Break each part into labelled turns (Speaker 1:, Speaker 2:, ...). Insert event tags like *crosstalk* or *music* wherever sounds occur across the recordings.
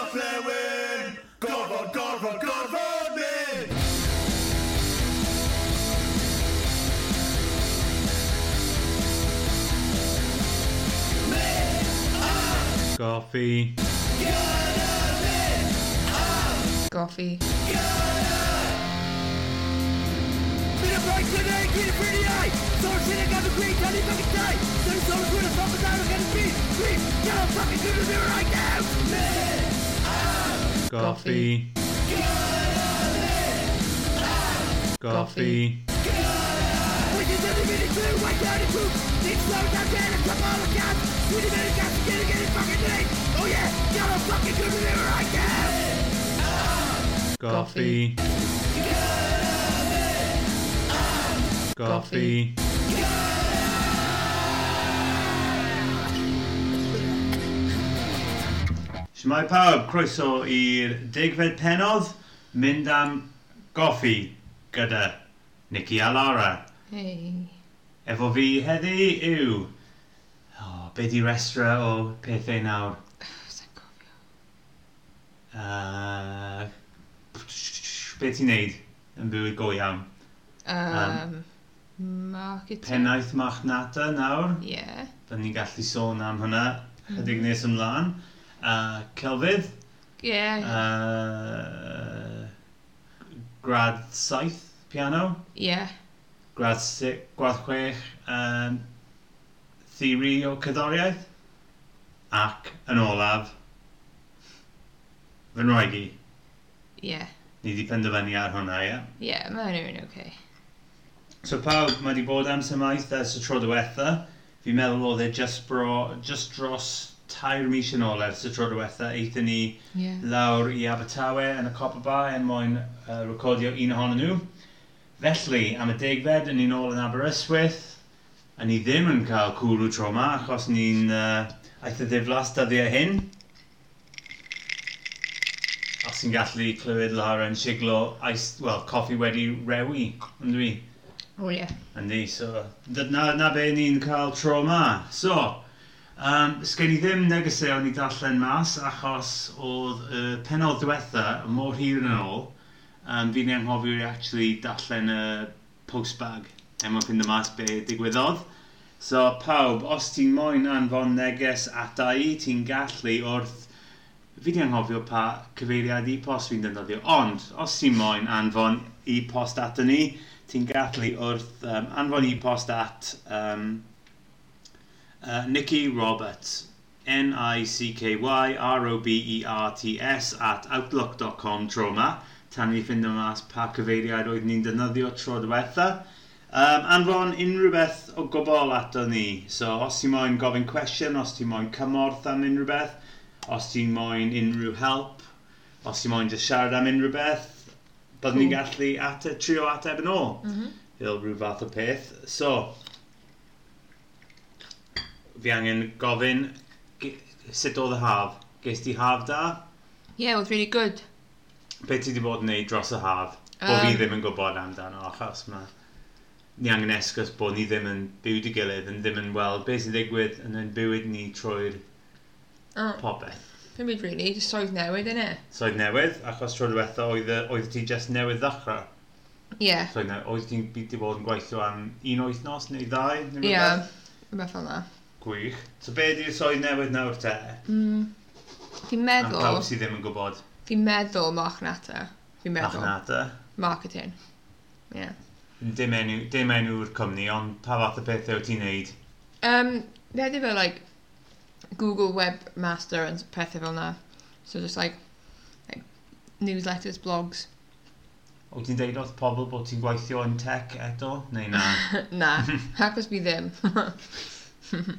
Speaker 1: gorllewin Gorfod, gorfod, gorfod mynd
Speaker 2: Goffi.
Speaker 3: Goffi.
Speaker 4: Been a break today, kid of pretty eye. So shit, I got the green, tell you fucking die. Then so much with a fucking time, I got a beat. Please, get a fucking good to me right now. Man,
Speaker 2: Goffi. Goffi.
Speaker 4: which is every minute two, right down the truth. Need slow down, get a couple of gas. Twenty minutes gas, get it, get it fucking late. Oh yeah, get a fucking good to me right now.
Speaker 2: Goffi. Goffi. Shmai pawb, croeso i'r degfed penodd, mynd am goffi gyda Nicky a Lara.
Speaker 3: Hei.
Speaker 2: Efo fi heddi yw... Oh, be di restra o pethau nawr?
Speaker 3: Sa'n cofio.
Speaker 2: Uh, be ti'n neud yn bywyd go iawn?
Speaker 3: Um, marketing.
Speaker 2: Pennaeth marchnata nawr,
Speaker 3: Yeah.
Speaker 2: byddwn ni'n gallu sôn am hwnna chydig nes ymlaen. Uh, Celfydd,
Speaker 3: Yeah.
Speaker 2: uh, grad 7 piano,
Speaker 3: yeah.
Speaker 2: grad, si- grad 6 um, theori o cydoriaeth, ac yn olaf, fy nroegi.
Speaker 3: Yeah.
Speaker 2: Ni wedi penderfynu ar hwnna, ie. Yeah?
Speaker 3: Yeah, mae nhw'n okay.
Speaker 2: So pawb, mae wedi bod am symaith ers y tro diwetha. Fi'n meddwl oedd e just, bro, just dros tair mis yn ôl ers y tro diwetha. Eithon ni
Speaker 3: Yeah.
Speaker 2: lawr i Abertawe yn y Copper Bar yn moyn uh, recordio un ohonyn nhw. Felly, am y degfed, yn ni'n ôl yn Aberystwyth. A ni ddim yn cael cwrw tro yma, achos ni'n uh, eitha ddiflas dyddiau hyn. Os ti'n gallu clywed Lara yn siglo ais, well, coffi wedi rewi, yn dwi.
Speaker 3: Oh, yeah.
Speaker 2: Yndi, so dy- na, na be ni'n cael tro yma. So, um, sgen i ddim negesau o'n i darllen mas achos oedd y uh, penod diwetha, mor hir yn ôl, um, fi'n anghofio i actually darllen y postbag am o'n fynd y mas be digwyddodd. So, pawb, os ti'n moyn anfon neges ata i, ti'n gallu wrth Fi di anghofio pa cyfeiriad e-post fi'n defnyddio, ond os ti'n moyn anfon e-post at ni, ti'n gallu wrth um, anfon e-post at um, uh, Nicky Roberts, E N-I-C-K-Y-R-O-B-E-R-T-S at outlook.com tro yma, tan i ffind mas pa cyfeiriad oedd ni'n defnyddio tro diwetha. Um, anfon unrhyw beth o gobl ato ni. So, os ti moyn gofyn cwestiwn, os ti moyn cymorth am unrhyw beth, os ti moyn unrhyw help, os ti moyn just siarad am unrhyw beth, byddwn ni'n gallu ate, trio ateb yn ôl. Mm -hmm. rhyw fath o peth. So, fi angen gofyn ge- sut oedd y haf? Ges ti haf da?
Speaker 3: Yeah, it was really good.
Speaker 2: Be ti wedi bod yn neud dros y haf? Bo fi
Speaker 3: Yym.
Speaker 2: ddim yn gwybod amdano achos mae ni angen esgus bod ni ddim yn byw dy gilydd yn ddim yn weld beth sy'n digwydd yn yn bywyd ni trwy'r
Speaker 3: Oh,
Speaker 2: popeth.
Speaker 3: dim byd really, just soedd newid, innit?
Speaker 2: So oedd newydd, achos tro diwetha oedd, y- oedd ti just newydd ddechrau.
Speaker 3: Yeah.
Speaker 2: So oedd, ne- oedd ti'n byd i bod yn gweithio am un wythnos neu ddau? neu
Speaker 3: Yeah.
Speaker 2: rywbeth?
Speaker 3: Rhywbeth fel na.
Speaker 2: Gwych. So be di'r soedd newydd nawr te?
Speaker 3: Mm. Fi'n
Speaker 2: Am pawb
Speaker 3: meddwl,
Speaker 2: sydd ddim yn gwybod
Speaker 3: fi'n meddwl marchnata. Fi'n meddwl.
Speaker 2: machnata.
Speaker 3: Marketing. Yeah.
Speaker 2: Dim enw- dim enw'r cwmni, ond pa fath o bethau wyt ti'n neud?
Speaker 3: Um, they had a bit like Google Webmaster and pethau fel na. So just like, like newsletters, blogs. *laughs*
Speaker 2: Wyt ti'n deud wrth pobl bod ti'n gweithio yn tech eto, neu na?
Speaker 3: na, achos fi ddim. *laughs*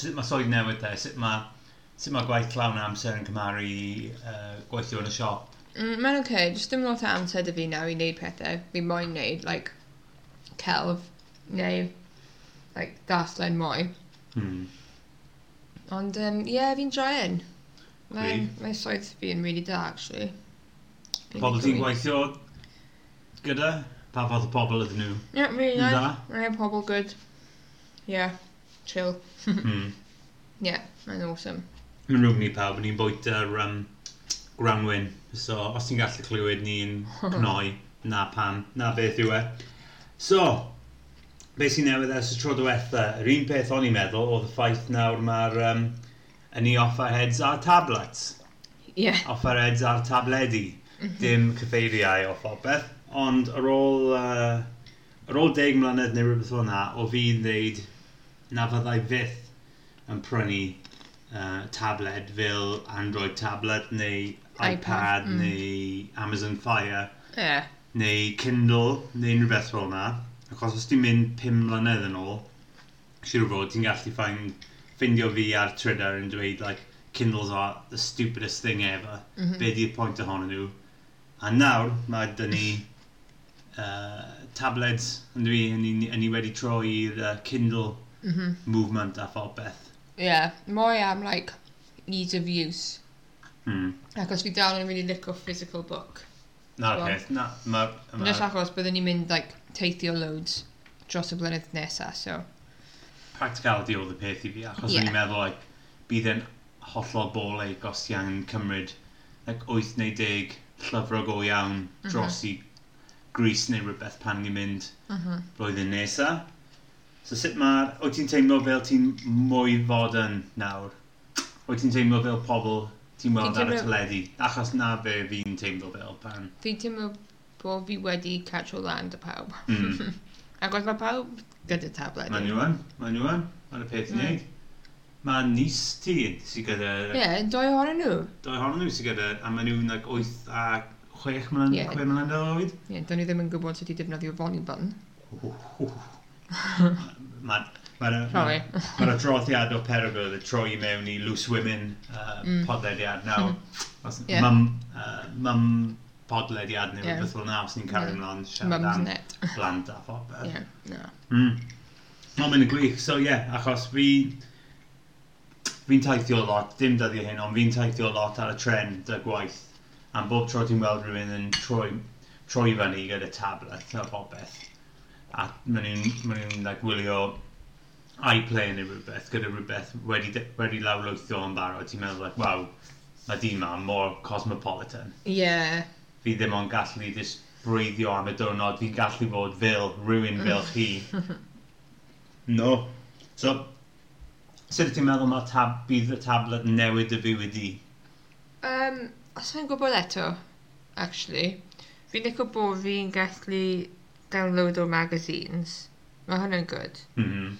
Speaker 2: sut mae swydd newid te? Sut mae sut ma gwaith llawn amser yn cymaru i, uh, gweithio yn y siop?
Speaker 3: Mm, Mae'n oce, okay, just dim lot o amser dy fi nawr i wneud pethau. Fi moyn wneud, like, celf, neu, like, darllen mwy.
Speaker 2: Hmm.
Speaker 3: Ond, um, ie, yeah, fi'n joi'n. Mae
Speaker 2: Gwych.
Speaker 3: mae swydd fi'n really da, actually. Really
Speaker 2: Pobl ti'n
Speaker 3: good.
Speaker 2: gweithio gyda? Pa fath o pobl ydyn nhw?
Speaker 3: Ie, yeah, really
Speaker 2: Yn
Speaker 3: nice.
Speaker 2: dda?
Speaker 3: Rai pobl good. Yeah, chill.
Speaker 2: Hmm.
Speaker 3: Yeah, mae'n awesome.
Speaker 2: Mae'n rwg ni pawb, ni'n bwyta'r um, granwyn. So, os ti'n gallu clywed ni'n cnoi, na pam, na beth yw e. So, beth sy'n newydd ers y tro diwetha, yr un peth o'n i'n meddwl oedd y ffaith nawr mae'r um, yn ni offer heads ar tablets.
Speaker 3: Ie.
Speaker 2: Offer heads ar tabledi.
Speaker 3: Mhm.
Speaker 2: Dim cyfeiriau o phobeth. Ond ar ôl, uh, ar ôl deg mlynedd neu rhywbeth fel yna, o fi'n ddeud na fyddai fyth yn prynu uh, tabled fel Android tablet neu iPad,
Speaker 3: iPad, mm.
Speaker 2: neu Amazon Fire
Speaker 3: Ie.
Speaker 2: neu Kindle, neu unrhyw beth fel yna. Achos os ti'n mynd 5 mlynedd yn ôl, siŵr o fod ti'n gallu find, ffindio fi ar Twitter yn dweud, like, Kindles are the stupidest thing ever. Be di'r pwynt ohonyn nhw? A nawr, mae dyn ni uh, tablets yn dwi, yn ni, yn ni wedi troi i'r uh, Kindle movement a phob beth.
Speaker 3: Ie. Mwy am, like, ease of use.
Speaker 2: Hmm.
Speaker 3: Achos fi dal yn really licio physical book.
Speaker 2: Na'r
Speaker 3: Wel.
Speaker 2: peth, na, mae'r...
Speaker 3: Yn
Speaker 2: Ma,
Speaker 3: ys achos byddwn ni'n mynd, like, teithio loads dros y blynedd nesaf, so...
Speaker 2: practicality oedd y peth i fi, achos
Speaker 3: Ie.
Speaker 2: yeah. o'n i'n meddwl, like, bydd e'n hollol boleg os ti angen cymryd like, 8 neu 10 llyfrau go iawn
Speaker 3: Mhm.
Speaker 2: dros i Greece neu rhywbeth pan ni'n mynd
Speaker 3: Mhm.
Speaker 2: blwyddyn nesa. So sut mae... Wyt ti'n teimlo fel ti'n mwy fodern nawr? Wyt ti'n teimlo fel pobl ti'n weld ar
Speaker 3: Fi'n
Speaker 2: y
Speaker 3: teimlo-
Speaker 2: teledu? Achos na fe fi'n teimlo fel
Speaker 3: *laughs*
Speaker 2: pan.
Speaker 3: Dwi'n teimlo bod fi wedi catch o land y pawb.
Speaker 2: Mm.
Speaker 3: Ac mae pawb gyda tablet.
Speaker 2: Mae
Speaker 3: Ie,
Speaker 2: nhw yn, mae nhw yn, mae'n y peth i
Speaker 3: Mm.
Speaker 2: wneud. Mae nis ti sy'n gyda
Speaker 3: yeah, doi ohonyn nhw.
Speaker 2: dau ohonyn nhw sy'n gyda, a maen nhw'n like 8 a 6 mlynedd
Speaker 3: Ie.
Speaker 2: yeah. mlynedd
Speaker 3: *laughs*
Speaker 2: oed.
Speaker 3: Ie, yeah, do'n i ddim yn gwybod sut i defnyddio volume button.
Speaker 2: Mae'n ma
Speaker 3: Sorry.
Speaker 2: ma adroddiad o Perygl y troi mewn i Loose Women uh, mm. podlediad
Speaker 3: *laughs*
Speaker 2: nawr. Os-
Speaker 3: Ie.
Speaker 2: Mum uh, mum podlediad neu
Speaker 3: Ie.
Speaker 2: rhywbeth fel na, os ni'n cario
Speaker 3: Ie.
Speaker 2: ymlaen siarad
Speaker 3: Mum's
Speaker 2: am
Speaker 3: net.
Speaker 2: blant a phobeth.
Speaker 3: Ie, na.
Speaker 2: Mm. Ond mae'n y gwych, so ie, yeah, achos fi... Fi'n taithio lot, dim dyddiau hyn, ond fi'n taithio lot ar y tren dy gwaith. A bob tro ti'n weld rhywun yn troi, troi fyny gyda tablet a bobeth. A maen nhw'n ma nhw, like, wylio iPlay neu rhywbeth, gyda rhywbeth wedi, de- wedi lawlwytho yn barod. Ti'n meddwl, like, waw, mae di ma mor cosmopolitan.
Speaker 3: Ie, yeah,
Speaker 2: Fi ddim ond gallu just breiddio am y diwrnod, fi'n gallu bod fel rhywun fel chi. No. So, sut ti'n meddwl mae tab, bydd y tablet yn newid y bywyd i?
Speaker 3: Um, os yna'n gwybod eto, actually, fi'n licio bod fi'n gallu download o magazines. Mae hwnna'n good.
Speaker 2: Mhm.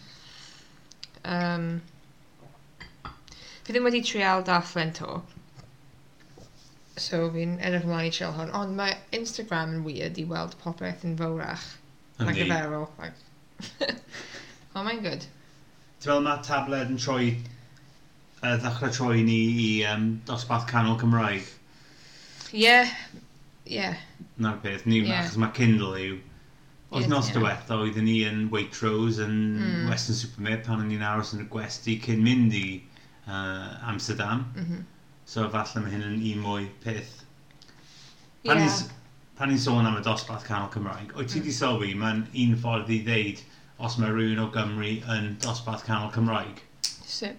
Speaker 3: Um, fi ddim wedi trial darllen to. So fi'n edrych ymlaen i trial hwn. Ond mae Instagram yn weird i weld popeth yn fawrach. Mae'n
Speaker 2: Yndi.
Speaker 3: gyferol. Like. *laughs* Ond mae'n good.
Speaker 2: Ti'n meddwl mae tablet yn troi, uh, ddechrau troi ni i um, dosbarth canol Cymraeg?
Speaker 3: Ie, ie.
Speaker 2: Na'r peth, ni,
Speaker 3: Ie.
Speaker 2: yeah. achos mae Kindle yw. Oedd
Speaker 3: Ie,
Speaker 2: nos
Speaker 3: ie.
Speaker 2: diwetha, oeddwn ni yn Waitrose yn
Speaker 3: Mm.
Speaker 2: Western Supermare pan o'n i'n aros yn y gwesti cyn mynd i uh, Amsterdam.
Speaker 3: Mhm.
Speaker 2: So falle mae hyn yn un mwy peth. Pan
Speaker 3: Ie. Hmm.
Speaker 2: ni'n s- pan ni'n sôn am y dosbarth canol Cymraeg, wyt ti wedi sylwi mae'n un ffordd i ddeud os mae rhywun o Gymru yn dosbarth canol Cymraeg?
Speaker 3: So,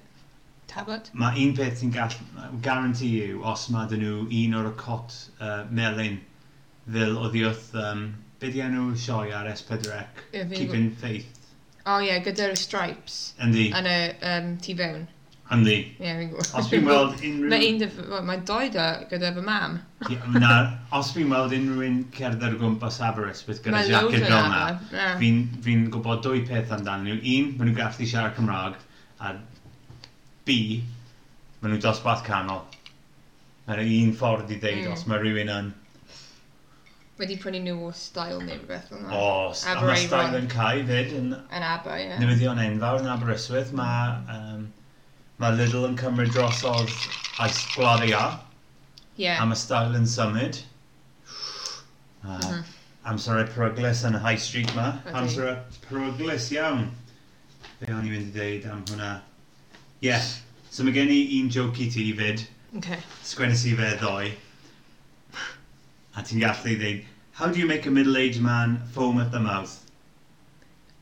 Speaker 3: tablet?
Speaker 2: Mae un peth sy'n gall- garanti yw os mae dyn nhw un o'r cot uh, melyn fel oedd i wrth um, be di enw sioi ar S4C
Speaker 3: Ie, fi'n
Speaker 2: Keeping Faith
Speaker 3: O oh, ie, yeah, gyda'r stripes.
Speaker 2: Yndi,
Speaker 3: Yn y um, tu fewn.
Speaker 2: yndi
Speaker 3: Ie, yeah, fi'n gwybod.
Speaker 2: Os fi'n weld unrhyw
Speaker 3: Mae un dy... wel, Mae doi dy gyda fy mam.
Speaker 2: Ie, na, Os fi'n weld unrhywun cerdded o gwmpas Aberystwyth gyda
Speaker 3: Mae loads
Speaker 2: jacket
Speaker 3: yn
Speaker 2: fel na
Speaker 3: arfer, ie.
Speaker 2: Fi'n fi gwybod dwy peth amdanyn nhw Un, maen nhw'n gallu siarad Cymraeg A B, maen nhw dosbarth canol Mae'n un ffordd i ddeud
Speaker 3: Mm.
Speaker 2: os mae rhywun yn
Speaker 3: Wedi prynu nhw o style neu rhywbeth fel yna.
Speaker 2: O, s- a mae Stein yn cae fyd yn
Speaker 3: Yn Aber, ie.
Speaker 2: newyddion enfawr yn Aberystwyth. Mae um, ma Lidl yn cymryd drosodd Ice Gladia
Speaker 3: Ie.
Speaker 2: a mae Stein yn symud. Uh, Amser y peryglis yn y high street ma.
Speaker 3: Ydi.
Speaker 2: Amser y peryglis iawn. Be o'n i mynd i ddeud am hwnna? Ie, yeah. so mae gen i un joke i ti fyd.
Speaker 3: Okay.
Speaker 2: Sgwennes i fe ddoe. A ti'n gallu ddeud, how do you make a middle-aged man foam at the mouth?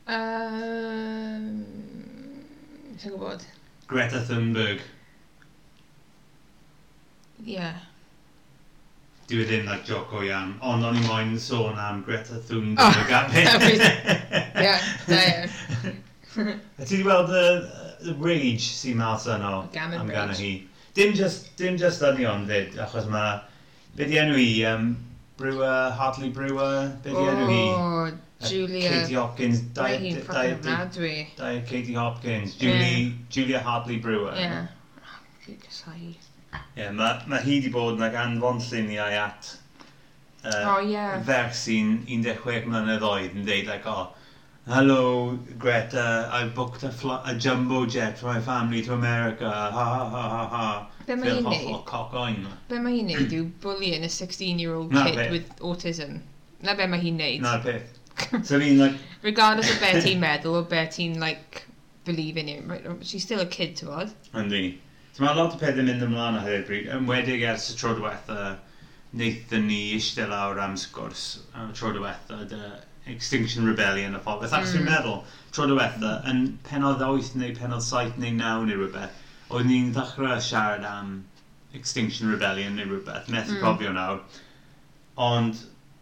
Speaker 3: Um, Ti'n gwybod?
Speaker 2: Greta Thunberg.
Speaker 3: Yeah.
Speaker 2: Dwi e ddim like Joko iawn, ond o'n i moyn sôn am Greta Thunberg
Speaker 3: Oh,
Speaker 2: *laughs* a
Speaker 3: that
Speaker 2: beth.
Speaker 3: Yeah, da iawn.
Speaker 2: A *laughs* ti wedi weld y y rage sy'n mas yno
Speaker 3: Gammon
Speaker 2: amdano
Speaker 3: rage.
Speaker 2: hi. Dim just, dim just onion fyd, achos mae... Be di enw hi? Um, Brewer, Hartley Brewer? Be di enw hi?
Speaker 3: Oh,
Speaker 2: Katie
Speaker 3: Julia.
Speaker 2: Hopkins,
Speaker 3: Mae
Speaker 2: diet,
Speaker 3: hi'n
Speaker 2: diet,
Speaker 3: ffocin ofnadwy.
Speaker 2: diet Katie Hopkins, Julie, Julia Hartley Brewer.
Speaker 3: Yeah. Gwrs a hi.
Speaker 2: Ie, mae ma hi wedi bod yn like, anfon lluniau at
Speaker 3: O,
Speaker 2: uh,
Speaker 3: ie.
Speaker 2: ferch sy'n 16 mlynedd oed yn deud, like, oh, hello Greta, I booked a, fl- a jumbo jet for my family to America, ha ha ha ha ha.
Speaker 3: Be mae hi'n
Speaker 2: hollol
Speaker 3: neud?
Speaker 2: coc oen.
Speaker 3: Be mae hi'n neud yw bullying a 16-year-old
Speaker 2: Na,
Speaker 3: kid
Speaker 2: be-
Speaker 3: with autism. Na be mae hi'n neud.
Speaker 2: Na'r peth.
Speaker 3: *laughs*
Speaker 2: So fi'n, like,
Speaker 3: Regardless o be ti'n meddwl o be ti'n, like, believe in it. Right? She's still a kid, ti'n bod?
Speaker 2: Yndi. So mae lot o pethau mynd ymlaen o hyd bryd. Yn wedig ers y tro diwetha, wnaethon ni eistedd lawr am sgwrs am y tro diwetha, dy Extinction Rebellion a phobeth. Ac mm. meddwl, tro diwetha, yn penod 8 neu penod 7 neu 9 neu rhywbeth, oedd ni'n ddechrau siarad am Extinction Rebellion neu rhywbeth, methu mm. cofio nawr. Ond,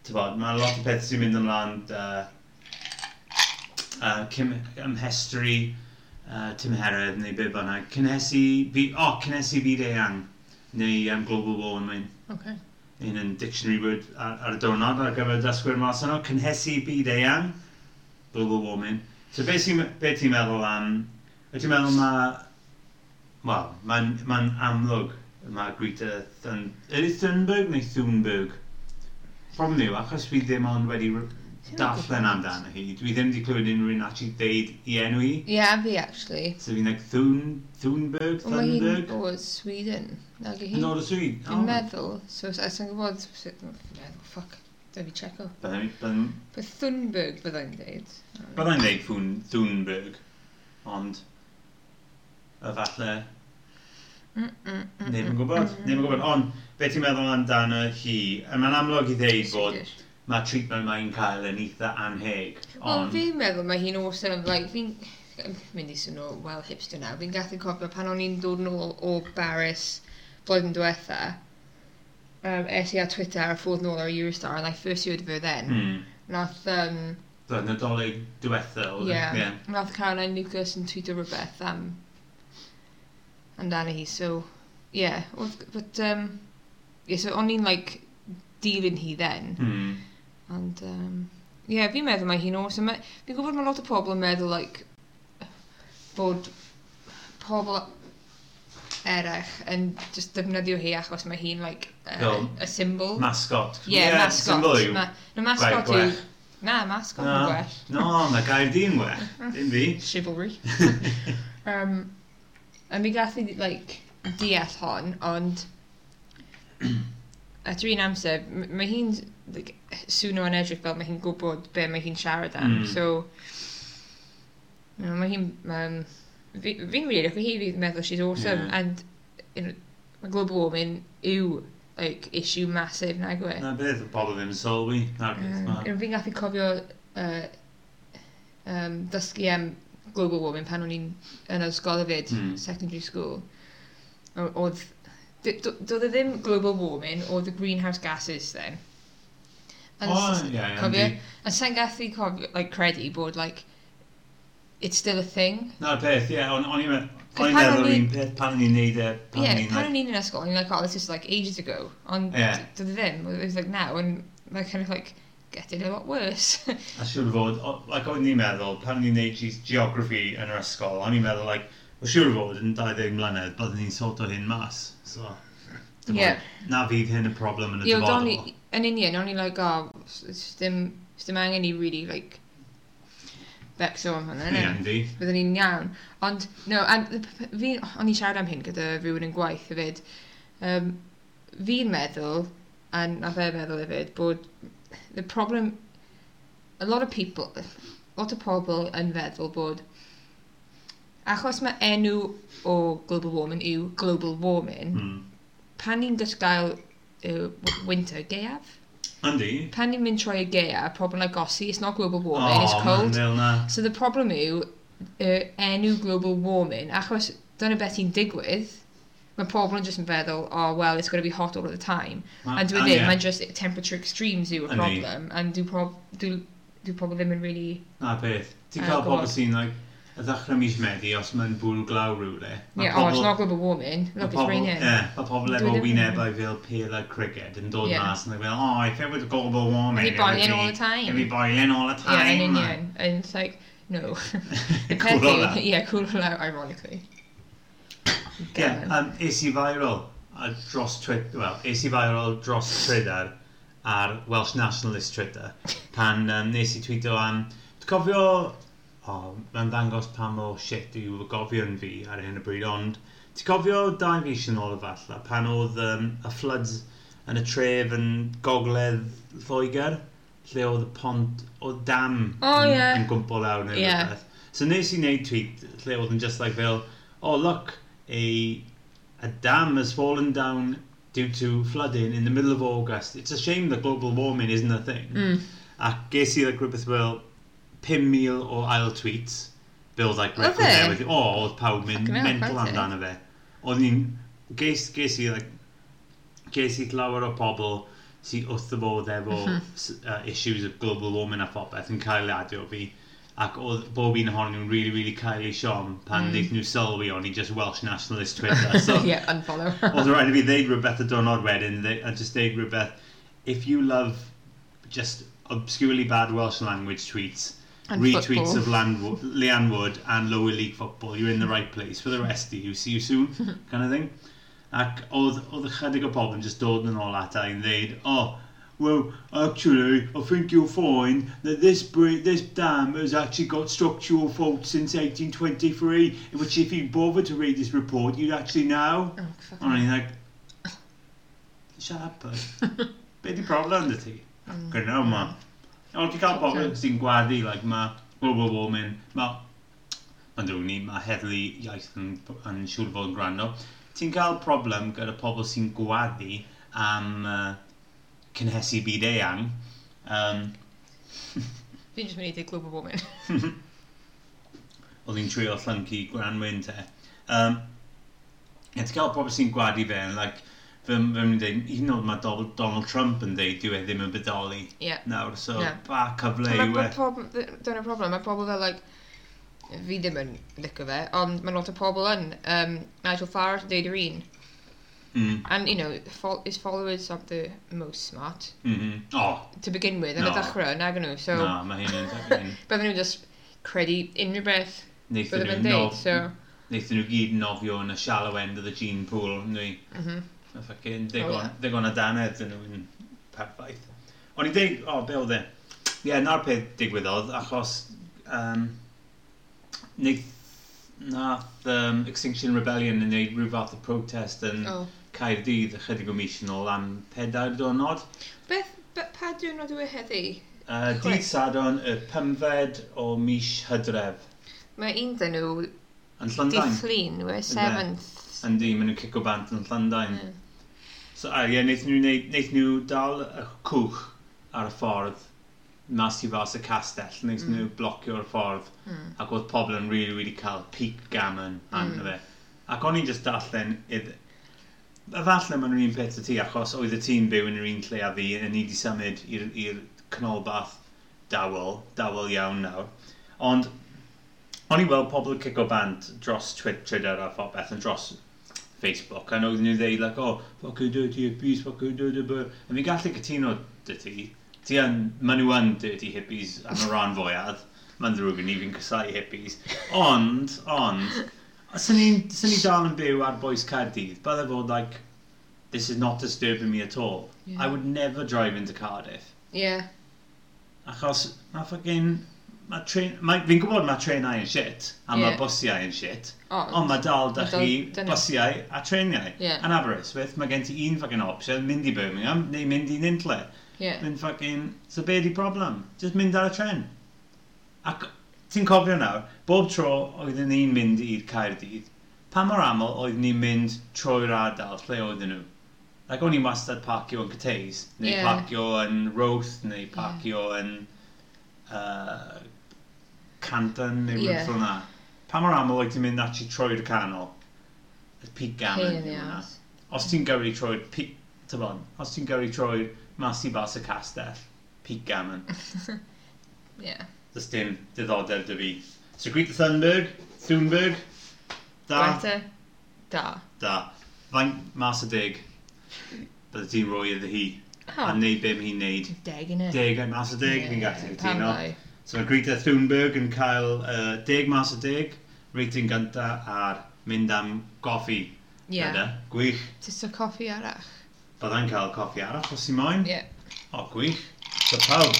Speaker 2: tybod, mae lot o pethau sy'n mynd ymlaen uh, uh, Kim, ymhestri, uh, tymheredd neu be bynnag. Cynhesu, fi, o, oh, cynhesu byd eang, neu um, global warming.
Speaker 3: Okay.
Speaker 2: Un yn dictionary word ar, ar y diwrnod ar gyfer dasgwyr mas yno. Cynhesu byd eang, global warming. So be ti'n be ti meddwl am, be ti'n meddwl ma, wel, mae'n ma amlwg mae Greta Thun, ydy Thunberg neu Thunberg? Problem yw, achos fi ddim ond wedi r- darllen amdano hi, dwi ddim wedi clywed unrhyw'n actually deud i enw hi.
Speaker 3: Yeah, fi, actually.
Speaker 2: So fi'n like Thun, Thunberg,
Speaker 3: Ond Mae hi'n
Speaker 2: Thunberg?
Speaker 3: bod Sweden. Nag i hi.
Speaker 2: Nod o Swyd.
Speaker 3: Fi'n meddwl. So, I sy'n gwybod... sut- meddwl, Fuck. Da fi checo.
Speaker 2: Byddai'n
Speaker 3: But Thunberg, byddai'n deud.
Speaker 2: neud Thun, Thunberg, ond efalle
Speaker 3: Mm, mm, mm,
Speaker 2: neb
Speaker 3: mm.
Speaker 2: yn gwybod. Neb yn gwybod, ond beth ti'n meddwl amdano hi? A mae'n amlwg i ddeud bod
Speaker 3: Sicr.
Speaker 2: mae treatment mae'n cael yn eitha anheg.
Speaker 3: Wel,
Speaker 2: Ond,
Speaker 3: fi'n meddwl mae hi'n awesome, like, fi'n yn mynd i swnio well hipster now, fi'n gallu cofio pan o'n i'n dod nôl o Baris blwyddyn diwetha, um, es i ar Twitter a ffordd nôl ar Eurostar, and I first heard of her then.
Speaker 2: hmm,
Speaker 3: Nath, um,
Speaker 2: Roedd nadolig diwetha oedd e,
Speaker 3: yeah,
Speaker 2: ie.
Speaker 3: nath Caroline Lucas yn tweetio rhywbeth am, amdano hi, so, yeah, wrth- but, um, yeah, so o'n i'n, like, dilyn hi then.
Speaker 2: Hmm.
Speaker 3: And, um, yeah, fi'n meddwl mae hi'n awesome. Ma- Fi'n gwybod mae lot o pobl yn meddwl, like, bod pobl eraill yn just defnyddio hi achos mae hi'n, like, uh,
Speaker 2: Fel
Speaker 3: a symbol.
Speaker 2: Mascot.
Speaker 3: Ie, yeah, mascot.
Speaker 2: symbol yw-
Speaker 3: Ma- Na, mascot
Speaker 2: Gwaith
Speaker 3: yw...
Speaker 2: gwech.
Speaker 3: Na, mascot
Speaker 2: Na,
Speaker 3: yw gwell.
Speaker 2: no, mae gair di'n wech. Dim fi.
Speaker 3: *laughs* Chivalry. um, a mi gallu, like, deall hon, ond... at yr un amser, m- mae hi'n like, swno yn edrych fel mae hi'n gwybod be mae hi'n siarad am.
Speaker 2: Mm.
Speaker 3: So, you know, mae hi'n... Um, fi- fi'n wir o'ch hi, fi'n meddwl she's awesome.
Speaker 2: Yeah.
Speaker 3: And, you know, mae global warming yw, like, issue massive, nag yw e?
Speaker 2: Na beth, y bobl ddim yn sylwi. Na beth,
Speaker 3: Mm,
Speaker 2: ma.
Speaker 3: you know, Fi'n gallu cofio uh, um, dysgu am global warming pan o'n i'n yn ysgol hefyd,
Speaker 2: Mm.
Speaker 3: secondary school. O- Oedd... d- d- Doedd e ddim global warming, oedd y greenhouse gases then. And
Speaker 2: O,
Speaker 3: s-
Speaker 2: ie,
Speaker 3: cofio?
Speaker 2: yndi.
Speaker 3: A sa'n gallu cofio, like, credu bod, like, it's still a thing.
Speaker 2: Na'r peth, ie, ond o'n i'n me-
Speaker 3: Cos
Speaker 2: o'n i'n
Speaker 3: pan o'n
Speaker 2: meddwl
Speaker 3: i-
Speaker 2: un peth pan o'n i'n neud e, pan
Speaker 3: yeah,
Speaker 2: o'n i'n
Speaker 3: pan
Speaker 2: like,
Speaker 3: o'n i'n yn ysgol, o'n i'n like, oh, this is, like, ages ago. Ond
Speaker 2: Ie.
Speaker 3: yeah. doedd e ddim, it was, like, now, and, like, kind of, like, getting a lot worse. *laughs*
Speaker 2: a siwr fod, o- like o'n i'n meddwl, pan o'n i'n neud ge- geography yn yr ysgol, o'n i'n meddwl, like, o siwr fod yn 20 mlynedd, byddwn ni'n sort o hyn mas, so... dim
Speaker 3: Ie.
Speaker 2: ond- Na fydd hyn y problem yn y
Speaker 3: Ie, ond o'n i,
Speaker 2: dyfodol.
Speaker 3: yn union, o'n i like, oh, s- s- dim, s- dim angen i really, like, becso am hwnna,
Speaker 2: Ie,
Speaker 3: yeah.
Speaker 2: yndi.
Speaker 3: Byddwn ni'n iawn. Ond, no, and, the p- p- fi, o'n i siarad am hyn gyda rhywun yn gwaith hefyd. Um, fi'n meddwl, a nath e meddwl hefyd, bod the problem, a lot of people, a lot of pobl yn feddwl bod achos mae enw o global warming yw global warming,
Speaker 2: Hmm.
Speaker 3: pan ni'n dysgael uh, winter gaeaf,
Speaker 2: Yndi.
Speaker 3: pan ni'n mynd troi y gaeaf, problem like Gossi, it's not global warming, it's
Speaker 2: O,
Speaker 3: cold.
Speaker 2: Mel na.
Speaker 3: So the problem yw, uh, enw global warming, achos dyna beth sy'n digwydd, mae pobl yn just yn feddwl, oh, well, it's going to be hot all of the time.
Speaker 2: Ma-
Speaker 3: a dwi
Speaker 2: a ie.
Speaker 3: ddim, mae'n just temperature extremes yw y
Speaker 2: Yndi.
Speaker 3: problem. And dwi, prob, dwi, dwi pobl ddim yn really...
Speaker 2: Na beth. Ti'n
Speaker 3: Ah,
Speaker 2: cael
Speaker 3: go on.
Speaker 2: pobl sy'n, like, y ddechrau mis Medi, os mae'n bwrw glaw rhywle. ma'
Speaker 3: Yeah, oh, it's
Speaker 2: pobl-
Speaker 3: not global warming.
Speaker 2: ma'
Speaker 3: Look, it's
Speaker 2: pobl-
Speaker 3: raining.
Speaker 2: Ie, mae pobl efo
Speaker 3: Dwi ddim-
Speaker 2: wynebau fel pêl a criced yn dod
Speaker 3: Ie.
Speaker 2: mas, and they're oh, if it was global warming,
Speaker 3: It'd be boiling all the time."
Speaker 2: It'd be boiling all the
Speaker 3: Yeah,
Speaker 2: time. *laughs*
Speaker 3: yn union. And it's like, no. *laughs*
Speaker 2: Cool o
Speaker 3: Pethu-
Speaker 2: that.
Speaker 3: Yeah, cool out, ironically.
Speaker 2: Yeah,
Speaker 3: Gammon.
Speaker 2: um, es i viral a dros Twitter, well, es i viral dros Twitter ar Welsh Nationalist Twitter pan um, nes i tweeto am, dwi'n cofio, o, oh, mae'n dangos pa mor shit yw gofio'n fi ar hyn o bryd, ond ti'n cofio dau fis yn ôl efallai pan oedd um, y floods yn y tref yn gogledd Lloegr, lle oedd y pont, oedd dam
Speaker 3: O,
Speaker 2: yn,
Speaker 3: ie.
Speaker 2: yn gwmpo lawr neu
Speaker 3: Ie.
Speaker 2: rhywbeth. So nes i wneud tweet lle oedd yn just like fel, oh look, a, a dam has fallen down due to flooding in the middle of August. It's a shame that global warming isn't a thing.
Speaker 3: Mm.
Speaker 2: A ges i like rhywbeth fel 5,000 o ail tweets. Fel like
Speaker 3: Oedd
Speaker 2: record
Speaker 3: e?
Speaker 2: newydd. O, oedd pawb mynd
Speaker 3: Fucking hell,
Speaker 2: mental
Speaker 3: fancy.
Speaker 2: amdano fe. Oedd ni'n, ges, ges i like, ges i llawer o pobl sy'n wrth y bod efo s- uh, issues of global warming a phopeth yn cael ei adio fi. Ac oedd bob un ohonyn nhw'n really, really cael ei siom pan mm. wnaethon nhw sylwi o'n i just Welsh Nationalist Twitter. So,
Speaker 3: *laughs* yeah, unfollow.
Speaker 2: *laughs* Oedd rhaid i fi ddeud rhywbeth y diwrnod wedyn, dde- a just ddeud rhywbeth, if you love just obscurely bad Welsh language tweets,
Speaker 3: And
Speaker 2: retweets
Speaker 3: football.
Speaker 2: of Landwo- Leanne Wood and lower league football, you're in the right place. For the rest of you, see you
Speaker 3: *laughs*
Speaker 2: soon, kind of thing. Ac oedd, oedd ychydig o bobl yn just dod yn ôl ata i'n ddeud, oh, well, actually, I think you'll find that this bri- this dam has actually got structural faults since 1823, which if you bother to read this report, you'd actually know.
Speaker 3: Oh, fuck.
Speaker 2: O'n i'n like, shut up, bud. Be di problem dy ti? Gwna yma. O, di cael bobl sy'n gwaddu, like, mae global warming, mae, mae'n drwy ni, mae heddlu iaith yn, yn siŵr fod yn gwrando. Ti'n cael problem gyda pobl sy'n gwaddu am uh, cynhesu byd eang. Um,
Speaker 3: Fi'n just mynd i dweud global warming.
Speaker 2: oedd hi'n trio llyncu Granwyn te. Um, Ie, ti'n cael pobl sy'n gwadu fe, yn like, fe fe'n mynd i hyn oedd mae Donald, Donald Trump yn dweud, dyw e ddim yn bodoli
Speaker 3: Yeah.
Speaker 2: nawr, so
Speaker 3: Na.
Speaker 2: ba cyfle
Speaker 3: Mae
Speaker 2: yw e.
Speaker 3: ma problem, dyna problem, mae pobl fel, like, fi ddim yn licio fe, ond mae lot o pobl yn. Um, Nigel Farage, deud yr un.
Speaker 2: Mm,
Speaker 3: And, you know, fol his followers are the most smart,
Speaker 2: mhm. O,
Speaker 3: to begin with, yn y
Speaker 2: No.
Speaker 3: dechrau, nag yn nhw. So,
Speaker 2: na, mae hyn yn
Speaker 3: *laughs*
Speaker 2: dweud.
Speaker 3: bydden nhw just credu unrhyw beth
Speaker 2: Neithon nhw,
Speaker 3: bydden nhw'n deud, so...
Speaker 2: nof, neithon nhw gyd nofio yn y shallow end of the gene pool, nwy.
Speaker 3: Mhm.
Speaker 2: Mae ffacin,
Speaker 3: Oh,
Speaker 2: digon
Speaker 3: ie.
Speaker 2: digon o danedd yn nhw'n perffaith. O'n i dweud, o, oh, be oedd e? Ie, yeah, na'r peth digwyddodd, achos um, neith, nath um, Extinction Rebellion yn neud rhyw fath o protest yn oh.
Speaker 3: Oh.
Speaker 2: Caerdydd ychydig o mis yn ôl am pedair diwrnod.
Speaker 3: Beth, be- pa diwrnod yw e heddi?
Speaker 2: Uh,
Speaker 3: Chwe.
Speaker 2: dydd Sadon y pymfed o mis Hydref
Speaker 3: Mae un dyn nhw
Speaker 2: yn
Speaker 3: di
Speaker 2: Llundain.
Speaker 3: fflin, yw e, 7th.
Speaker 2: Yndi, maen nhw'n cico bant yn Llundain.
Speaker 3: Ie.
Speaker 2: So, a ie, wnaethon nhw, wneud- wnaethon nhw dal y cwch ar y ffordd mas i fas y castell. Wnaethon nhw blocio'r ffordd.
Speaker 3: Mm.
Speaker 2: Ac oedd pobl yn really, really cael peak gammon arno fe. Ac o'n i'n just darllen idd... Efalle maen nhw'n un peth y ti, achos oedd y tîm byw yn yr un lle a fi, a ni wedi symud i'r- i'r canolbath dawel, dawel iawn nawr. Ond, o'n i weld pobl yn cico bant dros Twi- Twitter a phobeth, yn dros Facebook, a oedden nhw ddeud, like, oh, fuck you dirty hippies, fuck you dirty bird. A fi'n gallu cytuno dy ti, ti yn, maen nhw yn dirty hippies am y rhan fwyaf, maen ddrwg yn i fi'n cysau hippies. Ond, ond, os ni, swn ni dal yn byw ar boes Cardydd, bydde fod, like, this is not disturbing me at all. I
Speaker 3: Ie.
Speaker 2: would never drive into Cardiff.
Speaker 3: Ie.
Speaker 2: Achos mae ffucking... Mae tren... Mae, fi'n gwybod mae trenau yn shit, a yeah.
Speaker 3: Ie.
Speaker 2: mae busiau yn shit,
Speaker 3: O,
Speaker 2: ond mae dal da
Speaker 3: Ma' dal-
Speaker 2: chi
Speaker 3: dyna-
Speaker 2: busiau a treniau.
Speaker 3: Ie.
Speaker 2: Yn Aberystwyth, mae gen ti un ffucking option, mynd i Birmingham, neu mynd i Nintle.
Speaker 3: ie.
Speaker 2: Mynd ffucking... So be di problem? Just mynd ar y tren. Ac ti'n cofio nawr, bob tro oedden ni'n mynd i'r Caerdydd, pa mor aml oedden ni'n mynd trwy'r ardal lle oedden nhw? Like o'n i wastad parcio yn Cateis, neu
Speaker 3: Ie.
Speaker 2: parcio yn Roth, neu parcio yn uh, Canton, neu
Speaker 3: Ie.
Speaker 2: rhywbeth fel na. Pa mor aml oedden ti'n mynd actually trwy'r canol? Pete
Speaker 3: Pain
Speaker 2: Gannon
Speaker 3: in the
Speaker 2: yw hwnna.
Speaker 3: ass.
Speaker 2: Os ti'n gyrru troi Pete Tybon Os ti'n gyrru troi mas i bas y castell Pete Gannon
Speaker 3: Yeah.
Speaker 2: Does dim diddordeb dy fi So Greet the Thunberg Thunberg Da
Speaker 3: Greta. Da.
Speaker 2: Da Faint mas y dig Bydde ti'n roi iddi hi A
Speaker 3: Oh,
Speaker 2: neud be mae hi'n neud
Speaker 3: deg yn it.
Speaker 2: Deg mas y dig Fi'n gallu
Speaker 3: Pam
Speaker 2: cytuno
Speaker 3: bai.
Speaker 2: So mae Greta Thunberg yn cael uh, deg mas o deg, rating gyntaf ar mynd am goffi.
Speaker 3: Yeah.
Speaker 2: Dyna. Gwych.
Speaker 3: Just o coffi arach.
Speaker 2: Byddai'n cael coffi arall os i moyn.
Speaker 3: Yeah.
Speaker 2: O, gwych. So pawb.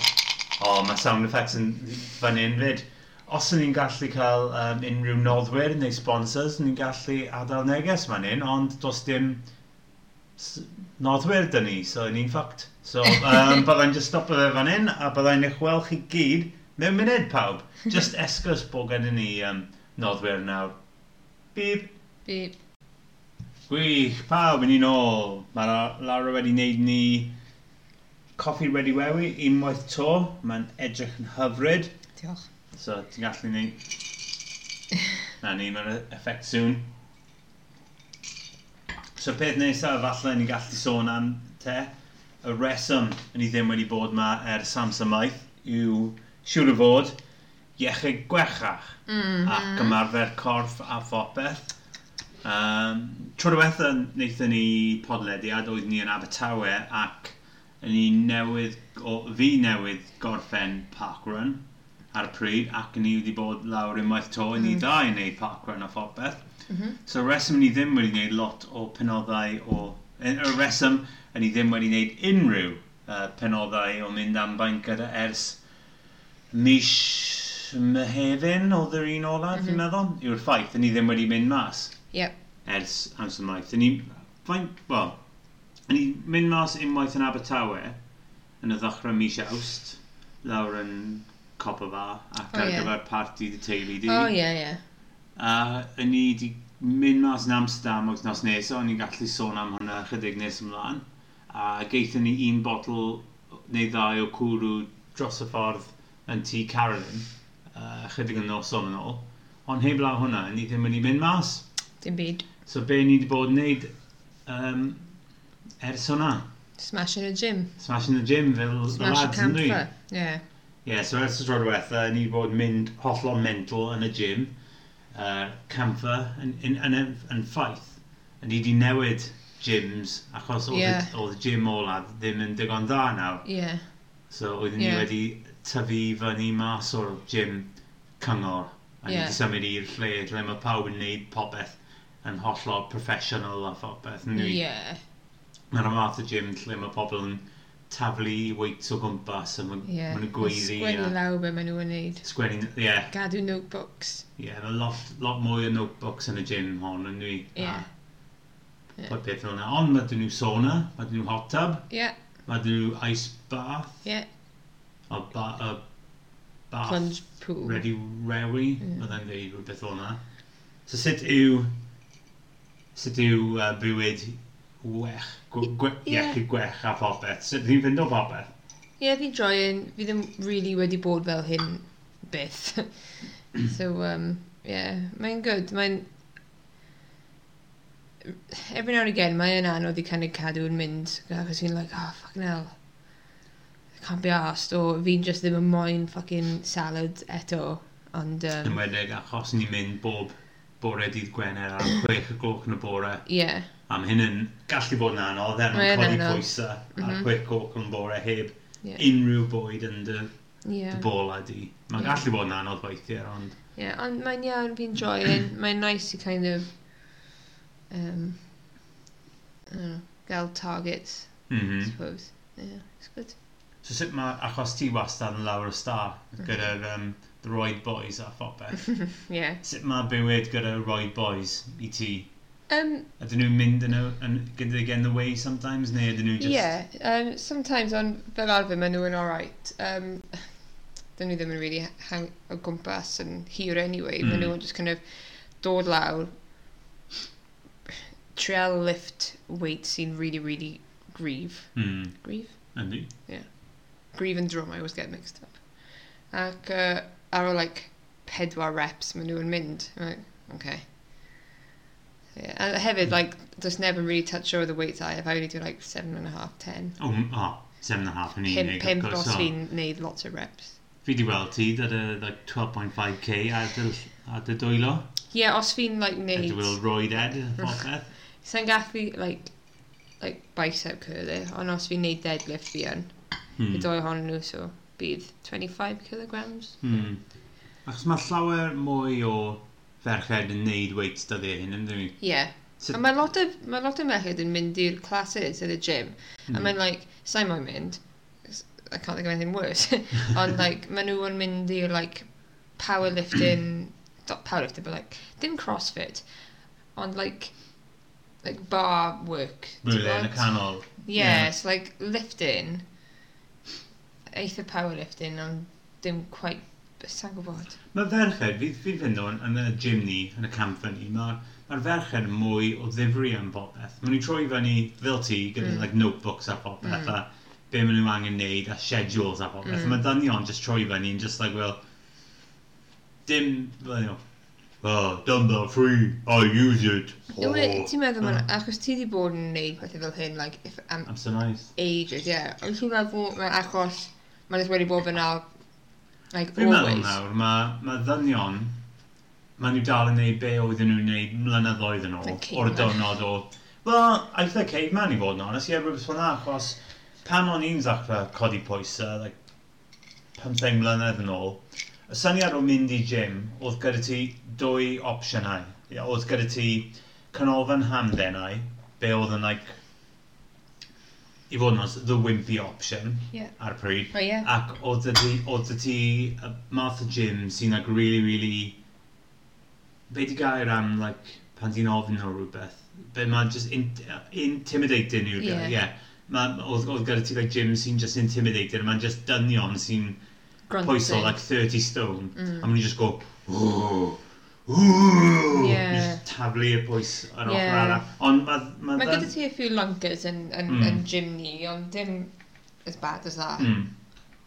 Speaker 2: O, mae sound effects yn fan hyn fyd. Os yn ni'n gallu cael um, unrhyw noddwyr neu sponsors, ni'n gallu adael neges fan hyn, ond does dim s- noddwyr dyn ni, so ni'n ffucked. So, um, byddai'n just stopo fe fan hyn, a byddai'n eich wel chi gyd mewn munud pawb. Just esgus bod gen i ni um, noddwyr nawr. Bib.
Speaker 3: Beep.
Speaker 2: Gwych, pawb yn un ôl. Mae La- Lara wedi wneud ni coffi wedi wewi unwaith to. Mae'n edrych yn hyfryd.
Speaker 3: Diolch.
Speaker 2: So, ti'n gallu neud... Na ni, mae'n effect soon. So, peth nesaf falle ni'n gallu sôn am te. Y reswm yn i ddim wedi bod ma ers Samsamaeth yw siŵr o fod iechyd gwechach
Speaker 3: Mm.
Speaker 2: ac ymarfer corff a phopeth. Um, tro diwetha wnaethon ni podlediad, oeddwn ni yn Abertawe ac yn ni newydd, o, fi newydd gorffen parkrun ar y pryd ac ni wedi bod lawr unwaith to i ni dau yn neud parkrun a phopeth.
Speaker 3: Mhm.
Speaker 2: So reswm ni ddim wedi wneud lot o penoddau o... yn- Y reswm yn ni ddim wedi wneud unrhyw uh, penoddau o mynd am bainc gyda ers mis Mehefin oedd yr un ola, mm -hmm. fi'n meddwl, yw'r ffaith, yn ni ddim wedi mynd mas
Speaker 3: Yep.
Speaker 2: ers amser maith. Yn ni, fain, wel, yn ni mynd mas unwaith yn Abertawe yn y ddechrau mis awst, lawr yn Copa Fa, ac
Speaker 3: O,
Speaker 2: ar
Speaker 3: ie.
Speaker 2: gyfer parti dy teulu di.
Speaker 3: Oh, yeah, yeah.
Speaker 2: A yn ni wedi mynd mas yn Amsterdam wythnos nesaf, o'n i'n gallu sôn am hwnna chydig nes ymlaen. A geithon ni un botl neu ddau o cwrw dros y ffordd yn tŷ Carolyn, uh, chydig yn nos o'n ôl. Ond heb law hwnna, ni ddim wedi mynd mas.
Speaker 3: Dim byd.
Speaker 2: So be ni wedi bod yn neud um, ers hwnna?
Speaker 3: Smashing a gym.
Speaker 2: Smashing the gym fel y
Speaker 3: Smash a
Speaker 2: lads yn dwi.
Speaker 3: camper. Yeah.
Speaker 2: Ie, yeah, so ers y tro diwetha, ni wedi bod yn mynd hollol mental yn y gym, uh, camfa, yn, yn, yn, yn, yn ffaith. A ni wedi newid gyms, achos oedd
Speaker 3: Ie.
Speaker 2: yeah. y gym ola ddim yn digon dda nawr.
Speaker 3: Yeah.
Speaker 2: So oeddwn yeah. ni
Speaker 3: Ie.
Speaker 2: wedi tyfu fyny mas o'r gym cyngor. A ni
Speaker 3: Ie.
Speaker 2: wedi symud i'r lle, lle mae pawb yn neud popeth yn hollol professional a phopeth. Yeah.
Speaker 3: Yeah.
Speaker 2: Mae'r math o gym lle mae pobl yn taflu weights o gwmpas a maen
Speaker 3: Yeah.
Speaker 2: nhw'n gweiddi. a-
Speaker 3: Sgwennu lawr be maen nhw yn neud.
Speaker 2: Sgwennu, ie. Yeah.
Speaker 3: Gadw notebooks.
Speaker 2: Ie, yeah, mae lot, lot mwy o notebooks yn y gym hon yn dwi.
Speaker 3: Ie.
Speaker 2: Ah.
Speaker 3: Ie.
Speaker 2: Pob peth fel yna. Ond mae dyn nhw sauna, mae dyn nhw hot tub,
Speaker 3: Yeah.
Speaker 2: mae dyn nhw ice bath,
Speaker 3: Yeah.
Speaker 2: a, ba, a bath
Speaker 3: Plunge pool.
Speaker 2: Ah. ready rewi,
Speaker 3: Ie.
Speaker 2: mae dyn nhw rhywbeth fel yna. So sut yw, sut yw uh, bywyd wech, gwe, gwe,
Speaker 3: Ie.
Speaker 2: iechyd gwech a popeth? Sut ni'n fynd o popeth?
Speaker 3: Ie, fi'n joio'n... Fi ddim really wedi bod fel hyn byth. so, um, yeah, mae'n good. Mae'n... Every now and again, mae'n anodd i kind of cadw yn mynd. Achos fi'n like, oh, fucking hell. I can't be arsed. O, fi'n just ddim yn moyn fucking salad eto. Ond,
Speaker 2: Yn
Speaker 3: um,
Speaker 2: wedig achos ni'n mynd bob bore dydd Gwener am 6 o gloch yn y bore.
Speaker 3: yeah.
Speaker 2: A mae hyn yn gallu bod yn anodd, er
Speaker 3: Mae
Speaker 2: mae'n codi
Speaker 3: yn anodd.
Speaker 2: pwysau
Speaker 3: Mhm.
Speaker 2: a'r quick coc yn bore heb
Speaker 3: Yeah.
Speaker 2: unrhyw bwyd yn dy, dy
Speaker 3: Yeah.
Speaker 2: bol a di. Mae'n
Speaker 3: Ie.
Speaker 2: gallu bod yn anodd weithiau, ond
Speaker 3: yeah. Ond mae'n iawn, fi'n joio'n... Mae'n nice i kind of... Um, I don't know, gael targets. I
Speaker 2: mhm.
Speaker 3: suppose. Yeah, it's good.
Speaker 2: So sut mae, achos ti wastad yn lawr y star gyda'r
Speaker 3: Mhm.
Speaker 2: um, the Royd Boys a phopeth,
Speaker 3: Yeah.
Speaker 2: sut mae bywyd gyda Royd Boys i ti?
Speaker 3: Um. Ydyn
Speaker 2: nhw'n mynd yn, y- yn gyda they get in the way sometimes, neu ydyn nhw just...
Speaker 3: Yeah. Um. Sometimes on fel arfer maen nhw yn alright. Um. Dyn nhw ddim yn really hang o gwmpas yn hir anyway. Mm.
Speaker 2: Mm.
Speaker 3: Maen nhw yn just kind of dod lawr, trial lift weight sy'n really, really grieve.
Speaker 2: Mm,
Speaker 3: Grieve?
Speaker 2: yndi.
Speaker 3: Grieve and drum, I always get mixed up. Ac uh, ar o like pedwar reps maen nhw yn mynd. I'm Like, okay. Yeah. And hefyd, like, does never really touch over the weight I have. I only do like seven and a half, ten.
Speaker 2: O, Oh, m- o, seven and a half yn
Speaker 3: Pimp,
Speaker 2: unig,
Speaker 3: pimp
Speaker 2: of
Speaker 3: os
Speaker 2: course. o.
Speaker 3: fi'n neud lots of reps.
Speaker 2: Fi di weld ti, dyda like, 12.5k a dy, a dy dwylo.
Speaker 3: Yeah, os fi'n, like,
Speaker 2: A dy
Speaker 3: neud...
Speaker 2: wyl roed ed,
Speaker 3: *laughs*
Speaker 2: popeth.
Speaker 3: Sa'n gallu, like, like, bicep curler, ond os fi'n neud deadlift fi yn,
Speaker 2: Hmm.
Speaker 3: y doi ohonyn nhw, so bydd 25 kilograms.
Speaker 2: Hmm. Achos mae llawer mwy o ferched yn neud weights dyddiau hyn, ymddyn ni.
Speaker 3: Yeah.
Speaker 2: So-
Speaker 3: So, a mae lot o, mae lot o mechyd yn mynd i'r classes yn y gym. Mm.
Speaker 2: Hmm.
Speaker 3: A mae'n like, sa'n moyn mynd, 'cause I can't think of anything worse. *laughs* Ond like, maen nhw yn mynd i'r like, powerlifting, not powerlifting, but like, dim crossfit. Ond like, like bar work. ti'n
Speaker 2: Rwy'n yn y
Speaker 3: gwbod?
Speaker 2: canol.
Speaker 3: Yeah, so like lifting, eitha powerlifting, ond dim quite, sa'n gwybod.
Speaker 2: Mae ferched, fi, fi'n fynd o'n yn y gym ni, yn y camp fyny, mae'r ma ferched yn mwy o ddifri am popeth. Mae'n nhw'n troi fyny fel ti gyda
Speaker 3: Mm.
Speaker 2: like, notebooks a popeth a be maen nhw angen neud a schedules a popeth. Mm. Mae dynion just troi fyny yn just like, well, dim, well, you know, oh, dumbbell free, I use it.
Speaker 3: Oh. Ti'n
Speaker 2: Mm.
Speaker 3: meddwl, man, achos ti di bod yn neud pethau fel hyn, like, if, am
Speaker 2: I'm so nice.
Speaker 3: ages, yeah. Ond ti'n meddwl, mae achos, mae'n wedi bod fyna, like,
Speaker 2: Fi'n meddwl
Speaker 3: always.
Speaker 2: nawr, mae ma ddynion, maen nhw dal yn neud be oedden nhw'n neud mlynyddoedd yn ôl,
Speaker 3: Like
Speaker 2: o'r
Speaker 3: caveman.
Speaker 2: diwrnod o... Wel, eitha caveman i fod yn onest, ie, rhywbeth fel na, achos pan o'n i'n ddechrau codi pwysau, like, 15 mlynedd yn ôl, y syniad o mynd i gym, oedd gyda ti dwy opsiynau. Ie, Oedd gyda ti canolfan hamddenau, be oedd yn, like, i fod yn onest, the wimpy option
Speaker 3: Ie.
Speaker 2: ar y pryd.
Speaker 3: O, ie.
Speaker 2: Ac oedd y ti, oedd y ti y math o gym sy'n like really, really... Be di gair am, like, pan ti'n ofyn o rhywbeth? Be mae just in, intimidating yw'r gair,
Speaker 3: Ie.
Speaker 2: ie. Yeah. Ma- Oedd oedd gyda ti like gym sy'n just intimidating, mae'n just dynion sy'n
Speaker 3: Grunting.
Speaker 2: pwyso like 30 stone.
Speaker 3: Mm.
Speaker 2: A maen nhw'n just go, ooh, ooh,
Speaker 3: Ie.
Speaker 2: just taflu y pwys ar
Speaker 3: Ie.
Speaker 2: ochr arall. Ond mae...
Speaker 3: Mae gyda ti a few lunkers yn, yn,
Speaker 2: Mm.
Speaker 3: yn gym ni, ond dim as bad as that.
Speaker 2: Mm.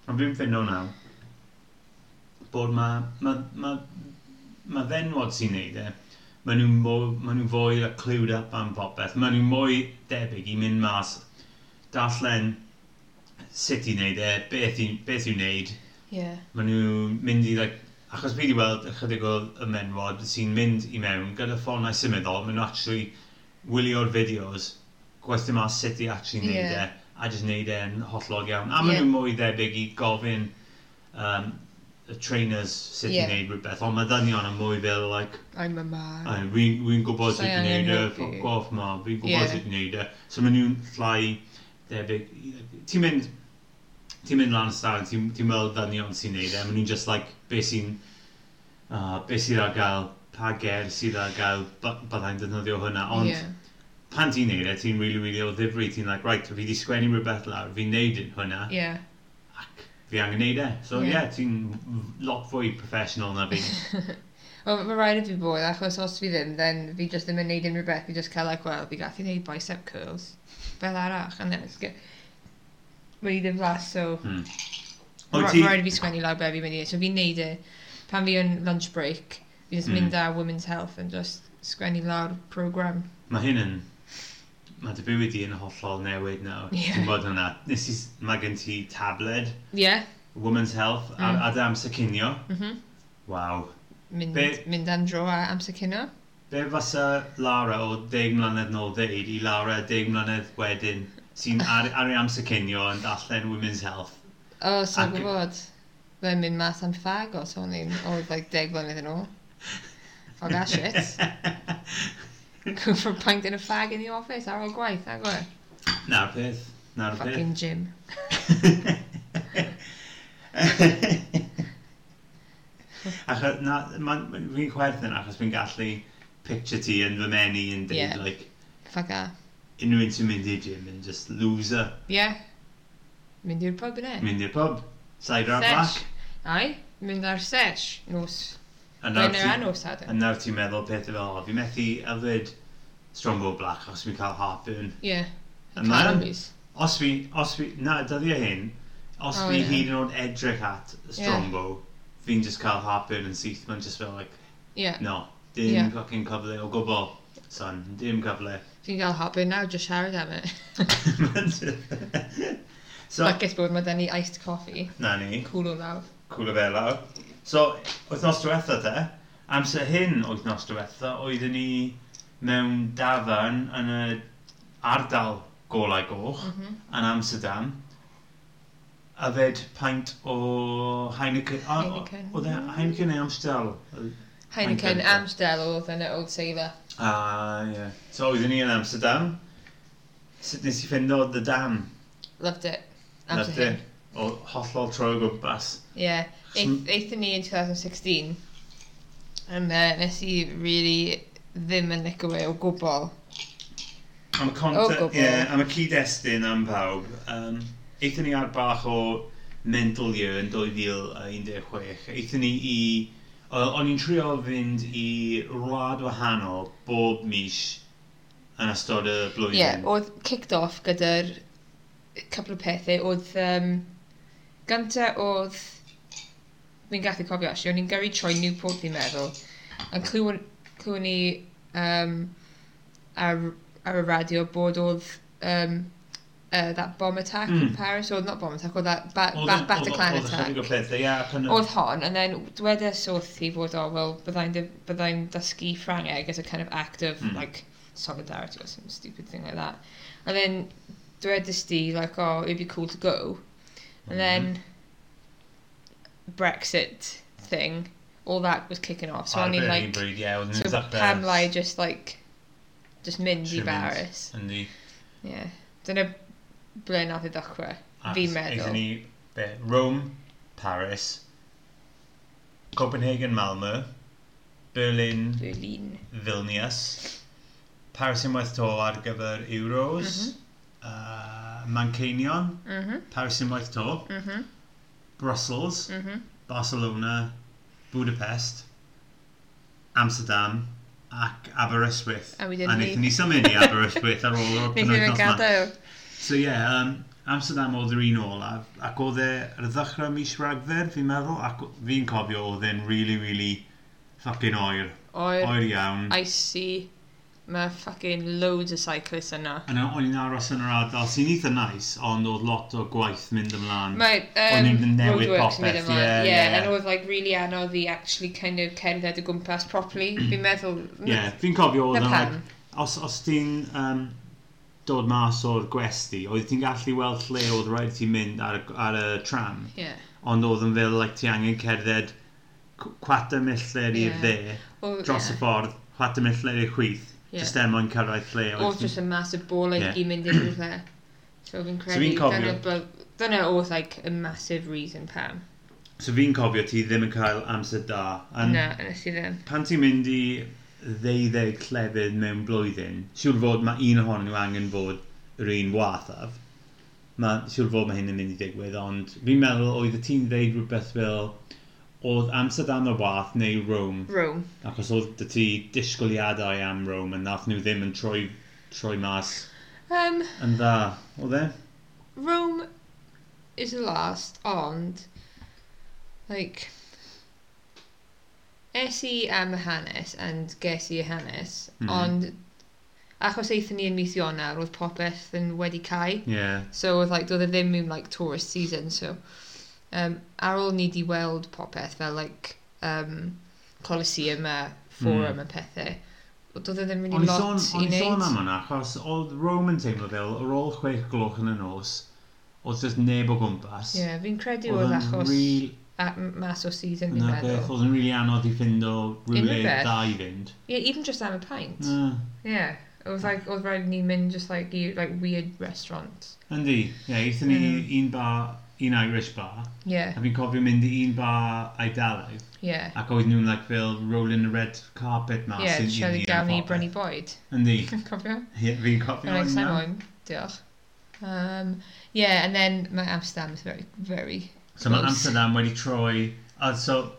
Speaker 2: Ond fi'n ffeindio nawr bod mae ma, ma, ma ddenwad sy'n neud e, maen nhw'n mo- maen nhw fwy a clywed up am popeth. Maen nhw'n mwy debyg i mynd mas, darllen sut i wneud e, beth i- beth i'w wneud.
Speaker 3: Yeah.
Speaker 2: Maen nhw'n mynd i, like, achos fi wedi weld ychydig o ymenwod sy'n mynd i mewn gyda ffonau symudol, maen nhw actually wylio'r fideos, gweithio mas sut i actually wneud
Speaker 3: Ie.
Speaker 2: e, a just wneud e'n hollog iawn. A maen
Speaker 3: Ie.
Speaker 2: nhw'n mwy debyg i gofyn um, y trainers sut
Speaker 3: Ie.
Speaker 2: i wneud rhywbeth, ond mae ddynion yn mwy fel, like,
Speaker 3: I'm a man.
Speaker 2: "Ai, fi'n fi gwybod sut
Speaker 3: Sai
Speaker 2: i
Speaker 3: angen
Speaker 2: wneud e,
Speaker 3: helpu."
Speaker 2: ffoc off ma, fi'n
Speaker 3: Ie.
Speaker 2: gwybod sut i wneud e. So maen nhw'n llai debyg. i- Ti'n mynd, ti'n mynd lan y stafell, ti'n ti'n weld ddynion sy'n wneud e, maen nhw'n just like, beth sy'n, uh, beth sy'n ar gael, pa ger sydd ar gael, ba- byddai'n defnyddio hwnna, ond
Speaker 3: Yeah.
Speaker 2: pan ti'n neud e, ti'n really, really o ddifri, ti'n like, right, fi di sgwennu rhywbeth lawr, fi'n neud hwnna,
Speaker 3: Yeah.
Speaker 2: ac fi angen neud e. So
Speaker 3: Ie.
Speaker 2: ie, yeah, ti'n lot fwy professional na fi.
Speaker 3: *laughs* Wel, mae rhaid i fi bod, achos os fi ddim, then fi just ddim yn neud unrhyw beth, fi just cael like, well, fi gallu neud bicep curls, fel arach, and then it's good. Mae i ddim las, so...
Speaker 2: Hmm. O,
Speaker 3: Ra-
Speaker 2: ti-
Speaker 3: Rhaid i fi sgwennu lawr be fi'n mynd i, so fi'n neud e, pan fi yn lunch break, fi just
Speaker 2: Hmm.
Speaker 3: mynd ar Women's Health and just sgwennu lawr program.
Speaker 2: Mae hyn yn... Mae dy bywyd i yn hollol newid nawr.
Speaker 3: Ie.
Speaker 2: Ti'n bod hwnna. Nes i... s- Mae gen ti tabled,
Speaker 3: Yeah,
Speaker 2: Women's Health, a, a dy amser cinio.
Speaker 3: Mm. Mhm.
Speaker 2: Waw.
Speaker 3: mynd,
Speaker 2: Be-
Speaker 3: mynd am dro a amser cino.
Speaker 2: Be fysa Lara o 10 mlynedd nôl ddeud i Lara 10 mlynedd wedyn
Speaker 3: *laughs*
Speaker 2: sy'n ar, ar ei amser cinio yn darllen Women's Health?
Speaker 3: O, oh, so
Speaker 2: Ac-
Speaker 3: gwybod, fe'n mynd mas am ffag os o'n i'n, oedd like deg blynedd yn ôl. Fog a Ah, shit. Go for a pint and a fag in the office ar ôl gwaith, ar gwaith.
Speaker 2: *laughs* Na'r peth. Na'r peth.
Speaker 3: Fucking gym.
Speaker 2: achos, na, ma- fi'n chwerthin achos fi'n gallu picture ti yn fy menu yn dweud,
Speaker 3: Ie.
Speaker 2: yeah. like,
Speaker 3: Fuck a.
Speaker 2: unrhyw un sy'n mynd i gym yn just loser.
Speaker 3: Yeah. Mynd i'r pub yna.
Speaker 2: Mynd i'r pub. Said ar black.
Speaker 3: Sesh. Ai, mynd ar sesh. Nos.
Speaker 2: A nawr
Speaker 3: Fe'n
Speaker 2: ti-
Speaker 3: yr anos
Speaker 2: a
Speaker 3: adeg.
Speaker 2: nawr ti'n meddwl pethau fel, "O, fi methu yfed Strongbow Black os fi'n cael heartburn.
Speaker 3: Yeah.
Speaker 2: A man?
Speaker 3: Calories.
Speaker 2: Os fi, os fi, na, dyddiau hyn, os
Speaker 3: O,
Speaker 2: fi
Speaker 3: ie.
Speaker 2: hyd yn oed edrych at Strongbow, fi'n just cael heartburn yn syth, mae'n just fel like,
Speaker 3: Yeah.
Speaker 2: no, dim
Speaker 3: Ie.
Speaker 2: fucking cyfle o gwbl. Son, dim
Speaker 3: *laughs*
Speaker 2: gyfle.
Speaker 3: Fi'n cael hobby nawr, jyst siarad am e. *laughs*
Speaker 2: so,
Speaker 3: Lwcus bod mae da ni iced coffee.
Speaker 2: na ni,
Speaker 3: Cwlw lawr.
Speaker 2: cwla fe lawr. So, wythnos diwetha te, amser hyn wythnos diwetha, oeddwn ni mewn dafarn yn y ardal golau goch
Speaker 3: Mhm.
Speaker 2: yn Amsterdam. A fed paint o Heineken. a- o-
Speaker 3: Heineken.
Speaker 2: Oedd e Heineken neu Amstel?
Speaker 3: Heineken
Speaker 2: Heineken.
Speaker 3: Amstel oedd yn y Old Sailor.
Speaker 2: Ah, ie. So, oeddwn ni yn Amsterdam. Sut nes i ffeindo The Dam?
Speaker 3: Loved it.
Speaker 2: Amser
Speaker 3: Amsterdam.
Speaker 2: hyn. O hollol troi o gwmpas.
Speaker 3: Yeah. Eith- Eithon ni in 2016. Um, uh, nes i really ddim yn licio fe o gwbl.
Speaker 2: Am y
Speaker 3: O,
Speaker 2: content,
Speaker 3: gwbl.
Speaker 2: ie, yeah, am y cyd-destun am pawb. Um, eithon ni ar bach o mental year yn 2016. Eithon ni i... o- O'n i'n trio fynd i wlad wahanol bob mis yn ystod y blwyddyn.
Speaker 3: Yeah, oedd kicked off gyda'r couple o pethau. Oedd, um, gynta oedd, fi'n gathu cofio actually, o'n i'n gyrru troi Newport fi'n meddwl. A clywed clywed ni um, ar, ar y radio bod oedd um, uh, that bomb attack in
Speaker 2: Mm.
Speaker 3: Paris, oedd not bomb attack, oedd that ba
Speaker 2: Oedd-
Speaker 3: ba
Speaker 2: oedd-
Speaker 3: Bataclan
Speaker 2: Oedd
Speaker 3: attack.
Speaker 2: ychydig o pethau, ie. ac yn y-
Speaker 3: Oedd hon, and then dwedes wrth i fod o, wel, byddai'n dy- byddai'n dysgu Ffrangeg as a kind of act of,
Speaker 2: Mm.
Speaker 3: like, solidarity or some stupid thing like that. And then dwedes di, like, oh, it'd be cool to go. And then
Speaker 2: Mm-hmm.
Speaker 3: Brexit thing, all that was kicking off. So
Speaker 2: ar
Speaker 3: I mean,
Speaker 2: yr un
Speaker 3: like,
Speaker 2: bryd, ie, oedd yn
Speaker 3: so
Speaker 2: exact
Speaker 3: Pam Lai
Speaker 2: beth.
Speaker 3: just, like, just mynd i
Speaker 2: She mynd.
Speaker 3: Paris.
Speaker 2: Yndi.
Speaker 3: Yeah. Dyna ble nath i ddechrau.
Speaker 2: Ac
Speaker 3: Fi'n meddwl.
Speaker 2: Aethon ni, be, Rome, Paris, Copenhagen, Malmö, Berlin,
Speaker 3: Berlin.
Speaker 2: Vilnius, Paris unwaith to ar gyfer Euros, uh, Mancunion,
Speaker 3: Mhm,
Speaker 2: Paris unwaith to,
Speaker 3: mhm,
Speaker 2: Brussels,
Speaker 3: mhm.
Speaker 2: Barcelona, Budapest, Amsterdam, ac Aberystwyth.
Speaker 3: A wedyn
Speaker 2: a
Speaker 3: ni-
Speaker 2: wnaethon ni symud i Aberystwyth ar ôl o'r
Speaker 3: Neu ddim yn
Speaker 2: penwythnos 'ma.
Speaker 3: gadael.
Speaker 2: So ie, yeah, um, Amsterdam oedd yr un olaf, ac oedd e ar y ddechrau mis Rhagfyr, fi'n meddwl, ac o- fi'n cofio oedd e'n really, really fucking oer.
Speaker 3: Oer.
Speaker 2: Oer iawn.
Speaker 3: icy. Mae fucking loads o cyclists yna.
Speaker 2: Yna o'n i'n aros yn yr ardal sy'n eitha nice, ond oedd lot o gwaith mynd ymlaen.
Speaker 3: Mae
Speaker 2: O'n i'n
Speaker 3: um,
Speaker 2: mynd newid
Speaker 3: roadworks yn mynd
Speaker 2: popeth,
Speaker 3: ymlaen.
Speaker 2: ie,
Speaker 3: Ie,
Speaker 2: ie.
Speaker 3: and oedd like really anodd i actually kind of cerdded o gwmpas properly. Fi'n meddwl...
Speaker 2: Mm. Ie, fi'n cofio oedd
Speaker 3: Na
Speaker 2: yn
Speaker 3: pam.
Speaker 2: like, os, os ti'n um, dod mas o'r gwesti, oedd ti'n gallu weld lle oedd rhaid i ti mynd ar, y- ar y tram,
Speaker 3: Ie.
Speaker 2: ond oedd yn fel, like, ti angen cerdded c- cwata millter i'r
Speaker 3: Ie.
Speaker 2: dde,
Speaker 3: Wel,
Speaker 2: dros
Speaker 3: ie.
Speaker 2: y ffordd, chwata millter i'r chwith,
Speaker 3: Ie.
Speaker 2: jyst er mwyn cyrraedd lle.
Speaker 3: Oedd jyst a massive ball like,
Speaker 2: Ie.
Speaker 3: i mynd i'n rhywle. So fi'n credu...
Speaker 2: fi'n cofio-
Speaker 3: dyna bl- Dyna oedd like a massive reason pam.
Speaker 2: So fi'n cofio ti ddim yn cael amser da. Yn-
Speaker 3: Na, nes i ddim.
Speaker 2: pan ti'n mynd i ddeuddeg llefydd mewn blwyddyn, siŵr fod mae un ohonyn nhw angen fod yr un wathaf. Mae siŵr fod mae hyn yn mynd i ddigwydd, ond fi'n meddwl oedd y ti'n ddeud rhywbeth fel oedd Amsterdam y wath neu Rome,
Speaker 3: Rome.
Speaker 2: achos oedd dy ti disgwyliadau am Rome yn nath nhw ddim yn troi, troi mas
Speaker 3: Um,
Speaker 2: yn dda, oedd e?
Speaker 3: Rome is the last, ond, like, es i am y hanes, and ges i y hanes,
Speaker 2: Mhm.
Speaker 3: ond, achos eithon ni yn mis Ionar, oedd popeth yn wedi cael,
Speaker 2: Ie. Yeah.
Speaker 3: so oedd, like, doedd e ddim mewn, like, tourist season, so, um, ar ôl ni di weld popeth, fel, like, um, Colosseum a Forum a pethau, doedd e ddim
Speaker 2: Mm. O'n
Speaker 3: really
Speaker 2: i sôn,
Speaker 3: lot i
Speaker 2: o'n i sôn am
Speaker 3: wneud.
Speaker 2: hwnna, achos oedd Rome yn teimlo fel, ar ôl chwech gloch yn y nos, oedd jyst neb o gwmpas.
Speaker 3: Ie, fi'n credu oedd
Speaker 2: Oedd yn
Speaker 3: achos
Speaker 2: rili-
Speaker 3: a- m- mas o season, fi'n
Speaker 2: Na
Speaker 3: meddwl.
Speaker 2: beth, oedd yn rili anodd i ffind o rhywle
Speaker 3: Unrhyw beth.
Speaker 2: da i fynd.
Speaker 3: Yeah, even just am a pint.
Speaker 2: Na,
Speaker 3: Yeah. It was like oedd rhaid ni mynd just like i like weird restaurant.
Speaker 2: yndi. Ie, eithon ni
Speaker 3: Mm.
Speaker 2: un bar, un Irish bar,
Speaker 3: Yeah,
Speaker 2: a fi'n cofio mynd i un bar Eidalaidd,
Speaker 3: yeah.
Speaker 2: ac oedd nhw'n like, fel rolling the red carpet mas
Speaker 3: Yeah,
Speaker 2: i'n- i'n
Speaker 3: Shelley
Speaker 2: hun
Speaker 3: Gammy,
Speaker 2: popeth.
Speaker 3: Brenny Boyd. *laughs*
Speaker 2: Yndi,
Speaker 3: Cofio?
Speaker 2: Ie, fi'n cofio
Speaker 3: Alex
Speaker 2: hwnna.
Speaker 3: Simon. Diolch. Um, yeah, and then my Amsterdam is very, very...
Speaker 2: So mae
Speaker 3: Close.
Speaker 2: Amsterdam wedi troi, a so,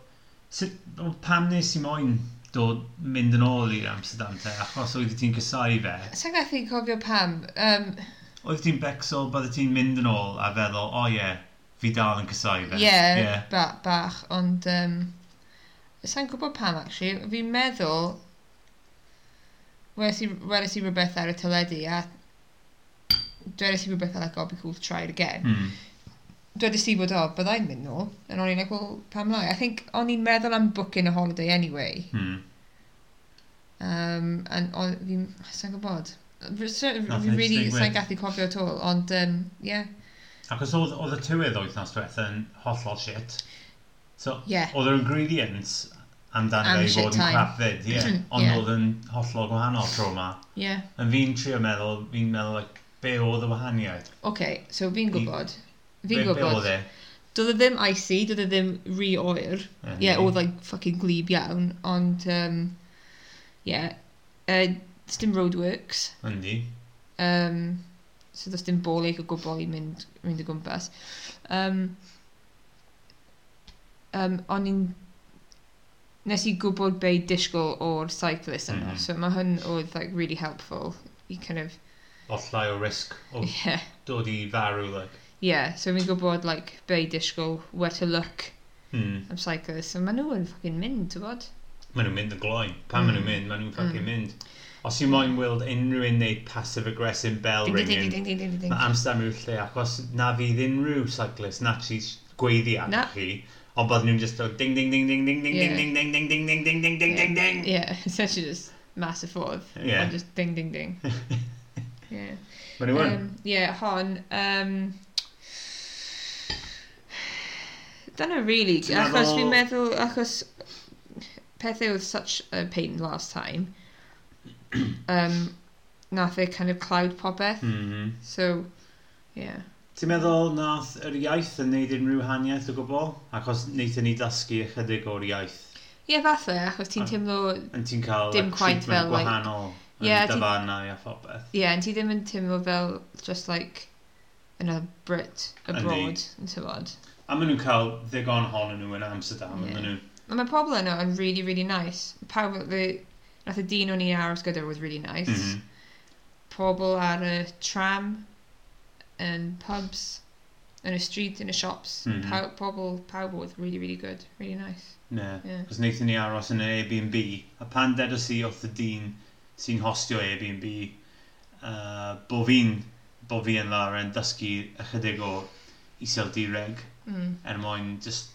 Speaker 2: sut, o, pam nes i moyn dod, mynd yn ôl i Amsterdam te, achos oedd ti'n cysau fe,
Speaker 3: Sa'n gallu cofio pam? Um,
Speaker 2: oedd ti'n becso, bydde ti'n mynd yn ôl a feddwl, o oh, ie, yeah, fi dal yn cysau fe.
Speaker 3: yeah,
Speaker 2: Ie.
Speaker 3: ba bach, ond... Um, sa'n gwybod pam, actually. Fi'n meddwl... Weles i, weles i rhywbeth ar y teledu a dwedais i rhywbeth fel like, oh, be cool to try it again.
Speaker 2: Mm.
Speaker 3: Dwedais i bod, o, byddai'n mynd nôl. And o'n i'n like, well, pam lai? I think o'n i'n meddwl am booking a holiday anyway.
Speaker 2: Mm.
Speaker 3: Um, and o'n fi'n, sa'n gwybod. Fi'n
Speaker 2: Nothing
Speaker 3: really,
Speaker 2: to stick
Speaker 3: sa'n
Speaker 2: with.
Speaker 3: gallu cofio at all. Ond, um, yeah,
Speaker 2: Ac os oedd, oedd y tywydd wythnos diwetha yn hollol shit. So,
Speaker 3: Ie.
Speaker 2: oedd yr ingredients amdano
Speaker 3: Am
Speaker 2: fe i
Speaker 3: shit
Speaker 2: fod yn
Speaker 3: time.
Speaker 2: crap fyd, ie.
Speaker 3: Mm,
Speaker 2: Ond
Speaker 3: ie.
Speaker 2: oedd yn hollol gwahanol tro yma.
Speaker 3: yeah.
Speaker 2: Yn fi'n trio meddwl, fi'n meddwl, like, be oedd y wahaniaeth?
Speaker 3: OK, so fi'n
Speaker 2: Fi-
Speaker 3: gwybod.
Speaker 2: Be,
Speaker 3: Fi'n
Speaker 2: be oedd
Speaker 3: gwybod.
Speaker 2: e?
Speaker 3: Doedd e ddim icy, doedd e ddim rhy oer. Ie,
Speaker 2: Mm.
Speaker 3: yeah, oedd like fucking glib iawn, ond, um, yeah. Uh, dim roadworks,
Speaker 2: Yndi.
Speaker 3: um, so does dim bolig o gwbl i mynd, mynd o gwmpas. Um, um, o'n i'n... Nes i gwybod be i disgwyl o'r cyclist yna,
Speaker 2: Mhm.
Speaker 3: so mae hyn oedd like, really helpful i kind of,
Speaker 2: Oedd llai o risg o
Speaker 3: yeah.
Speaker 2: dod i farw, like.
Speaker 3: Yeah, so fi'n gwybod like, be i disgwyl, where to look
Speaker 2: Mm.
Speaker 3: am cyclists, so maen nhw yn ffucking mynd, ti'n bod?
Speaker 2: Maen nhw'n mynd y gloen. Pan
Speaker 3: Mm.
Speaker 2: maen nhw'n mynd, maen nhw'n ffucking mynd. Os i moyn weld unrhyw un neud passive-aggressive bell
Speaker 3: Ding, ding, ding,
Speaker 2: ringing,
Speaker 3: ding, ding, ding, ding,
Speaker 2: Mae
Speaker 3: ding.
Speaker 2: amser mewn lle achos na fydd unrhyw cyclist na ti gweiddi ar
Speaker 3: Na.
Speaker 2: chi. Ond bod nhw'n just fel ding ding ding ding ding ding
Speaker 3: Ie.
Speaker 2: ding ding ding ding ding ding ding ding ding ding ding.
Speaker 3: Yeah, *laughs* essentially just massive ffordd.
Speaker 2: Yeah.
Speaker 3: Or just ding, ding,
Speaker 2: *laughs*
Speaker 3: ding. yeah.
Speaker 2: Mae nhw yn.
Speaker 3: Um, yeah, hon. Um, Dyna really,
Speaker 2: Ti'n
Speaker 3: achos
Speaker 2: meddwl-
Speaker 3: fi'n meddwl, achos pethau oedd such a pain
Speaker 2: *clears throat*
Speaker 3: last time, um, nath e kind of cloud popeth,
Speaker 2: Mhm.
Speaker 3: so, yeah.
Speaker 2: Ti'n meddwl nath yr iaith yn neud unrhyw haniaeth o gwbl? Achos wnaethon ni dysgu ychydig o'r iaith.
Speaker 3: Ie, yeah, fatha, achos ti'n
Speaker 2: A-
Speaker 3: teimlo
Speaker 2: Yn ti'n cael
Speaker 3: Dim
Speaker 2: like,
Speaker 3: quite
Speaker 2: treatment
Speaker 3: fel, like-
Speaker 2: gwahanol
Speaker 3: Ie,
Speaker 2: yn
Speaker 3: ti-
Speaker 2: dyfarnau a phobeth.
Speaker 3: Ie, yeah, and ti ddim yn teimlo fel just like another Brit abroad yn tywod.
Speaker 2: A maen nhw'n cael ddigon hon nhw yn Amsterdam.
Speaker 3: Ie.
Speaker 2: Yeah. Maen nhw
Speaker 3: Ond mae pobl yno yn really, really nice. Pawb, the, nath y dyn o'n i aros gyda was really nice.
Speaker 2: Mhm.
Speaker 3: Pobl ar y tram, yn pubs, yn y street, yn y shops.
Speaker 2: Mhm.
Speaker 3: Pow, pobl, pawb oedd really, really good. Really nice.
Speaker 2: Ne,
Speaker 3: Ie.
Speaker 2: cos wnaethon ni aros yn y Airbnb, a pan dedas i wrth y dyn sy'n hostio Airbnb, uh, bo fi'n bo fi yn lawr yn dysgu ychydig o iseldireg,
Speaker 3: Mm.
Speaker 2: er mwyn just,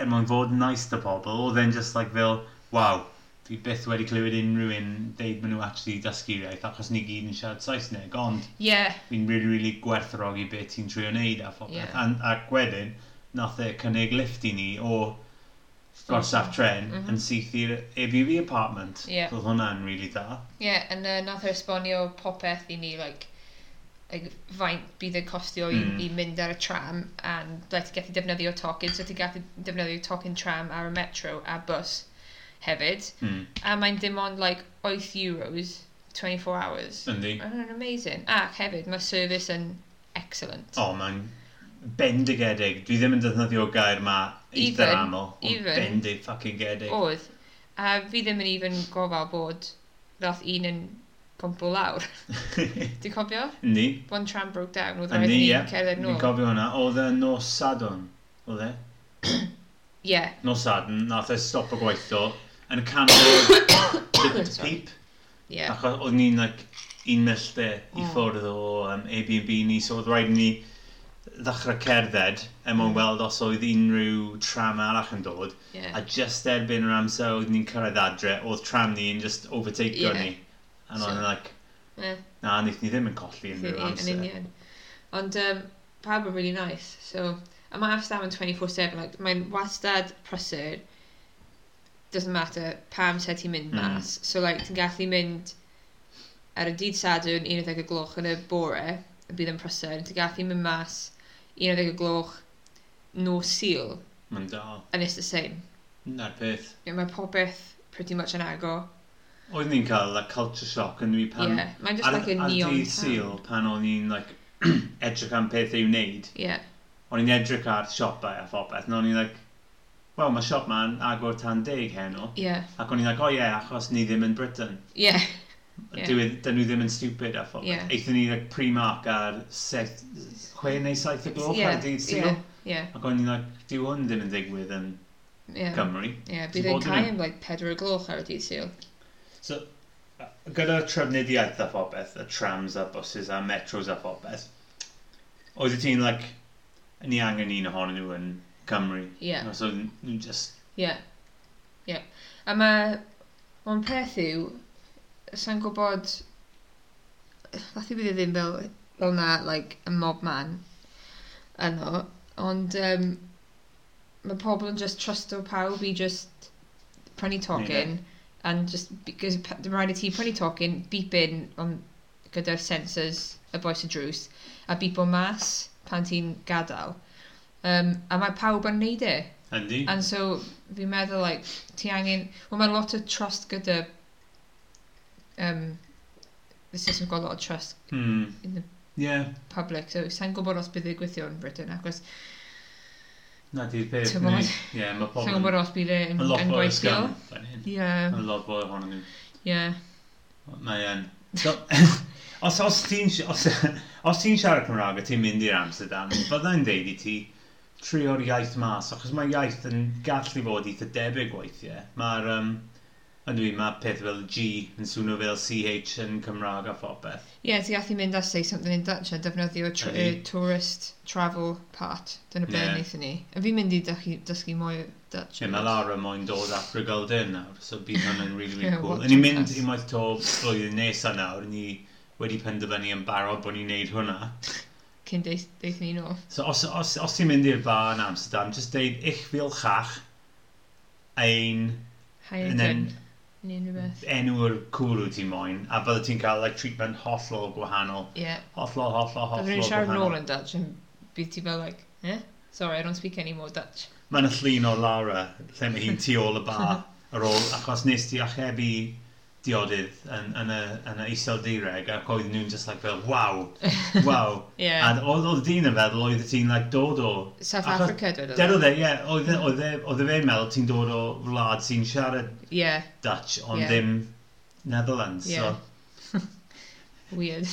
Speaker 2: er mwyn fod yn nice to pobl, oedd e'n just like fel, waw, fi byth wedi clywed unrhyw un dweud maen nhw actually dysgu iaith, achos ni gyd yn siarad Saesneg, ond
Speaker 3: Yeah,
Speaker 2: fi'n really, really gwerthrogi beth ti'n trio wneud a phobeth.
Speaker 3: Ie.
Speaker 2: Yeah. Ac, ac wedyn, nath e cynnig lift i ni o gorsaf tren
Speaker 3: Mhm.
Speaker 2: yn syth i'r ABV apartment.
Speaker 3: Ie.
Speaker 2: Roedd hwnna'n really da.
Speaker 3: yeah, and uh, nath e esbonio popeth i ni, like, like faint bydd yn costio i,
Speaker 2: Mm.
Speaker 3: i mynd ar y tram and like, gallu defnyddio tocyn, so ti'n gallu defnyddio tocyn tram ar y metro a bus hefyd.
Speaker 2: Mm.
Speaker 3: A mae'n dim ond like 8 euros 24 hours.
Speaker 2: Yndi.
Speaker 3: Mae'n mm. amazing. Ac hefyd, mae service yn excellent.
Speaker 2: O, mae'n bendigedig. Dwi ddim yn defnyddio gair ma eitha
Speaker 3: Even,
Speaker 2: aml. Ond
Speaker 3: even.
Speaker 2: Bendig fucking gedig. *laughs*
Speaker 3: Oedd, a fi ddim yn even gofal bod ddoth un yn gwmpl lawr. *laughs* Ti'n cofio?
Speaker 2: Ni.
Speaker 3: One tram broke down, oedd rhaid
Speaker 2: Ni,
Speaker 3: i ni
Speaker 2: ie.
Speaker 3: cerdded
Speaker 2: Fi'n
Speaker 3: nôl.
Speaker 2: cofio hwnna. Oedd e nos sadwn. Oedd e?
Speaker 3: Yeah,
Speaker 2: Nos sadwn, nath e stop o gweithio yn y
Speaker 3: *coughs*
Speaker 2: canol o'r
Speaker 3: Sorry.
Speaker 2: pip.
Speaker 3: yeah.
Speaker 2: Achos oedd ni'n like, un milltir i
Speaker 3: Hmm.
Speaker 2: ffwrdd o um, Airbnb ni, so oedd rhaid i ni ddechrau cerdded er mwyn weld os oedd unrhyw tram arall yn dod.
Speaker 3: Hmm. Ie.
Speaker 2: A just erbyn yr amser oedd ni'n cyrraedd adre, oedd tram ni yn just overtakeio
Speaker 3: Ie.
Speaker 2: ni. And so,
Speaker 3: So-
Speaker 2: oedd yn like,
Speaker 3: Ie.
Speaker 2: na, wnaeth ni ddim yn colli unrhyw
Speaker 3: yn
Speaker 2: amser.
Speaker 3: union. Ond um, pawb yn really nice. So, a mae Amsterdam yn 24-7. Like, mae'n wastad prysur. Doesn't matter pa amser ti'n mynd
Speaker 2: Mm.
Speaker 3: mas. So, like, ti'n gallu mynd ar y dydd sadwn 11 y gloch yn y bore. Y bydd yn prysur. Ti'n gallu mynd mas 11 y gloch no seal.
Speaker 2: Mae'n dal.
Speaker 3: And it's the same.
Speaker 2: Na'r peth.
Speaker 3: You know, mae popeth pretty much yn agor.
Speaker 2: Oedd ni'n cael like, culture shock yn dwi pan...
Speaker 3: yeah. Mae'n just
Speaker 2: ar-
Speaker 3: like a
Speaker 2: ar
Speaker 3: neon
Speaker 2: dydd
Speaker 3: town.
Speaker 2: Sul, pan o'n i'n like, *clears throat* edrych am pethau i'w wneud,
Speaker 3: Yeah.
Speaker 2: o'n i'n edrych ar siopau a phobeth, a o'n i'n like, wel, mae siop ma'n agor tan deg heno.
Speaker 3: Yeah.
Speaker 2: Ac o'n i'n like, o oh, ie, yeah, achos ni ddim yn Britain.
Speaker 3: Yeah. Ie.
Speaker 2: Yeah. Dyn nhw ddim yn stupid a phobeth.
Speaker 3: Ie.
Speaker 2: Yeah. Eithon ni like, primark ar seth, chwe neu saith y gloch
Speaker 3: yeah.
Speaker 2: ar dydd Sul.
Speaker 3: yeah. Yeah.
Speaker 2: Ac o'n i'n like, dyw hwn ddim yn digwydd yn
Speaker 3: Yeah.
Speaker 2: Cymru.
Speaker 3: Ie, yeah,
Speaker 2: Ti'n
Speaker 3: bydd e'n
Speaker 2: bod yn
Speaker 3: cael
Speaker 2: un?
Speaker 3: yn like pedwar y gloch ar y dydd Sul.
Speaker 2: So, gyda trefnidiaeth a phobeth, y trams a buses a metros a phobeth, oedd y ti'n, like, ni angen un ohonyn nhw yn Cymru.
Speaker 3: Ie.
Speaker 2: So, nhw just...
Speaker 3: Ie. Ie. A mae... Mae'n peth yw... Sa'n gwybod... Fath i bydd e ddim fel, fel na, like, y mob man yno. Ond um, mae pobl yn just trusto pawb i just prynu tocyn. And just, because pa- dim rhaid i ti prynu tocyn, beepin on, gyda'r sensors, y boes y drws, a beepo mas pan ti'n gadael. Um, a mae pawb yn neud e.
Speaker 2: Yndi?
Speaker 3: And so fi'n meddwl, like, ti angen... Wel, mae'n lot o trust gyda... Um, the system's got a lot of trust
Speaker 2: Hmm.
Speaker 3: in the
Speaker 2: Yeah.
Speaker 3: public, so sa'n gwybod os bydd y gweithio yn Britain, acos
Speaker 2: Na di'r peth.
Speaker 3: T'mod?
Speaker 2: ni. Ie, mae
Speaker 3: sa'n
Speaker 2: pobl
Speaker 3: gwybod os bydd e yn
Speaker 2: yn lot
Speaker 3: yn
Speaker 2: fwy o
Speaker 3: gweithio.
Speaker 2: scam. fan hyn.
Speaker 3: Ie,
Speaker 2: Mae lot fwy ohonyn nhw.
Speaker 3: ie.
Speaker 2: Mae yn... So- *laughs* Os, os ti'n os, os ti'n siarad Cymraeg a ti'n mynd i'r Amsterdam, byddai'n deud i ti trio'r iaith mas, achos mae iaith yn gallu fod eitha debyg weithiau. Mae'r, um, yn dwi, mae peth fel G yn swnio fel CH yn Cymraeg a phobeth.
Speaker 3: Ie, ti gallu mynd a say something in Dutch a defnyddio tr y
Speaker 2: Ydi.
Speaker 3: tourist travel part. Dyna be
Speaker 2: Ie.
Speaker 3: wnaethon ni. A fi'n mynd i dychu- dysgu mwy o Dutch.
Speaker 2: Ie, mae Lara moyn dod at Rygoldin nawr, so bydd hwn
Speaker 3: *laughs*
Speaker 2: yn really, really
Speaker 3: Ie,
Speaker 2: cool.
Speaker 3: what
Speaker 2: Yn ni'n
Speaker 3: a
Speaker 2: mynd
Speaker 3: class.
Speaker 2: unwaith to blwyddyn nesaf nawr, ni wedi penderfynu yn barod bod ni'n neud hwnna.
Speaker 3: Cyn deith deith ni nôl.
Speaker 2: So os, os, os ti'n mynd i'r bar yn Amsterdam, just deud ich wil chach ein
Speaker 3: Hai
Speaker 2: And
Speaker 3: ydyn.
Speaker 2: then-
Speaker 3: Neu unrhyw beth.
Speaker 2: enw'r cwrw ti'n moyn, a bydde ti'n cael like, treatment hollol gwahanol.
Speaker 3: Ie.
Speaker 2: Hollol, hollol, hollol
Speaker 3: Oedden nhw'n siarad
Speaker 2: gwahanol.
Speaker 3: nôl yn Dutch yn bydd ti fel like, eh? Sorry, I don't speak any more Dutch.
Speaker 2: Mae'n y llun o Lara, lle mae hi'n tu ôl y
Speaker 3: *laughs*
Speaker 2: bar, ar ôl, achos nes ti achebu diodydd yn, yn, y, yn y iseldireg, ac oedd nhw'n just like fel, waw,
Speaker 3: *laughs*
Speaker 2: waw.
Speaker 3: Ie.
Speaker 2: A oedd oedd dyn yn feddwl, oedd ti'n like, dod o...
Speaker 3: South
Speaker 2: achos-
Speaker 3: Africa, dwi'n
Speaker 2: Dyn oedd e, ie, oedd e- oedd e- oedd e fe'n meddwl ti'n dod o wlad sy'n siarad
Speaker 3: Yeah,
Speaker 2: Dutch ond
Speaker 3: Ie.
Speaker 2: ddim Netherlands.
Speaker 3: yeah.
Speaker 2: So
Speaker 3: Weird.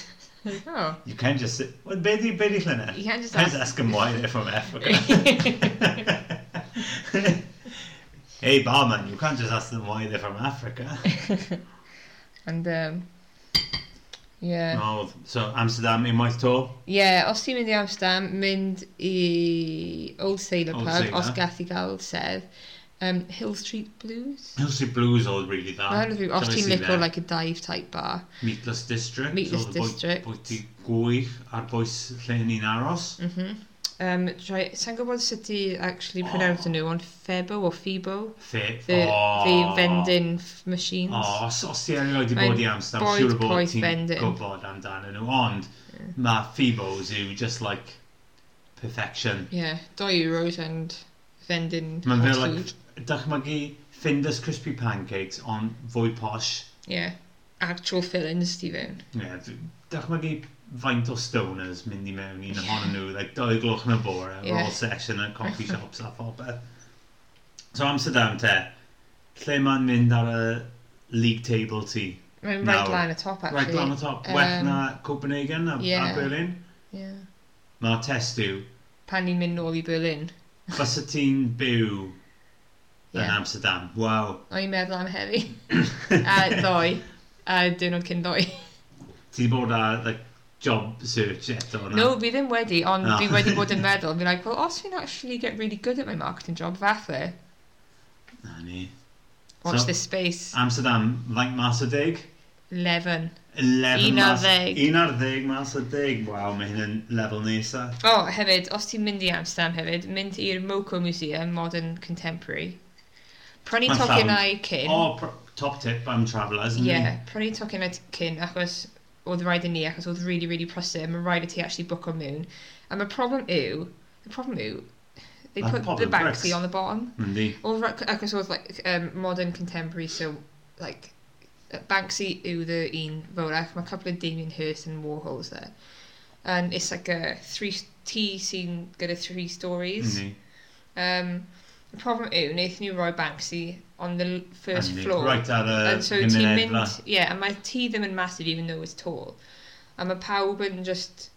Speaker 3: *laughs* oh,
Speaker 2: you can just sit. Well, be di, be di llynedd?
Speaker 3: you can't just
Speaker 2: Let's *laughs*
Speaker 3: ask.
Speaker 2: ask him why they're from
Speaker 3: *laughs*
Speaker 2: Africa. *laughs* hey barman, you can't just ask them why they're from Africa.
Speaker 3: And, um, yeah.
Speaker 2: no, so Amsterdam unwaith to.
Speaker 3: Yeah, os ti'n mynd i Amsterdam, mynd i Old Sailor
Speaker 2: Old
Speaker 3: Pub, os
Speaker 2: Sailor.
Speaker 3: gath i gael sedd. Um, Hill Street Blues?
Speaker 2: Hilsey Blues oedd really dda.
Speaker 3: Mae hwn yn rhyw-
Speaker 2: Ah,
Speaker 3: os
Speaker 2: Dyna
Speaker 3: ti'n
Speaker 2: sydd
Speaker 3: licio
Speaker 2: fe.
Speaker 3: like a dive type bar.
Speaker 2: Meatless District.
Speaker 3: Meatless
Speaker 2: oedd y boi-
Speaker 3: District.
Speaker 2: Bwyty gwych ar bwys lle ni'n aros.
Speaker 3: Mhm. Um, try, sa'n gwybod sut i actually pronounce nhw, ond Febo or Fibo?
Speaker 2: Fe...
Speaker 3: The,
Speaker 2: oh.
Speaker 3: the vending f- machines.
Speaker 2: O, os, os ti erioed wedi
Speaker 3: Mae'n
Speaker 2: bod i Amsterdam,
Speaker 3: boed
Speaker 2: siŵr o bod
Speaker 3: poeth
Speaker 2: ti'n
Speaker 3: bending.
Speaker 2: gwybod amdanyn nhw, ond mae Phoebos yw just like perfection.
Speaker 3: Yeah, doi euros and vending
Speaker 2: Mae'n
Speaker 3: hot
Speaker 2: fel
Speaker 3: food.
Speaker 2: like, dychmygu Finders Crispy Pancakes, ond fwy posh.
Speaker 3: Yeah, actual fillings ti fewn.
Speaker 2: Yeah, d- dychmygu faint o stoners mynd i mewn un ohonyn nhw, like dau gloch yn y bore,
Speaker 3: Ie.
Speaker 2: yeah. roll session yn coffee shops a phobeth. So Amsterdam te, lle mae'n mynd ar y league table ti?
Speaker 3: Mae'n
Speaker 2: Nawr.
Speaker 3: right lan y top, actually. um,
Speaker 2: Right, glan o top,
Speaker 3: Yym,
Speaker 2: weth na Copenhagen a,
Speaker 3: ie.
Speaker 2: a Berlin?
Speaker 3: Yeah.
Speaker 2: Mae'r test yw,
Speaker 3: Pan ni'n mynd nôl i Berlin.
Speaker 2: fysa ti'n byw yn
Speaker 3: Yeah.
Speaker 2: Amsterdam. Waw.
Speaker 3: O'n i'n meddwl am heddi.
Speaker 2: *laughs*
Speaker 3: a doi. A diwrnod cyn doi.
Speaker 2: Ti 'di bod ar like, job search eto na?
Speaker 3: No, fi ddim wedi, ond
Speaker 2: Ah.
Speaker 3: fi wedi bod yn meddwl. Fi'n like, well, os fi'n actually get really good at my marketing job, falle,
Speaker 2: Na ni.
Speaker 3: watch
Speaker 2: So-
Speaker 3: this space.
Speaker 2: Amsterdam, faint mas o deg?
Speaker 3: 11.
Speaker 2: 11
Speaker 3: Un ar
Speaker 2: mas.
Speaker 3: ddeg.
Speaker 2: Un ar ddeg mas o deg. Waw, mae hyn yn lefel nesa.
Speaker 3: O, oh, hefyd, os ti'n mynd i Amsterdam hefyd, mynd i'r Moco Museum, Modern Contemporary. Prynu
Speaker 2: Mae'n
Speaker 3: tocynnau cyn.
Speaker 2: O, oh, top tip am travellers.
Speaker 3: Ie, yeah, prynu tocyn at cyn achos oedd rhaid i ni, achos oedd really, really prysur, mae rhaid i ti actually book o mewn. And the problem yw, the problem yw, they
Speaker 2: That
Speaker 3: put the
Speaker 2: problem works.
Speaker 3: Banksy on the bottom.
Speaker 2: Yndi.
Speaker 3: Oedd rha- Achos oedd like, um, modern contemporary, so like, uh, Banksy yw the un fawrach, mae couple of Damien Hirst and Warhols there. And it's like a three, tea sy'n gyda three stories.
Speaker 2: Yndi. Mm-hmm.
Speaker 3: Um, the problem yw, wnaethon ni roi Banksy on the l- first
Speaker 2: Yndi.
Speaker 3: floor.
Speaker 2: Right ar eh, y
Speaker 3: And so ti'n
Speaker 2: gymuned
Speaker 3: mynd,
Speaker 2: yna.
Speaker 3: yeah, a mae ti ddim yn massive even though it's tall. A mae pawb yn just,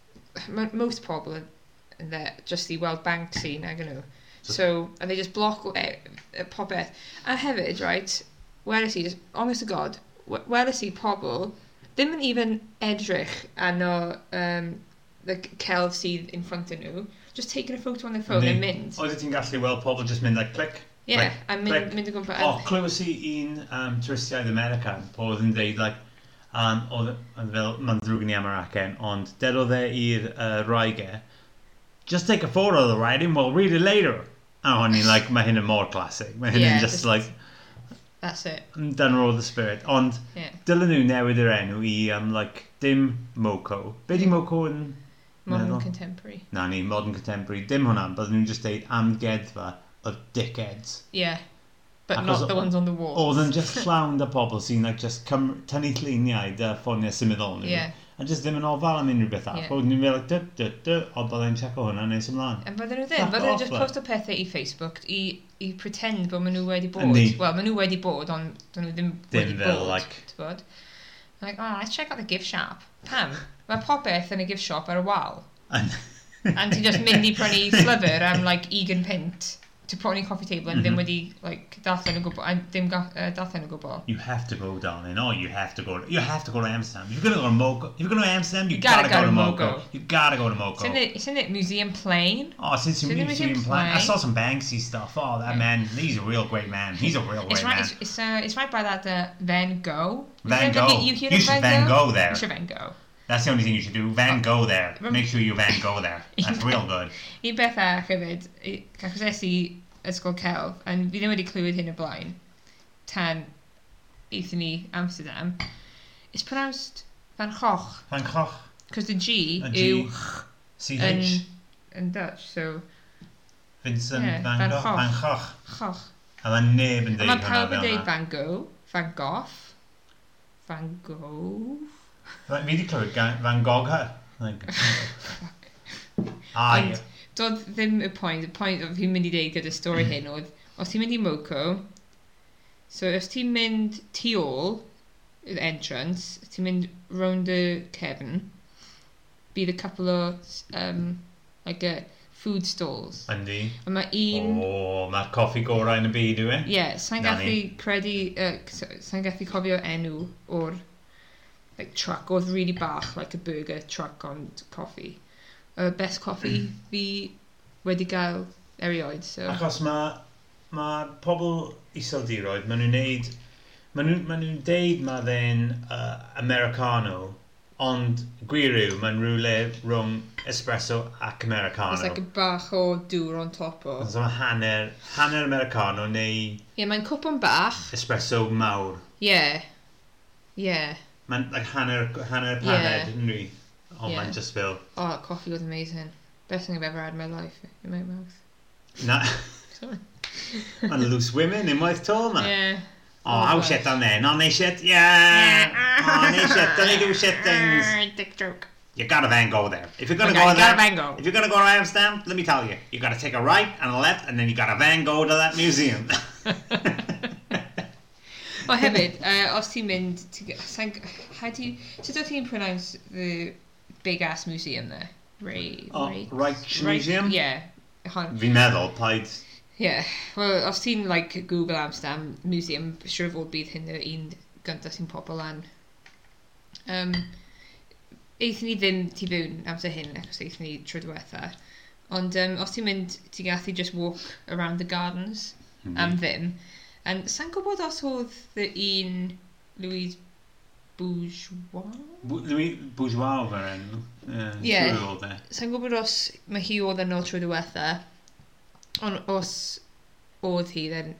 Speaker 3: ma- most pobl yn, yn there just i weld Banksy, nag yn nhw.
Speaker 2: So-
Speaker 3: So, and they just block e- e- popeth. A hefyd, right, where is he? Just, honest to God, we- weles i pobl ddim yn even edrych ano um, the c- celf sydd in front of nhw, just taking a photo on their phone and mynd.
Speaker 2: Oeddet ti'n gallu weld pobl jyst mynd like click.
Speaker 3: Yeah,
Speaker 2: like,
Speaker 3: a mynd, mynd o gwmpa.
Speaker 2: O, oh, clywys i un um, twristiaid American, po oedd yn deud, like, um, oedd oedd fel, mae'n ddrwg ni am yr acen, ond dedodd e i'r uh, Raiger, just take a photo of the writing, we'll read it later. A hwn i'n, like, mae hyn yn mor classic. Mae hyn
Speaker 3: Yeah,
Speaker 2: yn just,
Speaker 3: just-
Speaker 2: like,
Speaker 3: That's it,
Speaker 2: done all the spirit. Ond,
Speaker 3: yeah.
Speaker 2: dylen nhw newid yr enw i, um, like, dim Moco. Be di Moco yn...
Speaker 3: Modern
Speaker 2: meddwl?
Speaker 3: contemporary.
Speaker 2: Na ni, modern contemporary, dim hwnna, bydden nhw'n just deud amgueddfa o dickheads.
Speaker 3: Yeah, but
Speaker 2: Achos
Speaker 3: not the
Speaker 2: o-
Speaker 3: ones on the wall.
Speaker 2: Oedd yn *laughs* just llawn da pobl sy'n like, just cym- tynnu lluniau da ffoniau symudol nhw.
Speaker 3: Yeah.
Speaker 2: A just ddim yn ofal am unrhyw beth arall.
Speaker 3: Yeah.
Speaker 2: Oedden nhw'n fel, like, dy, dy, dy, o bydden check o hwnna nes ymlaen.
Speaker 3: Yn fydden nhw ddim,
Speaker 2: Fuck
Speaker 3: fydden nhw
Speaker 2: off,
Speaker 3: just
Speaker 2: like.
Speaker 3: postio pethau i Facebook i, i pretend bod maen nhw wedi bod.
Speaker 2: Yndi.
Speaker 3: Wel, maen nhw wedi bod, ond dyn nhw ddim
Speaker 2: Dim
Speaker 3: wedi
Speaker 2: fel,
Speaker 3: bod.
Speaker 2: like-
Speaker 3: ti'n gwbod? Like, oh, let's check out the gift shop. Pam? Mae popeth yn y gift shop ar y wal.
Speaker 2: And- *laughs*
Speaker 3: And ti'n just mynd i prynu slyfr am, like, egan pint to prynu coffee table and
Speaker 2: Mhm.
Speaker 3: ddim wedi, like, darllen o gwbl, a ddim ga- yy, darllen o gwbl.
Speaker 2: You have to go down and oh, you have to go. You have to go to Amsterdam. If you're gonna go to Moco, if you're gonna go to Amsterdam, you, gotta, go, to Moco. You gotta go to Moco.
Speaker 3: Isn't it, isn't it Museum Plain?
Speaker 2: Oh, since you
Speaker 3: Didn't
Speaker 2: meet
Speaker 3: we
Speaker 2: him
Speaker 3: do
Speaker 2: playing, I
Speaker 3: play?
Speaker 2: saw some Banksy stuff. Oh, that man, he's a real great man. He's a real great
Speaker 3: It's right,
Speaker 2: man.
Speaker 3: it's, it's, uh, it's right by that uh, Van Gogh. Is
Speaker 2: Van
Speaker 3: that-
Speaker 2: Gogh.
Speaker 3: You, hear
Speaker 2: You
Speaker 3: of
Speaker 2: should
Speaker 3: Van,
Speaker 2: Van
Speaker 3: Gogh?
Speaker 2: Gogh there.
Speaker 3: You should Van Gogh.
Speaker 2: That's the only thing you should do. Van Gogh there.
Speaker 3: Rem-
Speaker 2: Make sure you Van Gogh there. *laughs* That's real good.
Speaker 3: Un beth arall hefyd, i- achos es i ysgol celf, a fi ddim wedi clywed hyn o blaen, tan eithon ni Amsterdam, it's pronounced Van Gogh,
Speaker 2: Van Gogh.
Speaker 3: because the G
Speaker 2: A G.
Speaker 3: yw
Speaker 2: CH.
Speaker 3: yn, yn Dutch, so
Speaker 2: Vincent
Speaker 3: Ie,
Speaker 2: Van
Speaker 3: Van
Speaker 2: Gogh.
Speaker 3: Gogh.
Speaker 2: Van Gogh.
Speaker 3: Gogh.
Speaker 2: A mae neb yn
Speaker 3: A
Speaker 2: deud
Speaker 3: mae
Speaker 2: hwnna
Speaker 3: pawb yn
Speaker 2: fel
Speaker 3: dweud
Speaker 2: yna.
Speaker 3: Van Gogh, Van Gogh, Van Gogh,
Speaker 2: Fi wedi clywed gan- Van Gogh. e. Like, *laughs* Ai.
Speaker 3: Ond- doedd ddim y pwynt, y pwynt oedd fi'n mynd i ddeud gyda stori hyn oedd, os ti'n mynd i Moco, so os ti'n mynd tu ôl, yr entrance, ti'n mynd round y cefn, bydd a couple o, um, like a food stalls.
Speaker 2: Yndi.
Speaker 3: A mae un, oh.
Speaker 2: O, mae'r coffi gorau yn y byd yw e.
Speaker 3: yeah, sa'n
Speaker 2: Na
Speaker 3: gallu credu, uh, sa'n gallu cofio enw o'r, like, truck, oedd really bach, like a burger truck ond coffi. Uh, best coffi
Speaker 2: Hmm.
Speaker 3: fi wedi gael erioed, so...
Speaker 2: Achos mae ma pobl iseldiroedd, maen nhw'n neud... Maen nhw'n ma nhw deud mae fe'n uh, Americano, ond gwir yw, mae'n rhywle rhwng espresso ac Americano.
Speaker 3: It's like a bach o dŵr on top o.
Speaker 2: So mae hanner, hanner Americano neu
Speaker 3: Ie, yeah, mae'n cwpwn bach.
Speaker 2: espresso mawr.
Speaker 3: Ie. Yeah. Ie. Yeah.
Speaker 2: Mae'n like, hanner, hanner paned,
Speaker 3: Ie.
Speaker 2: yn rhi. Ond
Speaker 3: Ie.
Speaker 2: mae'n just fel...
Speaker 3: Oh, that coffee was amazing. Best thing I've ever had in my life. In my mouth.
Speaker 2: Na, *laughs*
Speaker 3: Sorry.
Speaker 2: mae'n loose women unwaith to, man.
Speaker 3: Yeah.
Speaker 2: Oh, how shit on there. No, they shit, yeah. Oh, they shit, don't do shit things.
Speaker 3: Ah, Dick joke.
Speaker 2: You gotta Van Gogh there. If you're gonna
Speaker 3: Okay,
Speaker 2: go
Speaker 3: you
Speaker 2: there,
Speaker 3: gotta Van Gogh.
Speaker 2: if you're gonna go to Amsterdam, let me tell you, you gotta take a right and a left, and then you gotta Van Gogh to that
Speaker 3: *laughs*
Speaker 2: museum. *laughs*
Speaker 3: Well, hefyd, uh, os ti'n mynd... to get- sa'n g- How do you... Sut oedd ti'n pronounce the big ass museum there? Ray...
Speaker 2: Oh,
Speaker 3: Ray-
Speaker 2: Rijksmuseum?
Speaker 3: Yeah. Hon.
Speaker 2: Fi meddwl, paid.
Speaker 3: Yeah. Well, os ti'n, like, Google Amsterdam Museum, siwr fod bydd hyn yr un gyntaf sy'n pobl lan. Um, eithon ni ddim tu fewn amser hyn, achos eithon ni trwy diwetha. Ond um, os ti'n mynd, ti'n gallu just walk around the gardens am ddim. And sa'n gwybod os oedd the un Louise Bourgeois?
Speaker 2: Louis Bourgeois over yn...
Speaker 3: Yeah. siŵr
Speaker 2: e.
Speaker 3: Sa'n gwybod os mae hi oedd yno trwy diwetha, ond os oedd hi, then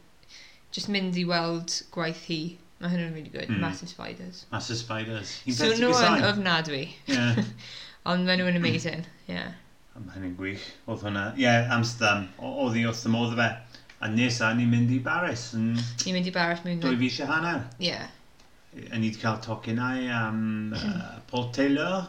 Speaker 3: just mynd i weld gwaith hi. Mae hynny'n really good.
Speaker 2: Mm.
Speaker 3: Massive spiders.
Speaker 2: That's the spiders.
Speaker 3: So nhw yn ofnadwy,
Speaker 2: Yeah.
Speaker 3: ond maen
Speaker 2: Hmm.
Speaker 3: nhw'n amazing, yeah.
Speaker 2: Hynny'n gwych. Oedd hwnna. Yeah, Amsterdam. O- Oedd hi wrth y modd o fe. A nesa ni'n mynd i Baris yn
Speaker 3: Ni'n mynd i barach mewn...
Speaker 2: dwy fi eisiau hanner.
Speaker 3: Yeah,
Speaker 2: A ni wedi cael tocinau
Speaker 3: *clears throat*
Speaker 2: am uh, Paul Taylor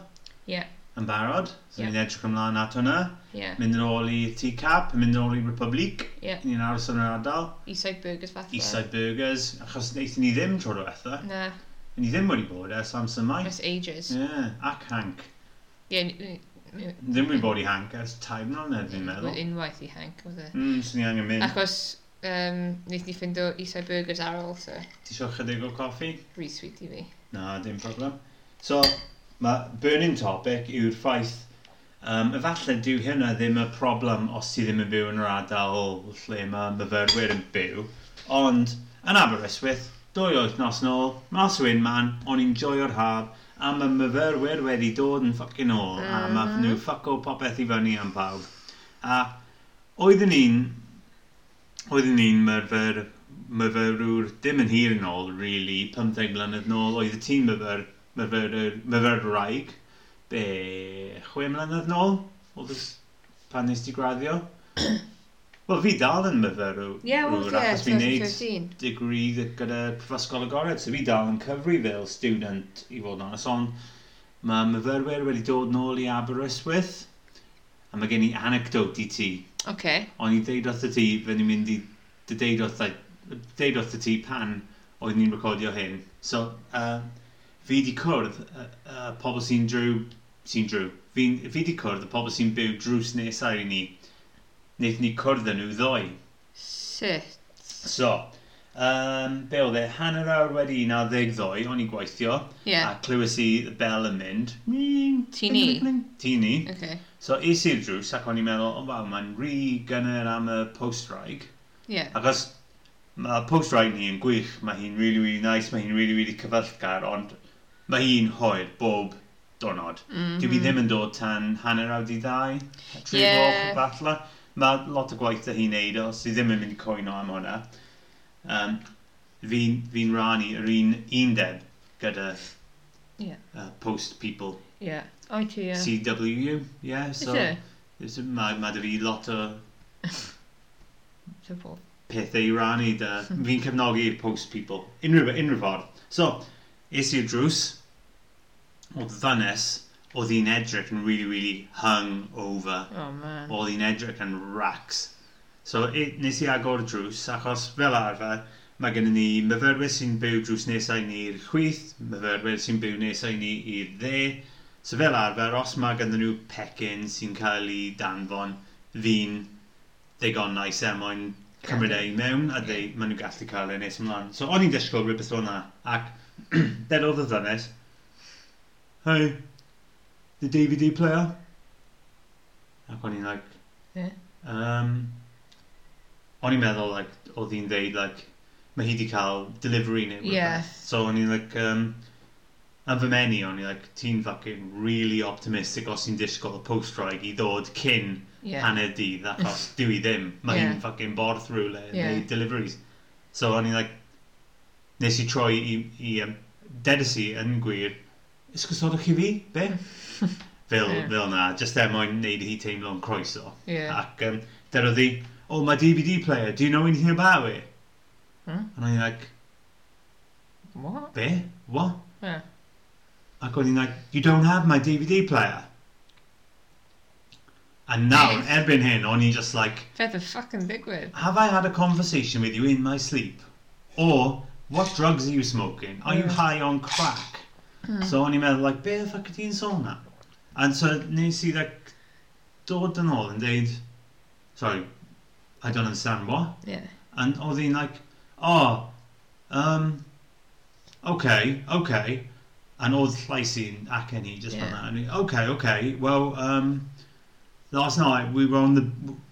Speaker 3: yeah,
Speaker 2: yn barod. So
Speaker 3: Ie.
Speaker 2: ni'n edrych ymlaen at hwnna.
Speaker 3: yeah.
Speaker 2: mynd yn ôl i TCAP, mynd yn ôl i Republic,
Speaker 3: Ie.
Speaker 2: ni'n aros yn yr ardal,
Speaker 3: Eastside Burgers fath.
Speaker 2: Eastside Burgers, achos wnaethon ni ddim tro diwetha,
Speaker 3: Na,
Speaker 2: ni ddim wedi bod ers amser mai.
Speaker 3: that's ages.
Speaker 2: Ie, ac Hank.
Speaker 3: Yeah, n- n-
Speaker 2: Ddim wedi bod i Hank ers tair mlynedd, fi'n
Speaker 3: n-
Speaker 2: meddwl.
Speaker 3: unwaith i Hank, oedd e.
Speaker 2: Mm, so ni angen mynd.
Speaker 3: Achos um, wnaeth ni ffindo Isai Burgers ar ôl, so
Speaker 2: Ti eisiau chydig o coffi?
Speaker 3: resweet i fi.
Speaker 2: Na, dim problem. So, mae burning topic yw'r ffaith Um, efalle dyw hynna ddim y problem os ti ddim yn byw yn yr ardal lle mae myfyrwyr yn byw. Ond, yn Aberystwyth, dwy wythnos nôl, mas o un man, o'n i'n joio'r haf, a mae myfyrwyr wedi dod yn ffocin ôl, a mae nhw ffocw popeth i fyny am pawb. A oeddwn ni'n, oeddwn ni'n myfyr, myfyrwr dim yn hir yn ôl, really, 15 mlynedd nôl, oedd y tîm myfyr, myfyr, myfyrwraig, be, chwe mlynedd nôl, oedd y pan nes ti
Speaker 3: *coughs*
Speaker 2: graddio. Wel, fi dal yn myfyrwr,
Speaker 3: Ie, wel, ie,
Speaker 2: achos fi'n neud
Speaker 3: 2013.
Speaker 2: degree gy- gyda Prifysgol Agored, so fi dal yn cyfri fel student i fod yn honest, ond mae myfyrwyr wedi dod nôl i Aberystwyth, a mae gen i anecdote i ti.
Speaker 3: Oce.
Speaker 2: O'n i deud wrth y ti, fe ni'n mynd i dy deud wrth y- deud wrth y ti pan oedd ni'n recordio hyn. So, uh, fi di cwrdd uh, uh, pobl sy'n drw, sy'n drw. Fi, fi di cwrdd y pobl sy'n byw drws nesau i ni. Wnaeth ni cwrdd yn nhw ddoi.
Speaker 3: Sut?
Speaker 2: So, um, be oedd e, hanner awr wedi 12, o'n i gweithio,
Speaker 3: Ie.
Speaker 2: a clywys i y bel yn mynd.
Speaker 3: Tini.
Speaker 2: Tini.
Speaker 3: Oce.
Speaker 2: So, is i'r drws ac o'n i'n meddwl, o waw, mae'n rhy gynnar am y post-raig.
Speaker 3: Ie.
Speaker 2: Achos mae post-raig ni yn gwych, mae hi'n really, really nice, mae hi'n really, really cyfyllgar, ond mae hi'n hoer bob donod. Mm -hmm. Dwi fi ddim yn dod tan hanner awd i ddau, tri
Speaker 3: Mhm. Ie.
Speaker 2: yeah. o'r falle. Mae lot o gwaith da hi'n neud, os i ddim yn mynd i coino am hwnna. Um, fi'n fi rannu yr un undeb gyda
Speaker 3: Ie.
Speaker 2: uh, post people.
Speaker 3: Ie. O ti, ie.
Speaker 2: CWU, yeah, so...
Speaker 3: Ie.
Speaker 2: Is it- Mae ma da fi lot o
Speaker 3: Support.
Speaker 2: pethau i rannu da. Fi'n cefnogi post people. Unrhyw, unrhyw ffordd. So, es i'r drws, oedd ddynes, oedd hi'n edrych yn really, really hung over.
Speaker 3: Oh, man.
Speaker 2: Oedd hi'n edrych yn rax. So, i, nes i agor y drws, achos fel arfer, mae gennym ni myfyrwyr sy'n byw drws nesau ni'r chwith, myfyrwyr sy'n byw nesau ni i'r dde. So fel arfer, os mae ganddyn nhw pecyn sy'n cael ei danfon, fi'n ddigon nice er mwyn cymryd e i mewn a dweud maen nhw'n gallu cael ei nes ymlaen. So o'n i'n disgwyl rhywbeth o'n na. Ac *clears throat* ded oedd y ddynes, Hey, the DVD player? Ac o'n i'n like,
Speaker 3: Ie.
Speaker 2: um, o'n i'n meddwl like, oedd hi'n dweud like, mae hi di cael delivery neu rhywbeth.
Speaker 3: Ie.
Speaker 2: So o'n i'n like, um, am fy menu o'n i'n like, ti'n fucking really optimistic os ti'n disgwyl y post-strike i ddod cyn
Speaker 3: Ie.
Speaker 2: hanner dydd
Speaker 3: *laughs*
Speaker 2: achos dwi ddim. Mae
Speaker 3: Ie.
Speaker 2: hi'n fucking borth rhywle yn
Speaker 3: Ie.
Speaker 2: neud deliveries. So o'n i'n like, nes i troi i, i um, dedys i yn gwir, ysgwysodwch chi fi?
Speaker 3: *laughs*
Speaker 2: Be? fel,
Speaker 3: Ie.
Speaker 2: fel na, jyst er mwyn neud hi teimlo'n croeso.
Speaker 3: Ie.
Speaker 2: Ac um, derodd hi, oh, my DVD player, do you know anything about it?
Speaker 3: Hmm?
Speaker 2: And I'm like,
Speaker 3: What?
Speaker 2: be? What?
Speaker 3: Ie.
Speaker 2: Ac o'n i'n like, you don't have my DVD player. And now, erbyn hyn, o'n i'n just like,
Speaker 3: Beth y fucking digwydd?
Speaker 2: Have I had a conversation with you in my sleep? Or, what drugs are you smoking? Are you
Speaker 3: Mm.
Speaker 2: high on crack? So o'n i'n meddwl, like, be the fuck ydy yn sôn na? And so nes i, like, dod yn ôl yn deud, sorry, I don't understand what?
Speaker 3: Ie.
Speaker 2: And oedd hi'n like, oh, um, okay, okay. And oedd llais i'n acen hi, just
Speaker 3: Yeah.
Speaker 2: yeah. that. And he, okay, okay, well, um, last night we were on the,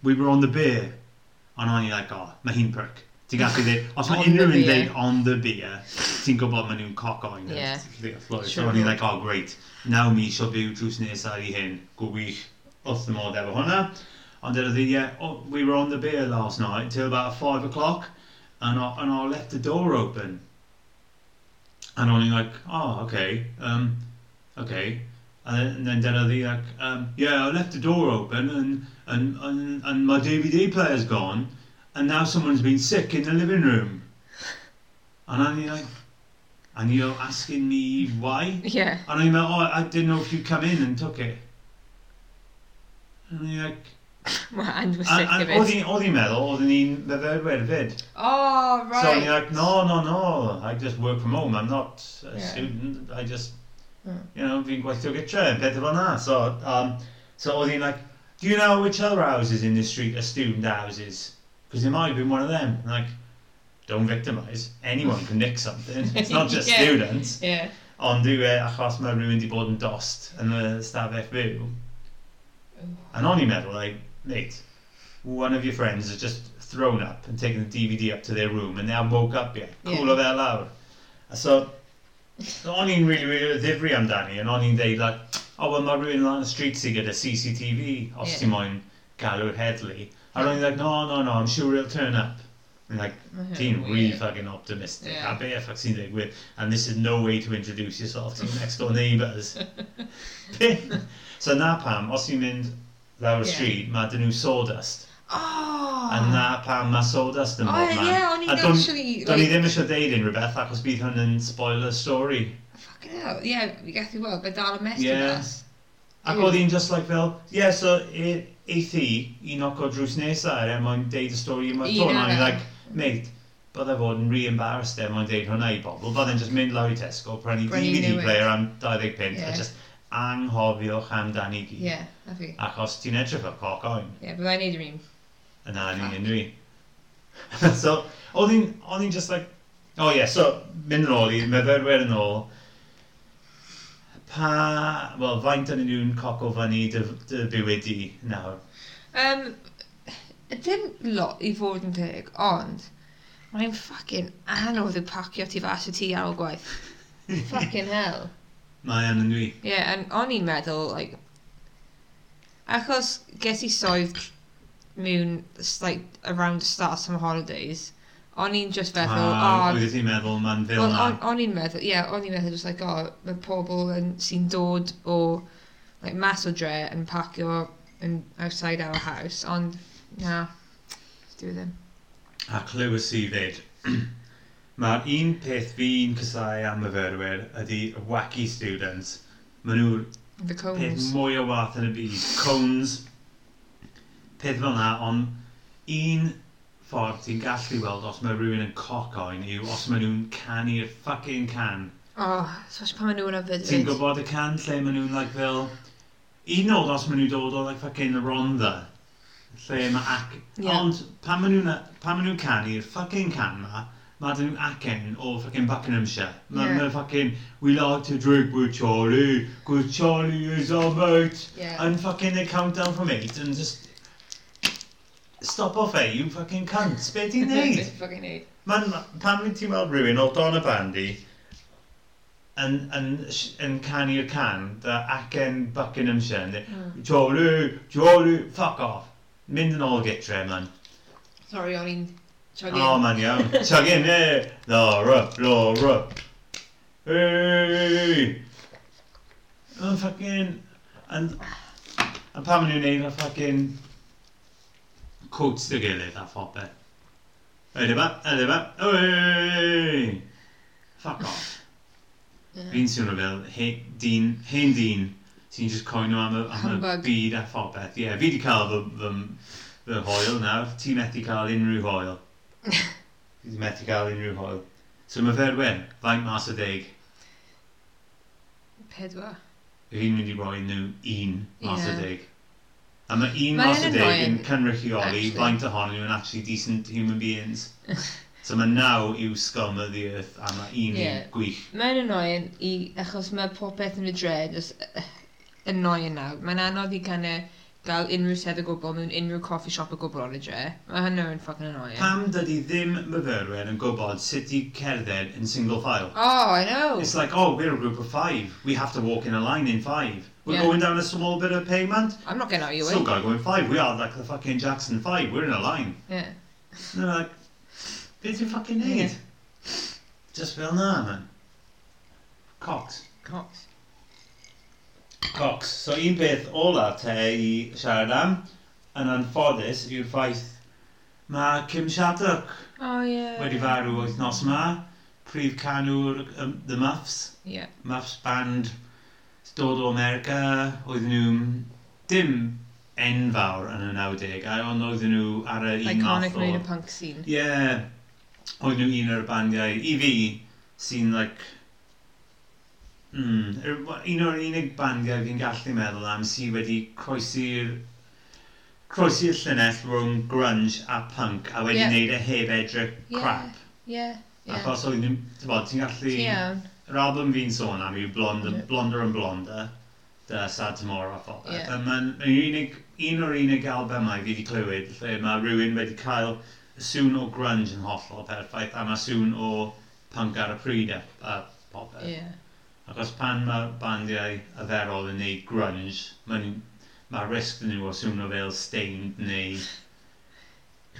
Speaker 2: we were on the beer. And o'n i like, oh, mae hi'n prick. Ti'n gallu dweud, os mae
Speaker 3: *laughs* On the
Speaker 2: unrhyw yn
Speaker 3: beer.
Speaker 2: dweud on the beer, ti'n gwybod maen nhw'n coc oen.
Speaker 3: Yeah.
Speaker 2: So o'n i'n like, oh, great. Now mi eisiau byw drws nesaf i hyn. Gwych, wrth y modd efo hwnna. And then the yeah, oh, we were on the beer last night till about five o'clock, and I and I left the door open. And only like, oh okay, um, okay. And then, and then the like, um, yeah, I left the door open, and and and and my DVD player's gone, and now someone's been sick in the living room. And I'm like, and you're asking me why?
Speaker 3: Ie. *laughs*
Speaker 2: And I'm like, oh, I didn't know if you come in and took it. And you're like.
Speaker 3: Wel, and we're
Speaker 2: A-
Speaker 3: sick
Speaker 2: a-
Speaker 3: of
Speaker 2: Oedd
Speaker 3: it.
Speaker 2: hi'n- oedd hi'n meddwl, oedd hi'n myfyrwyr fyd.
Speaker 3: Oh,
Speaker 2: So o'n i'n
Speaker 3: right.
Speaker 2: like, no, no, no, I just work from home, I'm not a
Speaker 3: Yeah.
Speaker 2: student, I just,
Speaker 3: Mm.
Speaker 2: you know, fi'n gweithio gytre, pethau fel na. So, um, so oedd hi'n like, do you know which other houses in this street are student houses? Because they might have been one of them. Like, don't victimise. Anyone can nick something. It's not just
Speaker 3: *laughs* Yeah.
Speaker 2: students.
Speaker 3: Yeah.
Speaker 2: Ond yw e, achos mae rhywun wedi bod yn dost yn y stafell fyw.
Speaker 3: Oh.
Speaker 2: And o'n i'n meddwl, like, mate, one of your friends has just thrown up and taken the DVD up to their room and they haven't woke up yet.
Speaker 3: Yeah.
Speaker 2: Cool o fel lawr. A so, o'n i'n really, really ddifri amdani, and o'n i'n deud, like, oh, well, mae rhywun lan y street sy gyda CCTV, os
Speaker 3: Yeah.
Speaker 2: ti moyn galw'r heddlu. A o'n i'n like, no, no, no, I'm sure it'll turn up. And like,
Speaker 3: Mhm,
Speaker 2: ti'n really
Speaker 3: weird.
Speaker 2: fucking optimistic.
Speaker 3: Yeah.
Speaker 2: A be effach sy'n digwydd, and this is no way to introduce yourself to your next door
Speaker 3: *laughs*
Speaker 2: neighbours. so na pam, os ti'n mynd lawr y
Speaker 3: Yeah.
Speaker 2: stryd, mae dyn nhw sawdust.
Speaker 3: Oh.
Speaker 2: A na pam mae sawdust yn
Speaker 3: Oh,
Speaker 2: bob man.
Speaker 3: yeah, o'n i'n
Speaker 2: A dwn-
Speaker 3: actually,
Speaker 2: Do'n i
Speaker 3: like-
Speaker 2: ddim eisiau deud unrhyw beth, achos bydd hwn yn spoiler story.
Speaker 3: Fucking hell. Yeah, we get through well, but dal yn mess
Speaker 2: Yeah.
Speaker 3: yeah. us.
Speaker 2: Ac
Speaker 3: Mm.
Speaker 2: oedd hi'n just like fel, yeah, so e- eith i i noco drws nesa er mwyn deud y stori yma
Speaker 3: I
Speaker 2: to. And I'm
Speaker 3: hwnna.
Speaker 2: like, mate, bydde fod yn re-embarrassed er mwyn deud hwnna i bobl. Bydde'n just mynd lawr i Tesco, prynu
Speaker 3: Prynu
Speaker 2: DVD
Speaker 3: newydd.
Speaker 2: player am 20 pint,
Speaker 3: Yeah.
Speaker 2: a just anghofiwch amdani gyd.
Speaker 3: Yeah, na fi.
Speaker 2: Achos ti'n edrych fel coc oen.
Speaker 3: Yeah, byddai'n neud yr un.
Speaker 2: yn anu yn dwi. *laughs* so, oedd hi'n, oedd hi'n just like, oh yeah, so, mynd yn ôl i, myfyrwyr yn ôl, pa, wel, faint yn nhw'n coco fyny dy, dy bywyd i nawr?
Speaker 3: Um, dim lot i fod yn teg, ond mae'n ffucking anodd i pacio ti fas y ti ar ôl
Speaker 2: *laughs*
Speaker 3: gwaith. Fucking hell.
Speaker 2: Mae yn yn dwi.
Speaker 3: Ie, yeah, and o'n i'n meddwl, like, achos ges i soedd mewn, s- like, around the start of summer holidays, o'n i'n just feddwl,
Speaker 2: A
Speaker 3: oh,
Speaker 2: wyt ti'n meddwl ma'n fel
Speaker 3: Wel,
Speaker 2: na.
Speaker 3: o'n- o'n i'n meddwl, ie, yeah, o'n i'n meddwl just like, oh, mae pobl yn- sy'n dod o like, mas o dre yn pacio yn outside our house, ond na, do ddim.
Speaker 2: A clywys i fyd. *clears throat* Mae'r un peth fi'n cysau am myfyrwyr ydy y wacky students. Mae nhw'r
Speaker 3: The
Speaker 2: peth
Speaker 3: cones.
Speaker 2: mwy o wath yn y byd. Cones, peth fel na, ond un ffordd ti'n gallu weld os mae rhywun yn coc oen yw os maen nhw'n canu'r ffucking can.
Speaker 3: Oh, especially pan maen nhw yn yfyd.
Speaker 2: Ti'n gwybod y can lle maen nhw'n like fel... Un oed os maen nhw'n dod o like fucking Rhondda. Lle mae ac...
Speaker 3: Ie.
Speaker 2: Ond pan maen nhw'n pan maen nhw'n canu'r fucking can ma, mae dyn nhw'n acen o fucking Buckinghamshire. Mae
Speaker 3: Ie.
Speaker 2: yeah. fucking, we like to drink with Charlie, because Charlie is our mate.
Speaker 3: Yeah.
Speaker 2: And fucking they count down from eight and just... Stop off e, you fucking cunt. Be
Speaker 3: *laughs*
Speaker 2: ti'n neud?
Speaker 3: Fucking neud.
Speaker 2: Man, pan mynd ti'n weld rhywun o Donna Bandy yn, yn, sh- yn canu'r can, da acen Buckinghamshire, mm. Jory, Jory, fuck off. Mynd yn ôl gytre, man.
Speaker 3: Sorry, o'n i'n
Speaker 2: O, oh,
Speaker 3: chugin.
Speaker 2: man iawn. Chug in, eh. Laura, Laura. Hey! Yn ffucking... Yn... A pan maen nhw'n neud y ffucking... Coats dy gilydd a phopeth. Ydy ba, ydy ba. Oi! Fuck off.
Speaker 3: Ie.
Speaker 2: Fi'n swnio fel he- dyn, hen dyn, sy'n just coenio am y, am y
Speaker 3: Humbug.
Speaker 2: byd a phopeth. Ie, yeah, fi wedi cael fy, fy, fy hoel nawr. Ti methu cael unrhyw
Speaker 3: *laughs*
Speaker 2: hoel. Fi wedi methu cael unrhyw hoel. So mae ferwen, faint mas o deg.
Speaker 3: Pedwar.
Speaker 2: Fi'n mynd i roi nhw un mas o
Speaker 3: Ie.
Speaker 2: deg. A mae un
Speaker 3: Mae
Speaker 2: mas o
Speaker 3: yn
Speaker 2: deg yn
Speaker 3: annoying,
Speaker 2: cynrychioli
Speaker 3: actually.
Speaker 2: faint ohonyn nhw yn actually decent human
Speaker 3: *laughs*
Speaker 2: beings. so mae naw yw scum of the earth a mae un
Speaker 3: Ie.
Speaker 2: yeah. gwych.
Speaker 3: Mae'n annoying i, achos mae popeth yn y dre, just uh, annoying nawr. Mae'n anodd i kind gael unrhyw sedd o gwbl mewn unrhyw coffee shop o gwbl o'n y dre. Mae hynny yn fucking annoying.
Speaker 2: Pam dydy ddim myfyrwyr yn gwybod sut i cerdded yn single file?
Speaker 3: Oh, I know.
Speaker 2: It's like, oh, we're a group of five. We have to walk in a line in five. We're
Speaker 3: Yeah.
Speaker 2: going down a small bit of pavement.
Speaker 3: I'm not getting out of your
Speaker 2: Still
Speaker 3: way.
Speaker 2: gotta go in five. We are like the fucking Jackson Five. We're in a line.
Speaker 3: Yeah.
Speaker 2: And they're like, beth yw'n fucking neud?
Speaker 3: Yeah.
Speaker 2: Just fel na, man. Cox.
Speaker 3: Cox.
Speaker 2: Cox. So un peth ola te i siarad am, yn anffodus, yw'r ffaith mae Kim Shattuck
Speaker 3: Oh, yeah.
Speaker 2: wedi farw wythnos yma. Prif canwr um, The Muffs.
Speaker 3: Yeah.
Speaker 2: Muffs band dod o America, oedden nhw'n dim enfawr yn y 90au, a ond oedden nhw ar y un
Speaker 3: Iconic
Speaker 2: math o...
Speaker 3: made a punk scene.
Speaker 2: Ie, oedden nhw un o'r bandiau, i fi, sy'n like... Mm, yr- un o'r unig bandiau fi'n gallu meddwl am sy wedi croesi'r croesi'r llynell rhwng grunge a punk a wedi
Speaker 3: Ie.
Speaker 2: yeah. neud e heb edrych
Speaker 3: Ie.
Speaker 2: yeah. crap.
Speaker 3: Ie.
Speaker 2: Yeah.
Speaker 3: Ie.
Speaker 2: Achos oedd ddim, ti'n bod, ti'n gallu...
Speaker 3: Ti'n iawn.
Speaker 2: Yr album fi'n sôn am yw Blonder,
Speaker 3: Ie.
Speaker 2: yeah. Blonder and Blonder, The Sad Tomorrow a phobeth.
Speaker 3: Ie.
Speaker 2: Yeah. A mae'n mae'n unig, un o'r unig albumau fi wedi clywed lle mae rhywun wedi cael y sŵn o grunge yn hollol perffaith a mae sŵn o punk ar y pryd a, a popeth.
Speaker 3: Ie.
Speaker 2: Achos pan mae bandiau aferol yn neud grunge, mae'n ma risg dyn nhw o swnio fel Stained neu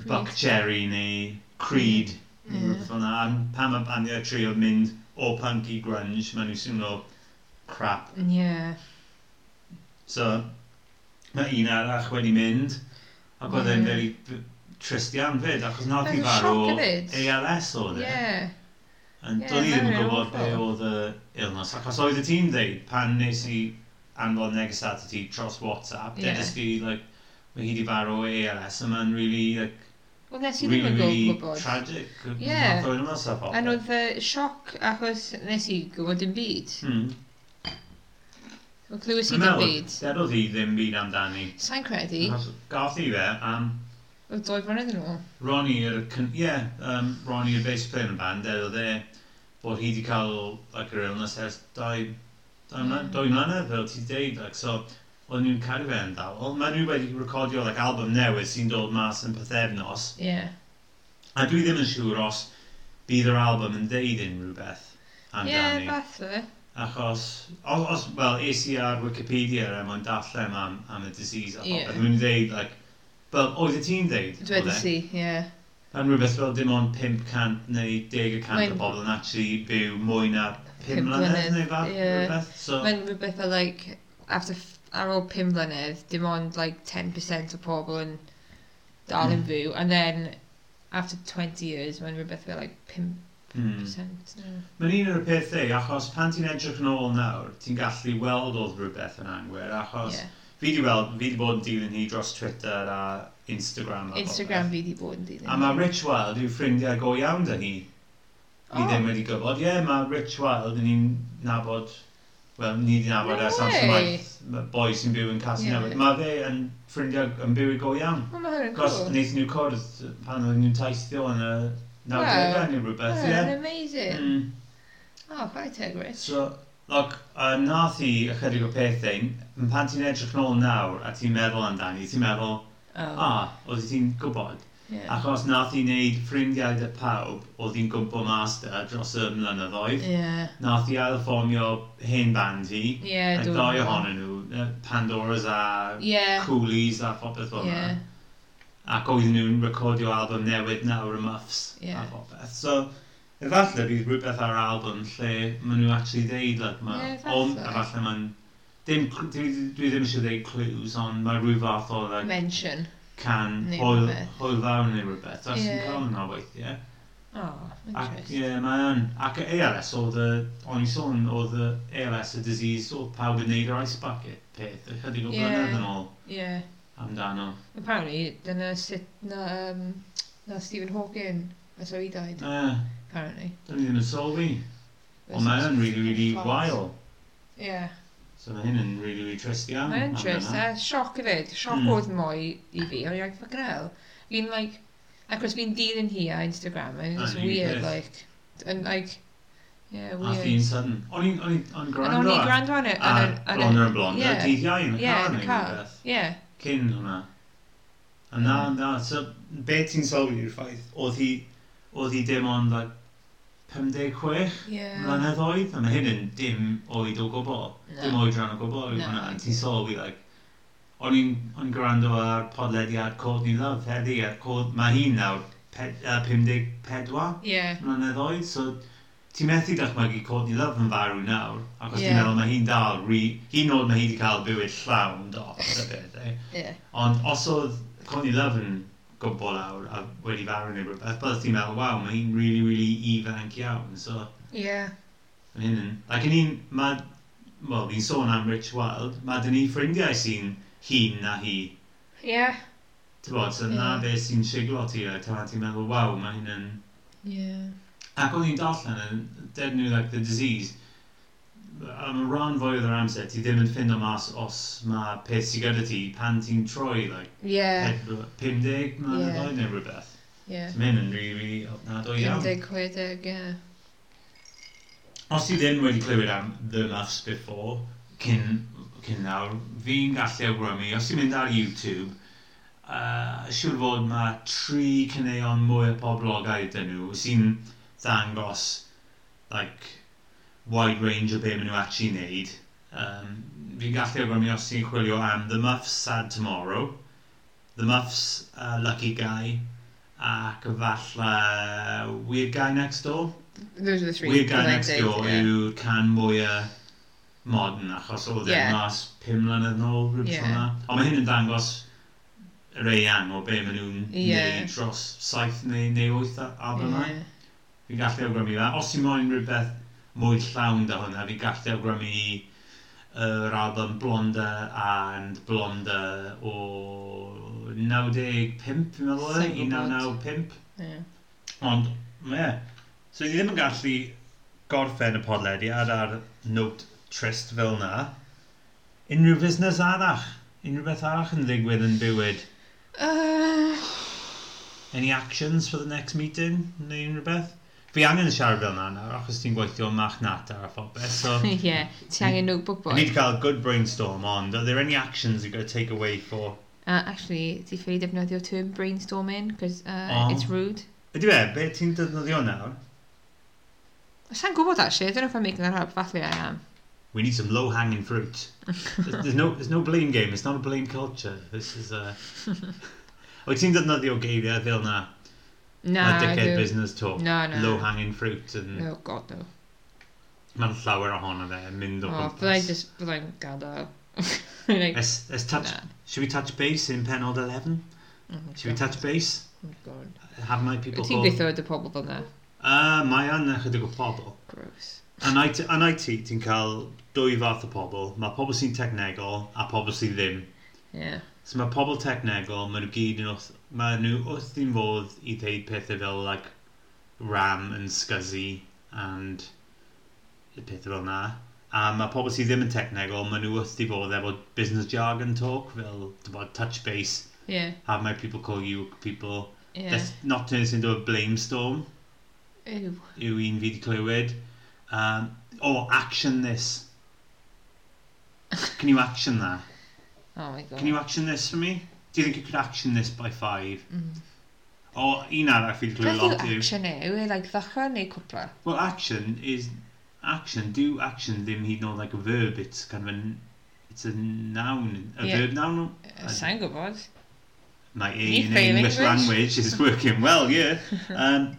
Speaker 2: Buck Cherry neu Creed.
Speaker 3: Ie.
Speaker 2: Mm. Fel na, a pan mae bandiau trio mynd o punk i grunge, maen nhw'n swnio crap.
Speaker 3: Ie.
Speaker 2: So, mae un arall wedi mynd, ac oedd e'n
Speaker 3: Ie.
Speaker 2: very b- trist iawn fyd, achos nath i
Speaker 3: Oedd yn
Speaker 2: farw
Speaker 3: sioc
Speaker 2: o
Speaker 3: hefyd.
Speaker 2: ALS oedd e.
Speaker 3: Ie.
Speaker 2: Yn
Speaker 3: Ie,
Speaker 2: do'n i ddim yn
Speaker 3: mae'n
Speaker 2: gwybod be
Speaker 3: awful.
Speaker 2: oedd y ilnos, achos oedd y tîm dweud pan nes i anfon neges at y ti dros WhatsApp,
Speaker 3: Ie.
Speaker 2: yeah. dedys fi, like, mae hi di farw o ALS, a mae'n really, like,
Speaker 3: Wel, nes i ddim
Speaker 2: really,
Speaker 3: yn
Speaker 2: really
Speaker 3: gwybod.
Speaker 2: tragic.
Speaker 3: Ie.
Speaker 2: Nath oedd yma sa
Speaker 3: A oedd y sioc achos nes i gwybod dim byd.
Speaker 2: Hmm.
Speaker 3: Wel, clywys i
Speaker 2: Dwi'n
Speaker 3: dim
Speaker 2: meddwl,
Speaker 3: byd.
Speaker 2: dedodd hi ddim byd amdani.
Speaker 3: Sa'n credu,
Speaker 2: Achos Gath i fe am
Speaker 3: oedd doi flynedd yn ôl.
Speaker 2: Ronnie, yr, cyn- ie, yeah, um, Ronnie, y bass player yn y band, dedodd e bod hi wedi cael, like, yr illness ers dau, dau,
Speaker 3: Mm.
Speaker 2: mla- dau mlynedd, fel ti dweud, like, so, oedden nhw'n caru fe yn dawel. Mae nhw wedi recordio, like, album newydd sy'n dod mas yn pethefnos,
Speaker 3: Ie.
Speaker 2: a dwi ddim yn siŵr os bydd yr album yn deud unrhyw beth
Speaker 3: Ie,
Speaker 2: amdani.
Speaker 3: falle.
Speaker 2: Achos, os, os wel, es i ar Wikipedia a mae'n darllen am, am y disease a
Speaker 3: Ie.
Speaker 2: popeth, yeah. mae'n dweud, like, well, oedd y ti'n dweud?
Speaker 3: Dwedais i, ie.
Speaker 2: Pan rhywbeth fel dim ond 500 neu 10%
Speaker 3: Mae'n-
Speaker 2: o bobl yn actually byw mwy na 5
Speaker 3: Pum
Speaker 2: mlynedd
Speaker 3: mlynedd,
Speaker 2: neu fath,
Speaker 3: ie.
Speaker 2: rhywbeth. So,
Speaker 3: Mae'n rhywbeth fel, like, after, f- ar ôl pum mlynedd, dim ond, like, 10% o pobl yn dal
Speaker 2: Hmm.
Speaker 3: yn fyw. And then, after 20 years, mae'n rhywbeth fel, like, 5%
Speaker 2: hmm.
Speaker 3: now.
Speaker 2: Mae'n un o'r peth ei, achos pan ti'n edrych yn ôl nawr, ti'n gallu weld oedd rhywbeth yn anwyr, achos
Speaker 3: Ie.
Speaker 2: yeah. fi wedi weld, fi wedi bod yn dilyn hi dros Twitter a Instagram. A
Speaker 3: Instagram
Speaker 2: popeth.
Speaker 3: fi di bod yn dilyn.
Speaker 2: A mae Rich Wild yw ffrindiau go iawn dyn ni. Ni
Speaker 3: O.
Speaker 2: ddim wedi gwybod. Ie, mae Rich Wild yn ni'n nabod, wel, ni wedi nabod
Speaker 3: No
Speaker 2: no ers amser
Speaker 3: way.
Speaker 2: maith, y boi sy'n byw yn Castle
Speaker 3: Ie.
Speaker 2: Newydd. Mae fe yn ffrindiau yn byw i go iawn.
Speaker 3: O, mae hwn yn
Speaker 2: Gos
Speaker 3: cool.
Speaker 2: wnaethon nhw cwrdd pan oedden nhw'n taithio yn y 90au neu
Speaker 3: Mae
Speaker 2: rhywbeth,
Speaker 3: hwn
Speaker 2: ie.
Speaker 3: yn amazing.
Speaker 2: Mm.
Speaker 3: O, chai teg, Rich.
Speaker 2: So, look, uh, nath i ychydig o pethau, m- pan ti'n edrych yn ôl nawr a ti'n meddwl amdani, ti'n meddwl,
Speaker 3: O,
Speaker 2: ah, oedd ti'n gwybod.
Speaker 3: ie.
Speaker 2: Achos nath i wneud ffrindiau dy pawb oedd hi'n gwmpo master dros y mlynyddoedd.
Speaker 3: Ie.
Speaker 2: Nath i ailfformio hen band hi.
Speaker 3: Ie,
Speaker 2: Like
Speaker 3: dwi'n
Speaker 2: dau
Speaker 3: gwbo.
Speaker 2: ohonyn nhw, yy, Pandoras a
Speaker 3: Ie.
Speaker 2: Coolies a phopeth fel
Speaker 3: Ie.
Speaker 2: yna. Ac oedden nhw'n recordio album newydd nawr y Muffs
Speaker 3: Ie.
Speaker 2: a phopeth. So, efalle bydd rhywbeth ar yr album lle maen nhw actually ddeud like ma.
Speaker 3: Ie, efalle.
Speaker 2: Ond efalle maen... Dim, cl- dwi, dwi ddim eisiau dweud clues, ond mae rhyw fath o like,
Speaker 3: Mention.
Speaker 2: can
Speaker 3: Neu
Speaker 2: hwyl,
Speaker 3: rhywbeth.
Speaker 2: hwyl fawr neu rhywbeth. Does
Speaker 3: Ie.
Speaker 2: yn cael yna weithiau.
Speaker 3: O,
Speaker 2: Ac
Speaker 3: interesting.
Speaker 2: ie, mae yn. Ac y ALS oedd y, o'n i sôn, oedd y ALS y disease oedd pawb yn neud yr ice bucket peth, ychydig o
Speaker 3: Ie.
Speaker 2: blynedd yn ôl
Speaker 3: Ie.
Speaker 2: amdano.
Speaker 3: Apparently, dyna sut na, um, na Stephen Hawking, that's how he died,
Speaker 2: E,
Speaker 3: apparently.
Speaker 2: dyn ni ddim yn sylwi.
Speaker 3: That's
Speaker 2: Ond mae
Speaker 3: just
Speaker 2: yn really, really
Speaker 3: false.
Speaker 2: wael.
Speaker 3: Yeah.
Speaker 2: So mae hyn yn really, really trist iawn.
Speaker 3: Mae'n interest,
Speaker 2: amdano.
Speaker 3: a sioc eh, hefyd. Sioc
Speaker 2: Hmm.
Speaker 3: oedd mwy i fi, o'n i'n like, fucking hell. Fi'n like, acos fi'n dilyn hi ar Instagram, and it's
Speaker 2: Ah, you
Speaker 3: weird,
Speaker 2: did.
Speaker 3: like, and like, yeah,
Speaker 2: A thi'n
Speaker 3: weird.
Speaker 2: sudden. O'n i'n- o'n i'n o'n
Speaker 3: And o'n
Speaker 2: gwrando
Speaker 3: i'n
Speaker 2: ar...
Speaker 3: grand on it.
Speaker 2: A
Speaker 3: and- and-
Speaker 2: Blonder and Blonder,
Speaker 3: yeah,
Speaker 2: dydd iau yn y
Speaker 3: Yeah,
Speaker 2: car
Speaker 3: yn
Speaker 2: neu
Speaker 3: y car.
Speaker 2: rhywbeth.
Speaker 3: Yeah,
Speaker 2: cyn hwnna. A na, na, so be ti'n sylwi yw'r ffaith, oedd hi, oedd hi dim ond like, 56
Speaker 3: yeah.
Speaker 2: mlynedd oed, a mae hyn yn dim oed o gwbl,
Speaker 3: Na.
Speaker 2: dim oedran o gwbl yw
Speaker 3: Na.
Speaker 2: hwnna, a ti'n sylwi, like, o'n i'n o'n gwrando ar podlediad Courtney Love heddi, a Cord, mae hi'n nawr ped, uh, 54
Speaker 3: Yeah,
Speaker 2: mlynedd oed, so ti'n methu dychmygu Courtney Love yn farw nawr, ac os
Speaker 3: Ie.
Speaker 2: ti'n meddwl mae hi'n dal, ri, hi'n oed mae hi wedi cael bywyd llawn dot, y beth, eh?
Speaker 3: yeah.
Speaker 2: Ond os oedd Connie Love yn gwmpo lawr a wedi farw neu rhywbeth, byddai ti'n meddwl, waw, mae hi'n really, really ifanc iawn. So,
Speaker 3: Yeah.
Speaker 2: mae hyn yn... Ac yn un, mae... Wel, fi'n sôn am Rich Wild, mae dyn ni ffrindiau sy'n hun na hi.
Speaker 3: Yeah.
Speaker 2: Ti'n bod, so na
Speaker 3: Ie.
Speaker 2: beth sy'n siglo ti, like, ta ti'n meddwl, waw, mae hyn yn...
Speaker 3: Yeah.
Speaker 2: Ac o'n i'n darllen yn dead new like the disease. am rhan fwy o'r amser, ti ddim yn ffindo mas os mae peth sy'n gyda ti pan ti'n troi, like,
Speaker 3: Yeah,
Speaker 2: ped- 50 mae'n
Speaker 3: Ie.
Speaker 2: yeah. oed neu rhywbeth.
Speaker 3: yeah.
Speaker 2: Mae'n yn rili, rili ofnadw iawn.
Speaker 3: 50, 60, yeah.
Speaker 2: Os ti ddim wedi clywed am The Muffs before, cyn, cyn nawr, fi'n gallu awgrymu, os ti'n mynd ar YouTube, uh, siŵr fod mae tri cyneuon mwy o poblogaidd dyn nhw sy'n ddangos like, wide range o be maen nhw actually wneud. Um, fi'n gallu awgrymu os ti'n chwilio am The Muffs Sad Tomorrow, The Muffs uh, Lucky Guy, ac falle Weird Guy Next Door.
Speaker 3: Those are the three.
Speaker 2: Weird Guy
Speaker 3: that I
Speaker 2: Next
Speaker 3: did,
Speaker 2: Door
Speaker 3: yeah.
Speaker 2: yw can mwyaf modern achos oedd
Speaker 3: Ie.
Speaker 2: e'n mas pum mlynedd nôl rhywbeth
Speaker 3: Ie.
Speaker 2: yeah. Ond mae hyn yn dangos yr eang o be maen nhw'n
Speaker 3: Ie.
Speaker 2: neud dros saith neu, neu wyth a- albumau.
Speaker 3: Yeah.
Speaker 2: Fi'n gallu awgrymu fe. Os ti'n moyn rhywbeth mwy llawn da hwnna, fi'n gallu awgrymu yr album Blonda and Blonda o 95, fi'n meddwl e?
Speaker 3: Sa'n gwbod.
Speaker 2: 1995.
Speaker 3: yeah.
Speaker 2: Ond, ie. So, ni ddim yn gallu gorffen y podlediad ar note trist fel na. Unrhyw fusnes arach. Unrhyw beth arach yn ddigwydd yn bywyd.
Speaker 3: Uh,
Speaker 2: Any actions for the next meeting? Neu unrhyw beth? Fi angen siarad fel na nawr, achos ti'n gweithio machnata a phobeth.
Speaker 3: *laughs*
Speaker 2: So, ni
Speaker 3: yeah. Ti angen notebook boy.
Speaker 2: wedi cael good brainstorm, ond are there any actions you've got to take away for...
Speaker 3: Uh, actually, ti ffili defnyddio term brainstorming, because uh,
Speaker 2: Oh.
Speaker 3: it's rude.
Speaker 2: Ydy fe, be ti'n defnyddio nawr?
Speaker 3: Sa'n gwybod actually, I don't know if I'm making that up, fathlu I am.
Speaker 2: We need some low-hanging fruit. there's, there's no there's no blame game. It's not a blame culture. This is
Speaker 3: *laughs*
Speaker 2: a. Wyt ti'n defnyddio geiriau fel na?
Speaker 3: Na,
Speaker 2: Na, dickhead
Speaker 3: I do.
Speaker 2: business talk.
Speaker 3: Na, na.
Speaker 2: Low-hanging fruit. And
Speaker 3: No, god no.
Speaker 2: Mae'n llawer ohono fe yn mynd o
Speaker 3: Oh, byddai'n just, byddai'n gadael. *laughs* like,
Speaker 2: Let's, let's touch...
Speaker 3: Na.
Speaker 2: Should we touch base in penod 11?
Speaker 3: oh my
Speaker 2: Should we
Speaker 3: god.
Speaker 2: touch base?
Speaker 3: Oh my god.
Speaker 2: Have my people
Speaker 3: Wyt ti'n
Speaker 2: call?
Speaker 3: gweithio dy pobl fel na?
Speaker 2: Uh, mae an ychydig o pobl.
Speaker 3: Gross.
Speaker 2: Yn IT, yn IT ti'n cael dwy fath o pobl. Mae pobl sy'n technegol a pobl sy'n ddim.
Speaker 3: Yeah.
Speaker 2: So mae pobl technegol, mae nhw gyd yn wrth... Mae nhw wrth i'n fodd i ddeud pethau fel, like, RAM and SCSI and y pethau fel na. A mae pobl sydd ddim yn technegol, mae nhw wrth i fodd efo business jargon talk, fel, about touch base,
Speaker 3: Yeah.
Speaker 2: have my people call you people.
Speaker 3: Yeah.
Speaker 2: Let's not turn this into a blame storm,
Speaker 3: Ew.
Speaker 2: yw un fi wedi clywed. Um, oh, action this. Can you action that?
Speaker 3: Oh my
Speaker 2: Can you
Speaker 3: god.
Speaker 2: action this for me? Do you think you could action this by five? Or un arall fi wedi
Speaker 3: Beth
Speaker 2: clywed
Speaker 3: yw
Speaker 2: lot yw.
Speaker 3: Mm. action e? Yw e, like, ddechrau neu cwpla?
Speaker 2: Well, action is... Action, do action ddim hyd yn oed like a verb, it's kind of an... It's a noun. A
Speaker 3: Yeah.
Speaker 2: verb noun?
Speaker 3: Uh, Sa'n gwybod.
Speaker 2: My A
Speaker 3: You
Speaker 2: in
Speaker 3: fail
Speaker 2: English
Speaker 3: English.
Speaker 2: language is working well,
Speaker 3: *laughs*
Speaker 2: yeah. Um,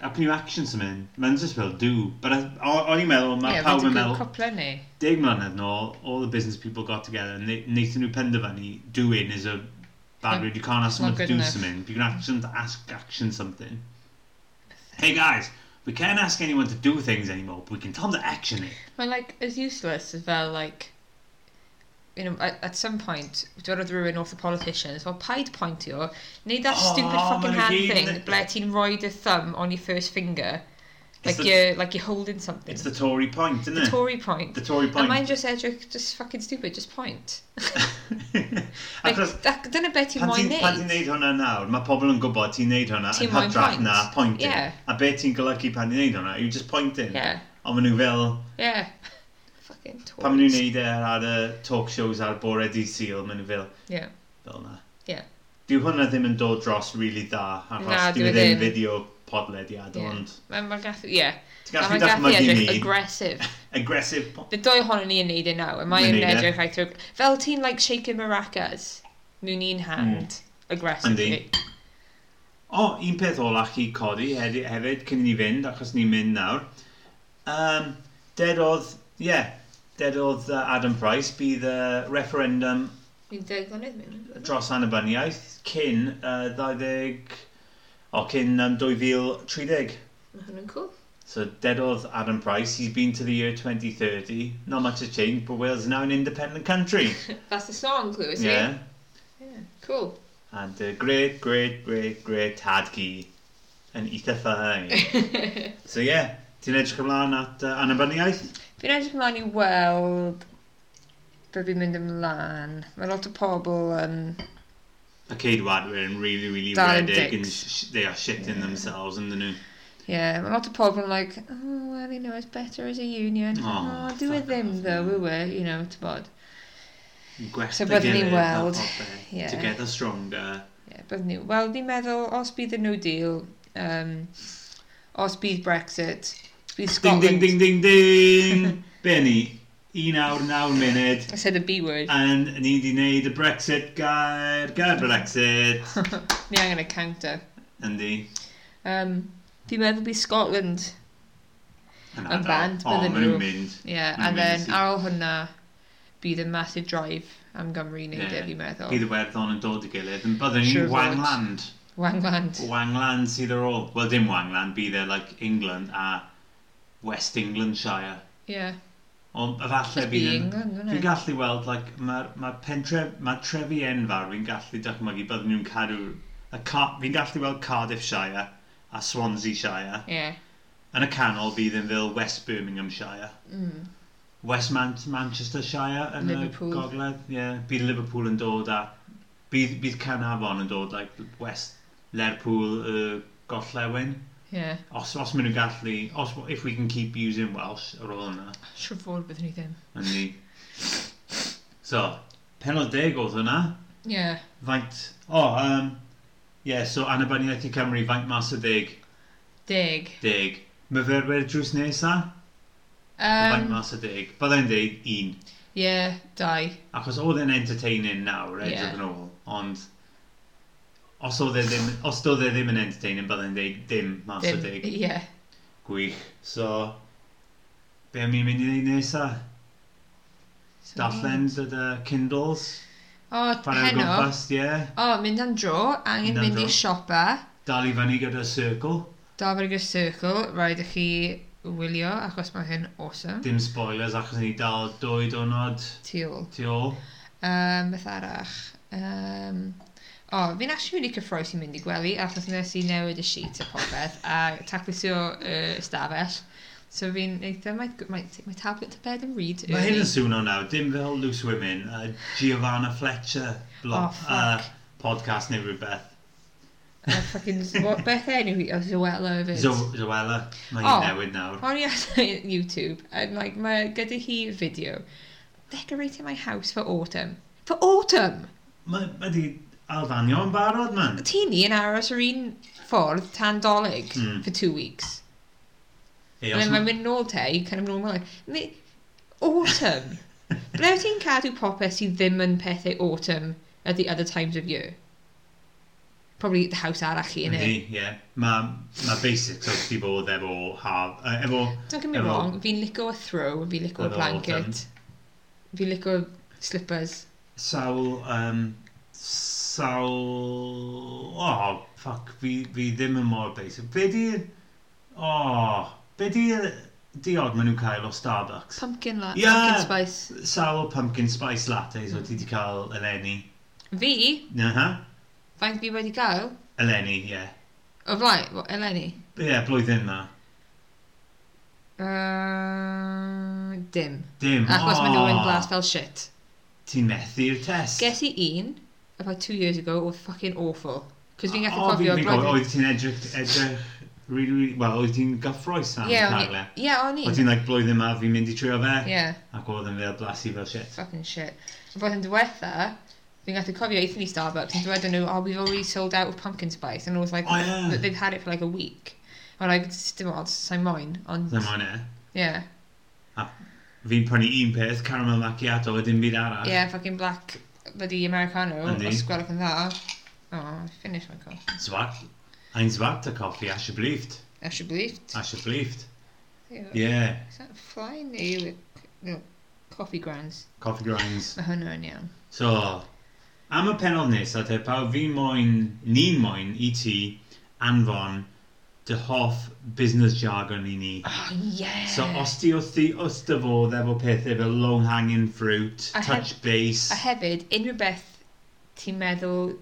Speaker 2: how can you action something? Mae'n just fel do. But I- o- o'n i'n meddwl, mae
Speaker 3: Yeah,
Speaker 2: pawb
Speaker 3: wedi
Speaker 2: yn
Speaker 3: gwybod
Speaker 2: meddwl,
Speaker 3: cwpla neu?
Speaker 2: deg mlynedd nôl, all the business people got together and they, wnaethon nhw penderfynu, doing is a bad
Speaker 3: Mm,
Speaker 2: word. You can't ask someone
Speaker 3: not
Speaker 2: to
Speaker 3: good
Speaker 2: do
Speaker 3: enough.
Speaker 2: something. You can ask them to ask action something. Hey guys, we can't ask anyone to do things anymore, but we can tell them to action it.
Speaker 3: Mae'n like, as useless as well, like, you know, at, at some point, dwi'n roedd rhywun wrth y politicians, well, paid pointio, neud that
Speaker 2: Oh,
Speaker 3: stupid
Speaker 2: ma'
Speaker 3: fucking
Speaker 2: nhw
Speaker 3: hand
Speaker 2: gyd yn
Speaker 3: thing
Speaker 2: neud-
Speaker 3: ble ti'n rhoi dy thumb on your first finger, like,
Speaker 2: It's the-
Speaker 3: you're, like you're holding something.
Speaker 2: It's the Tory point, isn't
Speaker 3: The
Speaker 2: it?
Speaker 3: Tory point.
Speaker 2: the Tory
Speaker 3: And
Speaker 2: point.
Speaker 3: mine just edrych, just fucking stupid, just point.
Speaker 2: *laughs*
Speaker 3: Like,
Speaker 2: Achos
Speaker 3: that, dyna beth ti'n
Speaker 2: pan
Speaker 3: moyn
Speaker 2: ti'n pan ti'n
Speaker 3: neud.
Speaker 2: neud hwnna nawr, mae pobl yn gwybod ti'n neud hwnna
Speaker 3: Ti'n
Speaker 2: yn
Speaker 3: moyn
Speaker 2: hytrach
Speaker 3: point.
Speaker 2: na pointing.
Speaker 3: Yeah.
Speaker 2: A be ti'n golygu pan ti'n neud hwnna, you're just pointing.
Speaker 3: Yeah,
Speaker 2: Ond maen nhw fel,
Speaker 3: yeah. *laughs* fucking Tories.
Speaker 2: pan maen nhw'n neud e ar y talk shows ar bore di syl, maen nhw fel,
Speaker 3: Yeah,
Speaker 2: fel na.
Speaker 3: yeah.
Speaker 2: Dyw hwnna ddim yn dod dros really dda,
Speaker 3: Na,
Speaker 2: achos dyw
Speaker 3: dyw e
Speaker 2: e ddim
Speaker 3: ddim.
Speaker 2: fideo podlediad,
Speaker 3: Ie.
Speaker 2: ond
Speaker 3: Mae'n ma gathu, yeah.
Speaker 2: ti'n
Speaker 3: A
Speaker 2: gallu
Speaker 3: mae'n gathu
Speaker 2: dychmygu
Speaker 3: edrych
Speaker 2: ni,
Speaker 3: aggressive.
Speaker 2: aggressive po-
Speaker 3: The doi ohonon ni yn neud e nawr, a mae
Speaker 2: Mae'n
Speaker 3: yn
Speaker 2: neud e.
Speaker 3: edrych like, through... Fel ti'n, like, shaking maracas, mewn un hand,
Speaker 2: Mm.
Speaker 3: aggressively.
Speaker 2: O, un peth olach i codi hefyd, hefyd cyn i ni fynd, achos ni'n mynd nawr. Um, dead oedd, ie, yeah, dead oedd uh, Adam Price, bydd y referendum
Speaker 3: Fi'n deg mlynedd mewn.
Speaker 2: dros annibyniaeth cyn uh, 20, o cyn um, 2030.
Speaker 3: Mae hwn yn cool.
Speaker 2: So dead oedd Adam Price, he's been to the year 2030. Not much has changed, but Wales is now an independent country.
Speaker 3: That's the song, Clw, *laughs* is
Speaker 2: yeah.
Speaker 3: it? Yeah. Cool.
Speaker 2: And uh, great, great, great, great tadgi
Speaker 3: *laughs*
Speaker 2: yn eitha ffai. so ie, yeah, ti'n edrych ymlaen at uh, annibyniaeth?
Speaker 3: Fi'n edrych ymlaen i weld be fi'n mynd ymlaen. Mae lot o pobl yn...
Speaker 2: A ceidwadwyr yn really, really
Speaker 3: Dal yn
Speaker 2: redig and
Speaker 3: dicks.
Speaker 2: sh- they are shitting themselves in the new.
Speaker 3: Yeah, mae lot o pobl yn like, oh, well, you know, it's better as a union.
Speaker 2: Oh,
Speaker 3: oh do it
Speaker 2: fuck
Speaker 3: ddim,
Speaker 2: off,
Speaker 3: though,
Speaker 2: man.
Speaker 3: we were, you know, to bod.
Speaker 2: Gwell
Speaker 3: So byddwn ni'n weld, ie.
Speaker 2: Together stronger.
Speaker 3: Yeah, bydd nhw. Wel, ni'n meddwl, os bydd y no deal, um, os bydd Brexit, bydd
Speaker 2: Ding, ding,
Speaker 3: Scotland...
Speaker 2: ding, ding,
Speaker 3: *laughs*
Speaker 2: ding. Benny, un awr, naw munud.
Speaker 3: I said the B word.
Speaker 2: And ni di wneud y Brexit gair, gair
Speaker 3: *laughs*
Speaker 2: Brexit.
Speaker 3: Ni angen y counter.
Speaker 2: Yndi.
Speaker 3: Um, fi'n meddwl bydd Scotland
Speaker 2: Yn
Speaker 3: Yn
Speaker 2: adal.
Speaker 3: band,
Speaker 2: O,
Speaker 3: bydden
Speaker 2: ma' nhw'n
Speaker 3: nhw.
Speaker 2: mynd.
Speaker 3: Yeah,
Speaker 2: Mae'n
Speaker 3: and then
Speaker 2: amazing.
Speaker 3: ar ôl hwnna, bydd y massive drive am Gymru wneud
Speaker 2: Ie.
Speaker 3: yeah. e, fi'n meddwl.
Speaker 2: Bydd y werddon yn dod i gilydd. Yn byddwn
Speaker 3: Siŵr
Speaker 2: ni'n
Speaker 3: fod.
Speaker 2: Wangland.
Speaker 3: Wangland.
Speaker 2: Wangland sydd ar ôl. Wel, dim Wangland, bydd e like England a West Englandshire.
Speaker 3: Yeah.
Speaker 2: Ond efalle
Speaker 3: Just
Speaker 2: bydd
Speaker 3: be
Speaker 2: yn...
Speaker 3: England, wouldn't
Speaker 2: Fi'n
Speaker 3: it?
Speaker 2: gallu weld, like, mae'r ma pentref, mae trefi enfawr, fi'n gallu dychmygu byddwn nhw'n cadw... y Ca- Fi'n gallu weld Cardiffshire a Swanseashire.
Speaker 3: Yeah.
Speaker 2: Yn y canol fydd yn fel West Birminghamshire.
Speaker 3: Mm.
Speaker 2: West Man Manchestershire yn
Speaker 3: Liverpool.
Speaker 2: y gogledd. Yeah. Bydd Liverpool yn dod a... Bydd, bydd Canafon yn dod, like, West Lerpool, y uh, Gollewin.
Speaker 3: Yeah.
Speaker 2: Os, os maen nhw'n gallu... Os, if we can keep using Welsh ar ôl yna.
Speaker 3: Siwr fod byddwn ni ddim.
Speaker 2: yn ni. So, penod deg oedd hwnna.
Speaker 3: Yeah.
Speaker 2: Faint... O, oh, um, yeah, so Anabaniaeth i Cymru, faint mas o deg.
Speaker 3: Dig.
Speaker 2: Deg. Myfyrwyr drws nesa? Um, faint
Speaker 3: Um,
Speaker 2: mas o deg. Byddai'n dweud un.
Speaker 3: yeah, dau.
Speaker 2: Achos oedd e'n entertaining nawr, edrych
Speaker 3: Ie.
Speaker 2: yeah. yn ôl. Ond, os oedd e ddim, os doedd e ddim yn entertaining, byddai'n dweud dim mas o
Speaker 3: Dim.
Speaker 2: deg.
Speaker 3: Yeah.
Speaker 2: Gwych. So, be am i'n mynd i ddweud nesa?
Speaker 3: So-
Speaker 2: Darllen dyda Kindles?
Speaker 3: O,
Speaker 2: Pan o'r
Speaker 3: Mm. heno.
Speaker 2: gwmpas, ie. Yeah.
Speaker 3: O, mynd am dro. Angen
Speaker 2: Mynd am
Speaker 3: mynd i
Speaker 2: dro.
Speaker 3: siopa.
Speaker 2: dal i fyny gyda Circle.
Speaker 3: Dafod gyda Circle. Rhaid i chi wylio, achos mae hyn awesome.
Speaker 2: Dim spoilers achos ni dal dwy donod
Speaker 3: Tu ôl.
Speaker 2: tu ôl.
Speaker 3: Um, beth arach? Um, o, oh, fi'n actually really cyffroes i mynd i gwely, achos nes i newid y sheet a popeth, a taclusio uh, ystafell. So fi'n eitha, mae, mae, mae tablet to bed yn read.
Speaker 2: Mae hyn yn swno nawr, dim fel Loose Women, uh, Giovanna Fletcher blog,
Speaker 3: Oh, fuck.
Speaker 2: uh, podcast neu rhywbeth.
Speaker 3: Uh, fucking, what, beth enw i? O, Zoella o fyd.
Speaker 2: Zo Zoella, mae
Speaker 3: Oh.
Speaker 2: hi'n newid nawr.
Speaker 3: O'n i ar *laughs* YouTube, and like, mae gyda hi fideo, decorating my house for autumn. For autumn!
Speaker 2: Mae ma di alfanio yn barod, man.
Speaker 3: Ti ni yn aros yr un ffordd tan dolyg
Speaker 2: Mm.
Speaker 3: for two weeks.
Speaker 2: Ei, os
Speaker 3: And then
Speaker 2: ma-
Speaker 3: mae'n mynd nôl te i kind of normal life. Mi- Autumn.
Speaker 2: *laughs*
Speaker 3: Ble wyt ti'n cadw popeth sydd ddim yn pethau autumn at the other times of year? Probably the house arall i yn
Speaker 2: Yndi,
Speaker 3: e.
Speaker 2: ie. Mae ma basics oedd di bod efo haf, uh, efo
Speaker 3: Don't get me
Speaker 2: Efo-
Speaker 3: wrong, fi'n lico a throw, fi'n lico a
Speaker 2: Efo autumn.
Speaker 3: blanket, fi'n lico slippers.
Speaker 2: sawl, um, sawl, oh, fuck, fi, fi ddim yn mor basic. Be di, oh, be di diog maen nhw'n cael o Starbucks?
Speaker 3: Pumpkin latte,
Speaker 2: Ie!
Speaker 3: pumpkin spice.
Speaker 2: Sawl pumpkin spice lattes o ti di cael eleni.
Speaker 3: Fi,
Speaker 2: Aha,
Speaker 3: faint fi wedi gael,
Speaker 2: eleni, ie. Yeah.
Speaker 3: o flaen, what, Eleni?
Speaker 2: Ie, yeah, blwyddyn na.
Speaker 3: Uh, dim.
Speaker 2: Dim,
Speaker 3: Achos oh. maen nhw'n
Speaker 2: oh,
Speaker 3: blas fel shit.
Speaker 2: Ti'n methu'r test.
Speaker 3: Ges i un, about two years ago, oedd fucking awful. Cos fi'n gallu
Speaker 2: O,
Speaker 3: cofio...
Speaker 2: fi'n
Speaker 3: blwyddyn-
Speaker 2: cofio, Oedd ti'n edrych, edrych, really, really, well, oedd ti'n gyffroes am
Speaker 3: Ie, o'n i.
Speaker 2: Carle.
Speaker 3: Ie, o'n
Speaker 2: Oedd
Speaker 3: i.
Speaker 2: ti'n like blwyddyn ma fi'n mynd i trio fe.
Speaker 3: Ie,
Speaker 2: Ac oedd yn fel blasu fel shit.
Speaker 3: fucking shit. Fod yn diwetha, fi'n gallu cofio eithon ni Starbucks, yn diwetha nhw, oh, we've already sold out of pumpkin spice. And it was like,
Speaker 2: O, ie.
Speaker 3: they've had it for like a week. Or like, dim ond, sa'n moyn, ond...
Speaker 2: Dyma hwnna.
Speaker 3: Ie,
Speaker 2: Fi'n prynu un peth, caramel macchiato, a dim byd arall.
Speaker 3: ie, fucking black, bloody Americano,
Speaker 2: Yndi.
Speaker 3: os gwelwch yn dda. Oh, finish my coffee.
Speaker 2: Zwart. Ein zwart o coffi, alsjeblieft.
Speaker 3: Alsjeblieft.
Speaker 2: Alsjeblieft.
Speaker 3: Ie.
Speaker 2: Ie. Yeah.
Speaker 3: Is that fly neu... No, coffee grinds.
Speaker 2: Coffee grinds.
Speaker 3: Mae hwnna yn iawn.
Speaker 2: So, am y penod nesaf, te pawb, fi moyn, ni'n moyn i ti anfon dy hoff business jargon i ni.
Speaker 3: Oh, yeah.
Speaker 2: So, os ti wrth i os dy fodd efo pethau fel long hanging fruit,
Speaker 3: A
Speaker 2: touch
Speaker 3: A
Speaker 2: base,
Speaker 3: hefyd, unrhyw beth ti'n meddwl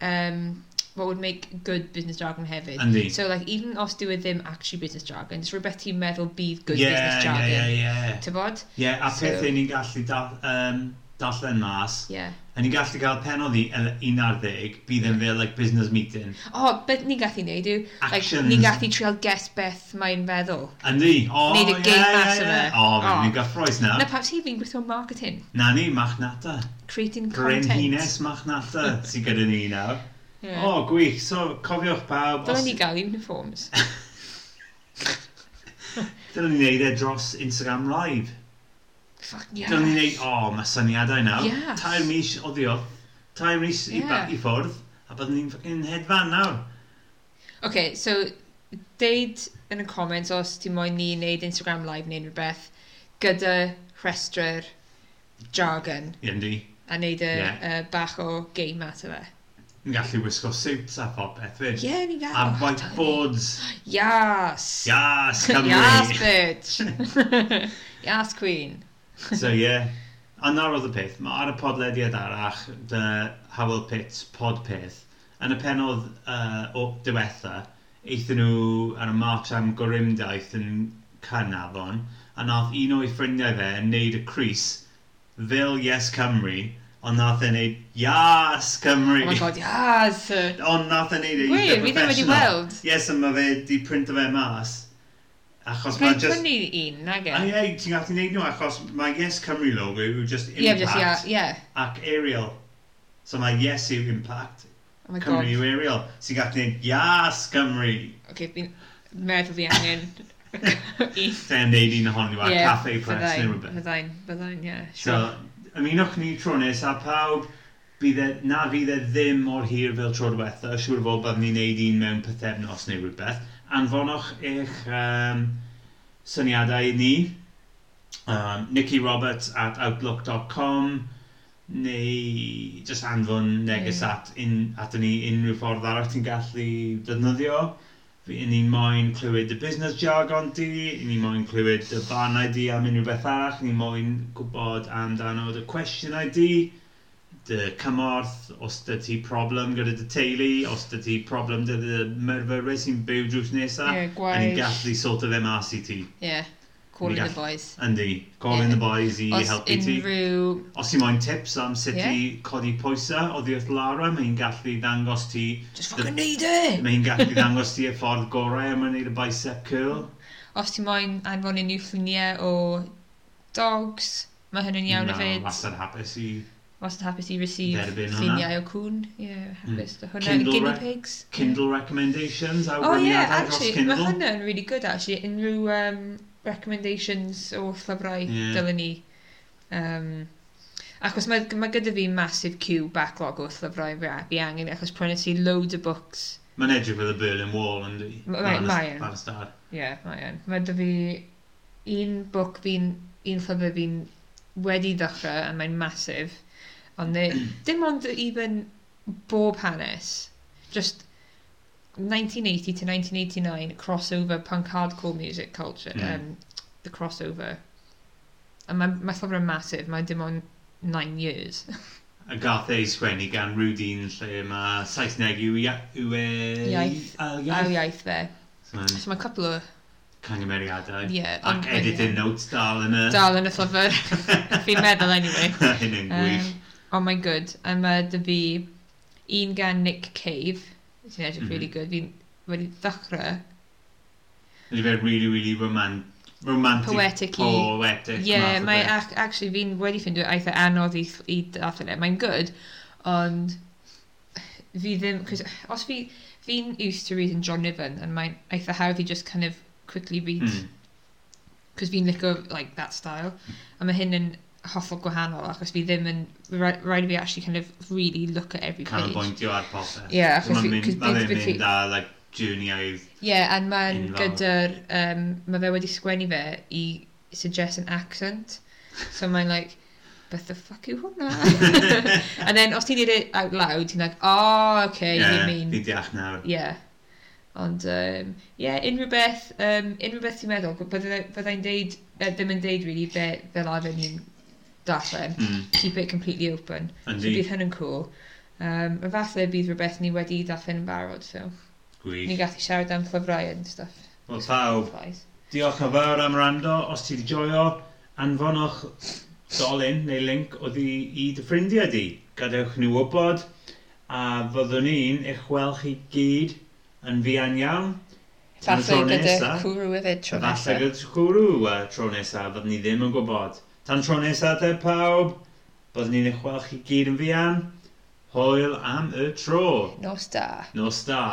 Speaker 3: um, what would make good business jargon hefyd.
Speaker 2: Yndi.
Speaker 3: So, like, even os dyw e ddim actually business jargon, it's rhywbeth ti'n meddwl bydd good
Speaker 2: Yeah,
Speaker 3: business
Speaker 2: yeah,
Speaker 3: jargon.
Speaker 2: yeah, yeah.
Speaker 3: Tybod?
Speaker 2: Yeah, a
Speaker 3: So-
Speaker 2: pethau ni'n gallu da- um, darllen mas.
Speaker 3: Yeah.
Speaker 2: A ni'n gallu cael penod i yy, 11, bydd yn fel, like, business meeting.
Speaker 3: Oh, beth ni'n gallu neud yw, like,
Speaker 2: Actions.
Speaker 3: ni'n gallu trial guess beth mae'n feddwl.
Speaker 2: Yndi, o,
Speaker 3: Neud y
Speaker 2: ie,
Speaker 3: game
Speaker 2: ie,
Speaker 3: mas
Speaker 2: ie.
Speaker 3: o fe.
Speaker 2: O,
Speaker 3: eh? O.
Speaker 2: ni'n gyffroes na.
Speaker 3: Na pam sy'n fi'n gweithio yn marketing,
Speaker 2: Na ni, machnata.
Speaker 3: creating content.
Speaker 2: Brenhines
Speaker 3: *laughs*
Speaker 2: machnata sy'n gyda ni nawr.
Speaker 3: Yeah.
Speaker 2: O, gwych. So, cofiwch pawb.
Speaker 3: Dylen ni gael
Speaker 2: *laughs*
Speaker 3: uniforms.
Speaker 2: Dylen ni wneud e dros Instagram Live.
Speaker 3: Fuck yeah.
Speaker 2: Dylen ni wneud, o, oh, mae syniadau nawr.
Speaker 3: Yes.
Speaker 2: Tair mis oddio. Tair mis i, ba-
Speaker 3: Yeah.
Speaker 2: i ffwrdd. A byddwn ni'n ffocin hedfan nawr.
Speaker 3: Okay, so, deud yn y comments os ti moyn ni wneud Instagram live neu unrhyw beth gyda rhestr jargon
Speaker 2: Yndi.
Speaker 3: a wneud y
Speaker 2: Ie.
Speaker 3: yeah. bach o game at o fe.
Speaker 2: Ni'n gallu wisgo suits a pop ethfyd.
Speaker 3: Ie, ni gael.
Speaker 2: A whiteboards.
Speaker 3: Yes. *laughs*
Speaker 2: Yes, Cymru.
Speaker 3: yes, bitch. *laughs* yes, queen.
Speaker 2: So yeah, a nawr oedd y peth, mae ar y podlediad arach, dy Howell Pitts podpeth, yn y penodd uh, o diwetha, eithon nhw ar y march am gorimdaith yn Carnarfon, a nath un o'i ffrindiau fe yn neud y Cris fel Yes Cymru, ond nath e'n neud Yes Cymru.
Speaker 3: Oh
Speaker 2: *laughs*
Speaker 3: my god, yes.
Speaker 2: Ond nath e'n neud e
Speaker 3: Gwir,
Speaker 2: eitha
Speaker 3: fi ddim wedi
Speaker 2: professional.
Speaker 3: weld.
Speaker 2: Yes, a mae fe di print o fe mas. Achos mae
Speaker 3: Pa'n
Speaker 2: just...
Speaker 3: prynu un, nag
Speaker 2: A
Speaker 3: e?
Speaker 2: ie, ti'n gallu neud nhw achos mae Yes Cymru logo yw just
Speaker 3: Ie, just,
Speaker 2: impact
Speaker 3: ie, ie.
Speaker 2: ac aerial. So mae Yes yw impact,
Speaker 3: Oh my
Speaker 2: Cymru
Speaker 3: god.
Speaker 2: yw aerial. So ti'n gallu neud Yes Cymru.
Speaker 3: Okay, fi'n meddwl fi angen un.
Speaker 2: Ten neud un ohonyn nhw a
Speaker 3: Ie,
Speaker 2: Cafe Press neu
Speaker 3: fydda'n-
Speaker 2: rhywbeth.
Speaker 3: Fydda'n, fydda'n, ie.
Speaker 2: So,
Speaker 3: sure.
Speaker 2: ymunwch ni tro nes a pawb bydd e, na fydd e ddim mor hir fel tro diwetha, siŵr o fod byddwn ni'n neud un mewn pethefnos neu rhywbeth. Anfonwch eich um, syniadau i ni. Um, Nicky Roberts at outlook.com neu just anfon neges
Speaker 3: Mm.
Speaker 2: at, in, at ni unrhyw ffordd arall ti'n gallu defnyddio. Fi yn ni'n moyn clywed y business jargon di, yn ni'n moyn clywed y banau di am unrhyw beth arall, yn ni'n moyn gwybod amdano dy cwestiynau di, dy cymorth, os dy ti problem gyda dy teulu, os dy ti problem dy dy myrfyrau sy'n byw drws nesaf,
Speaker 3: Ie,
Speaker 2: a ni'n
Speaker 3: gwaith.
Speaker 2: gallu sort of mas i ti.
Speaker 3: Yeah, calling the
Speaker 2: gall-
Speaker 3: boys.
Speaker 2: Yndi, call in
Speaker 3: Ie.
Speaker 2: the boys i
Speaker 3: Os
Speaker 2: helpu ti.
Speaker 3: unrhyw...
Speaker 2: Os ti'n moyn tips am sut
Speaker 3: Ie.
Speaker 2: i codi pwysau o ddiwrth Lara, mae'n gallu ddangos ti...
Speaker 3: Just
Speaker 2: the-
Speaker 3: fucking need it!
Speaker 2: Mae'n gallu ddangos ti y ffordd gorau am yn neud y bicep curl.
Speaker 3: Os ti moyn anfon unrhyw ffliniau o dogs, mae hynny'n iawn
Speaker 2: Na,
Speaker 3: hefyd.
Speaker 2: wastad hapus i
Speaker 3: Wastad hapus i receive
Speaker 2: Dderbyn hwnna.
Speaker 3: ffliniau o cwn. Ie, yeah, hapus. Mm. Hwnna,
Speaker 2: Kindle
Speaker 3: guinea
Speaker 2: rec-
Speaker 3: pigs.
Speaker 2: Kindle recommendations a
Speaker 3: Oh
Speaker 2: wyniadau
Speaker 3: yeah,
Speaker 2: dros
Speaker 3: actually, mae
Speaker 2: Kindle.
Speaker 3: hwnna'n really good actually. Unrhyw um, recommendations o llyfrau
Speaker 2: Ie.
Speaker 3: dylen ni. Um, achos mae, mae gyda fi massive queue backlog o llyfrau fi fi angen, achos prynu si loads o books
Speaker 2: Mae'n edrych fel y Berlin Wall yn dwi.
Speaker 3: Ma- ma- mae e. yn.
Speaker 2: Mae'n ystad.
Speaker 3: Ie, yeah, mae yn. Mae dy fi un bwc fi'n, un llyfr fi'n wedi ddechrau a mae'n masif.
Speaker 2: *clears throat*
Speaker 3: Ond ne- dim ond even bob hanes. Just 1980 to 1989 crossover punk hardcore music culture.
Speaker 2: Mm.
Speaker 3: Um, the crossover. A mae ma llyfr yn masif, mae dim ond 9 years.
Speaker 2: Y gath ei sgwennu gan Rwdyn lle mae Saesneg yw ia- yw e...
Speaker 3: Iaith.
Speaker 2: Ail
Speaker 3: *laughs* Aw
Speaker 2: iaith.
Speaker 3: iaith fe.
Speaker 2: So mae'n
Speaker 3: So mae cwpl o
Speaker 2: cangymeriadau.
Speaker 3: Ie, ond-
Speaker 2: Ac editing notes dal yn y...
Speaker 3: dal yn y
Speaker 2: *laughs*
Speaker 3: llyfr. Fi'n meddwl anyway.
Speaker 2: Hyn yn gwych.
Speaker 3: Um, oh my good. A mae dy fi un gan Nick Cave. Sy'n edrych mm.
Speaker 2: Mhm.
Speaker 3: really good. Fi'n wedi ddechrau.
Speaker 2: Ydy fe really, really roman- romantic.
Speaker 3: Poetic-y.
Speaker 2: Poetic. math
Speaker 3: Ie, yeah,
Speaker 2: o
Speaker 3: mae
Speaker 2: beth.
Speaker 3: ac, actually fi'n wedi ffindio eitha anodd i, th- i darllen e. Mae'n good, ond fi ddim... 'cause Os fi... Fi'n used to reading John Niven, and mae'n eitha hawdd i just kind of quickly read.
Speaker 2: Mm.
Speaker 3: Cos fi'n licio, like, that style. A mae hyn yn hollol gwahanol, achos fi ddim yn... ra- Rhaid i fi actually kind of really look at every page.
Speaker 2: Canolbwyntio ar popeth.
Speaker 3: Ie, achos
Speaker 2: Mae'n
Speaker 3: fi-
Speaker 2: mynd-
Speaker 3: 'cause
Speaker 2: ma' fe'n
Speaker 3: basically-
Speaker 2: mynd ar, like, juniaidd.
Speaker 3: Ie, yeah, a mae'n
Speaker 2: Enfawr.
Speaker 3: gyda'r... Um, mae fe wedi sgwennu fe i suggest an accent. So mae'n like, beth the fuck yw hwnna? and then, os ti'n dweud it out loud, ti'n like, oh, okay,
Speaker 2: Ie,
Speaker 3: you mean...
Speaker 2: fi deall nawr.
Speaker 3: Yeah. Ond, um, yeah, unrhyw beth, um, unrhyw beth ti'n meddwl, bydda- byddai'n deud, uh, ddim yn deud really fe, fel arfer ni'n darllen,
Speaker 2: Mm.
Speaker 3: keep it completely open. So
Speaker 2: Yndi.
Speaker 3: bydd hyn yn cool. Um, falle bydd rhywbeth ni wedi darllen yn barod, so ni
Speaker 2: Gwych.
Speaker 3: gallu siarad am llyfrau and stuff.
Speaker 2: Wel pawb,
Speaker 3: Supplies.
Speaker 2: diolch yn fawr am rando. Os ti wedi joio, anfonwch dolun neu link oddi i dy ffrindiau di. Gadewch nhw wybod. A fyddwn ni'n eich weld chi gyd yn fuan iawn. Tan y
Speaker 3: Falle
Speaker 2: tro
Speaker 3: gyda
Speaker 2: nesa.
Speaker 3: cwrw hefyd tro
Speaker 2: Falle
Speaker 3: nesaf.
Speaker 2: gyda cwrw a tro nesaf, byddwn ni ddim yn gwybod. Tan tro nesaf te pawb, byddwn ni'n eich weld chi gyd yn fuan. Hwyl am y tro.
Speaker 3: Nos da.
Speaker 2: Nos da.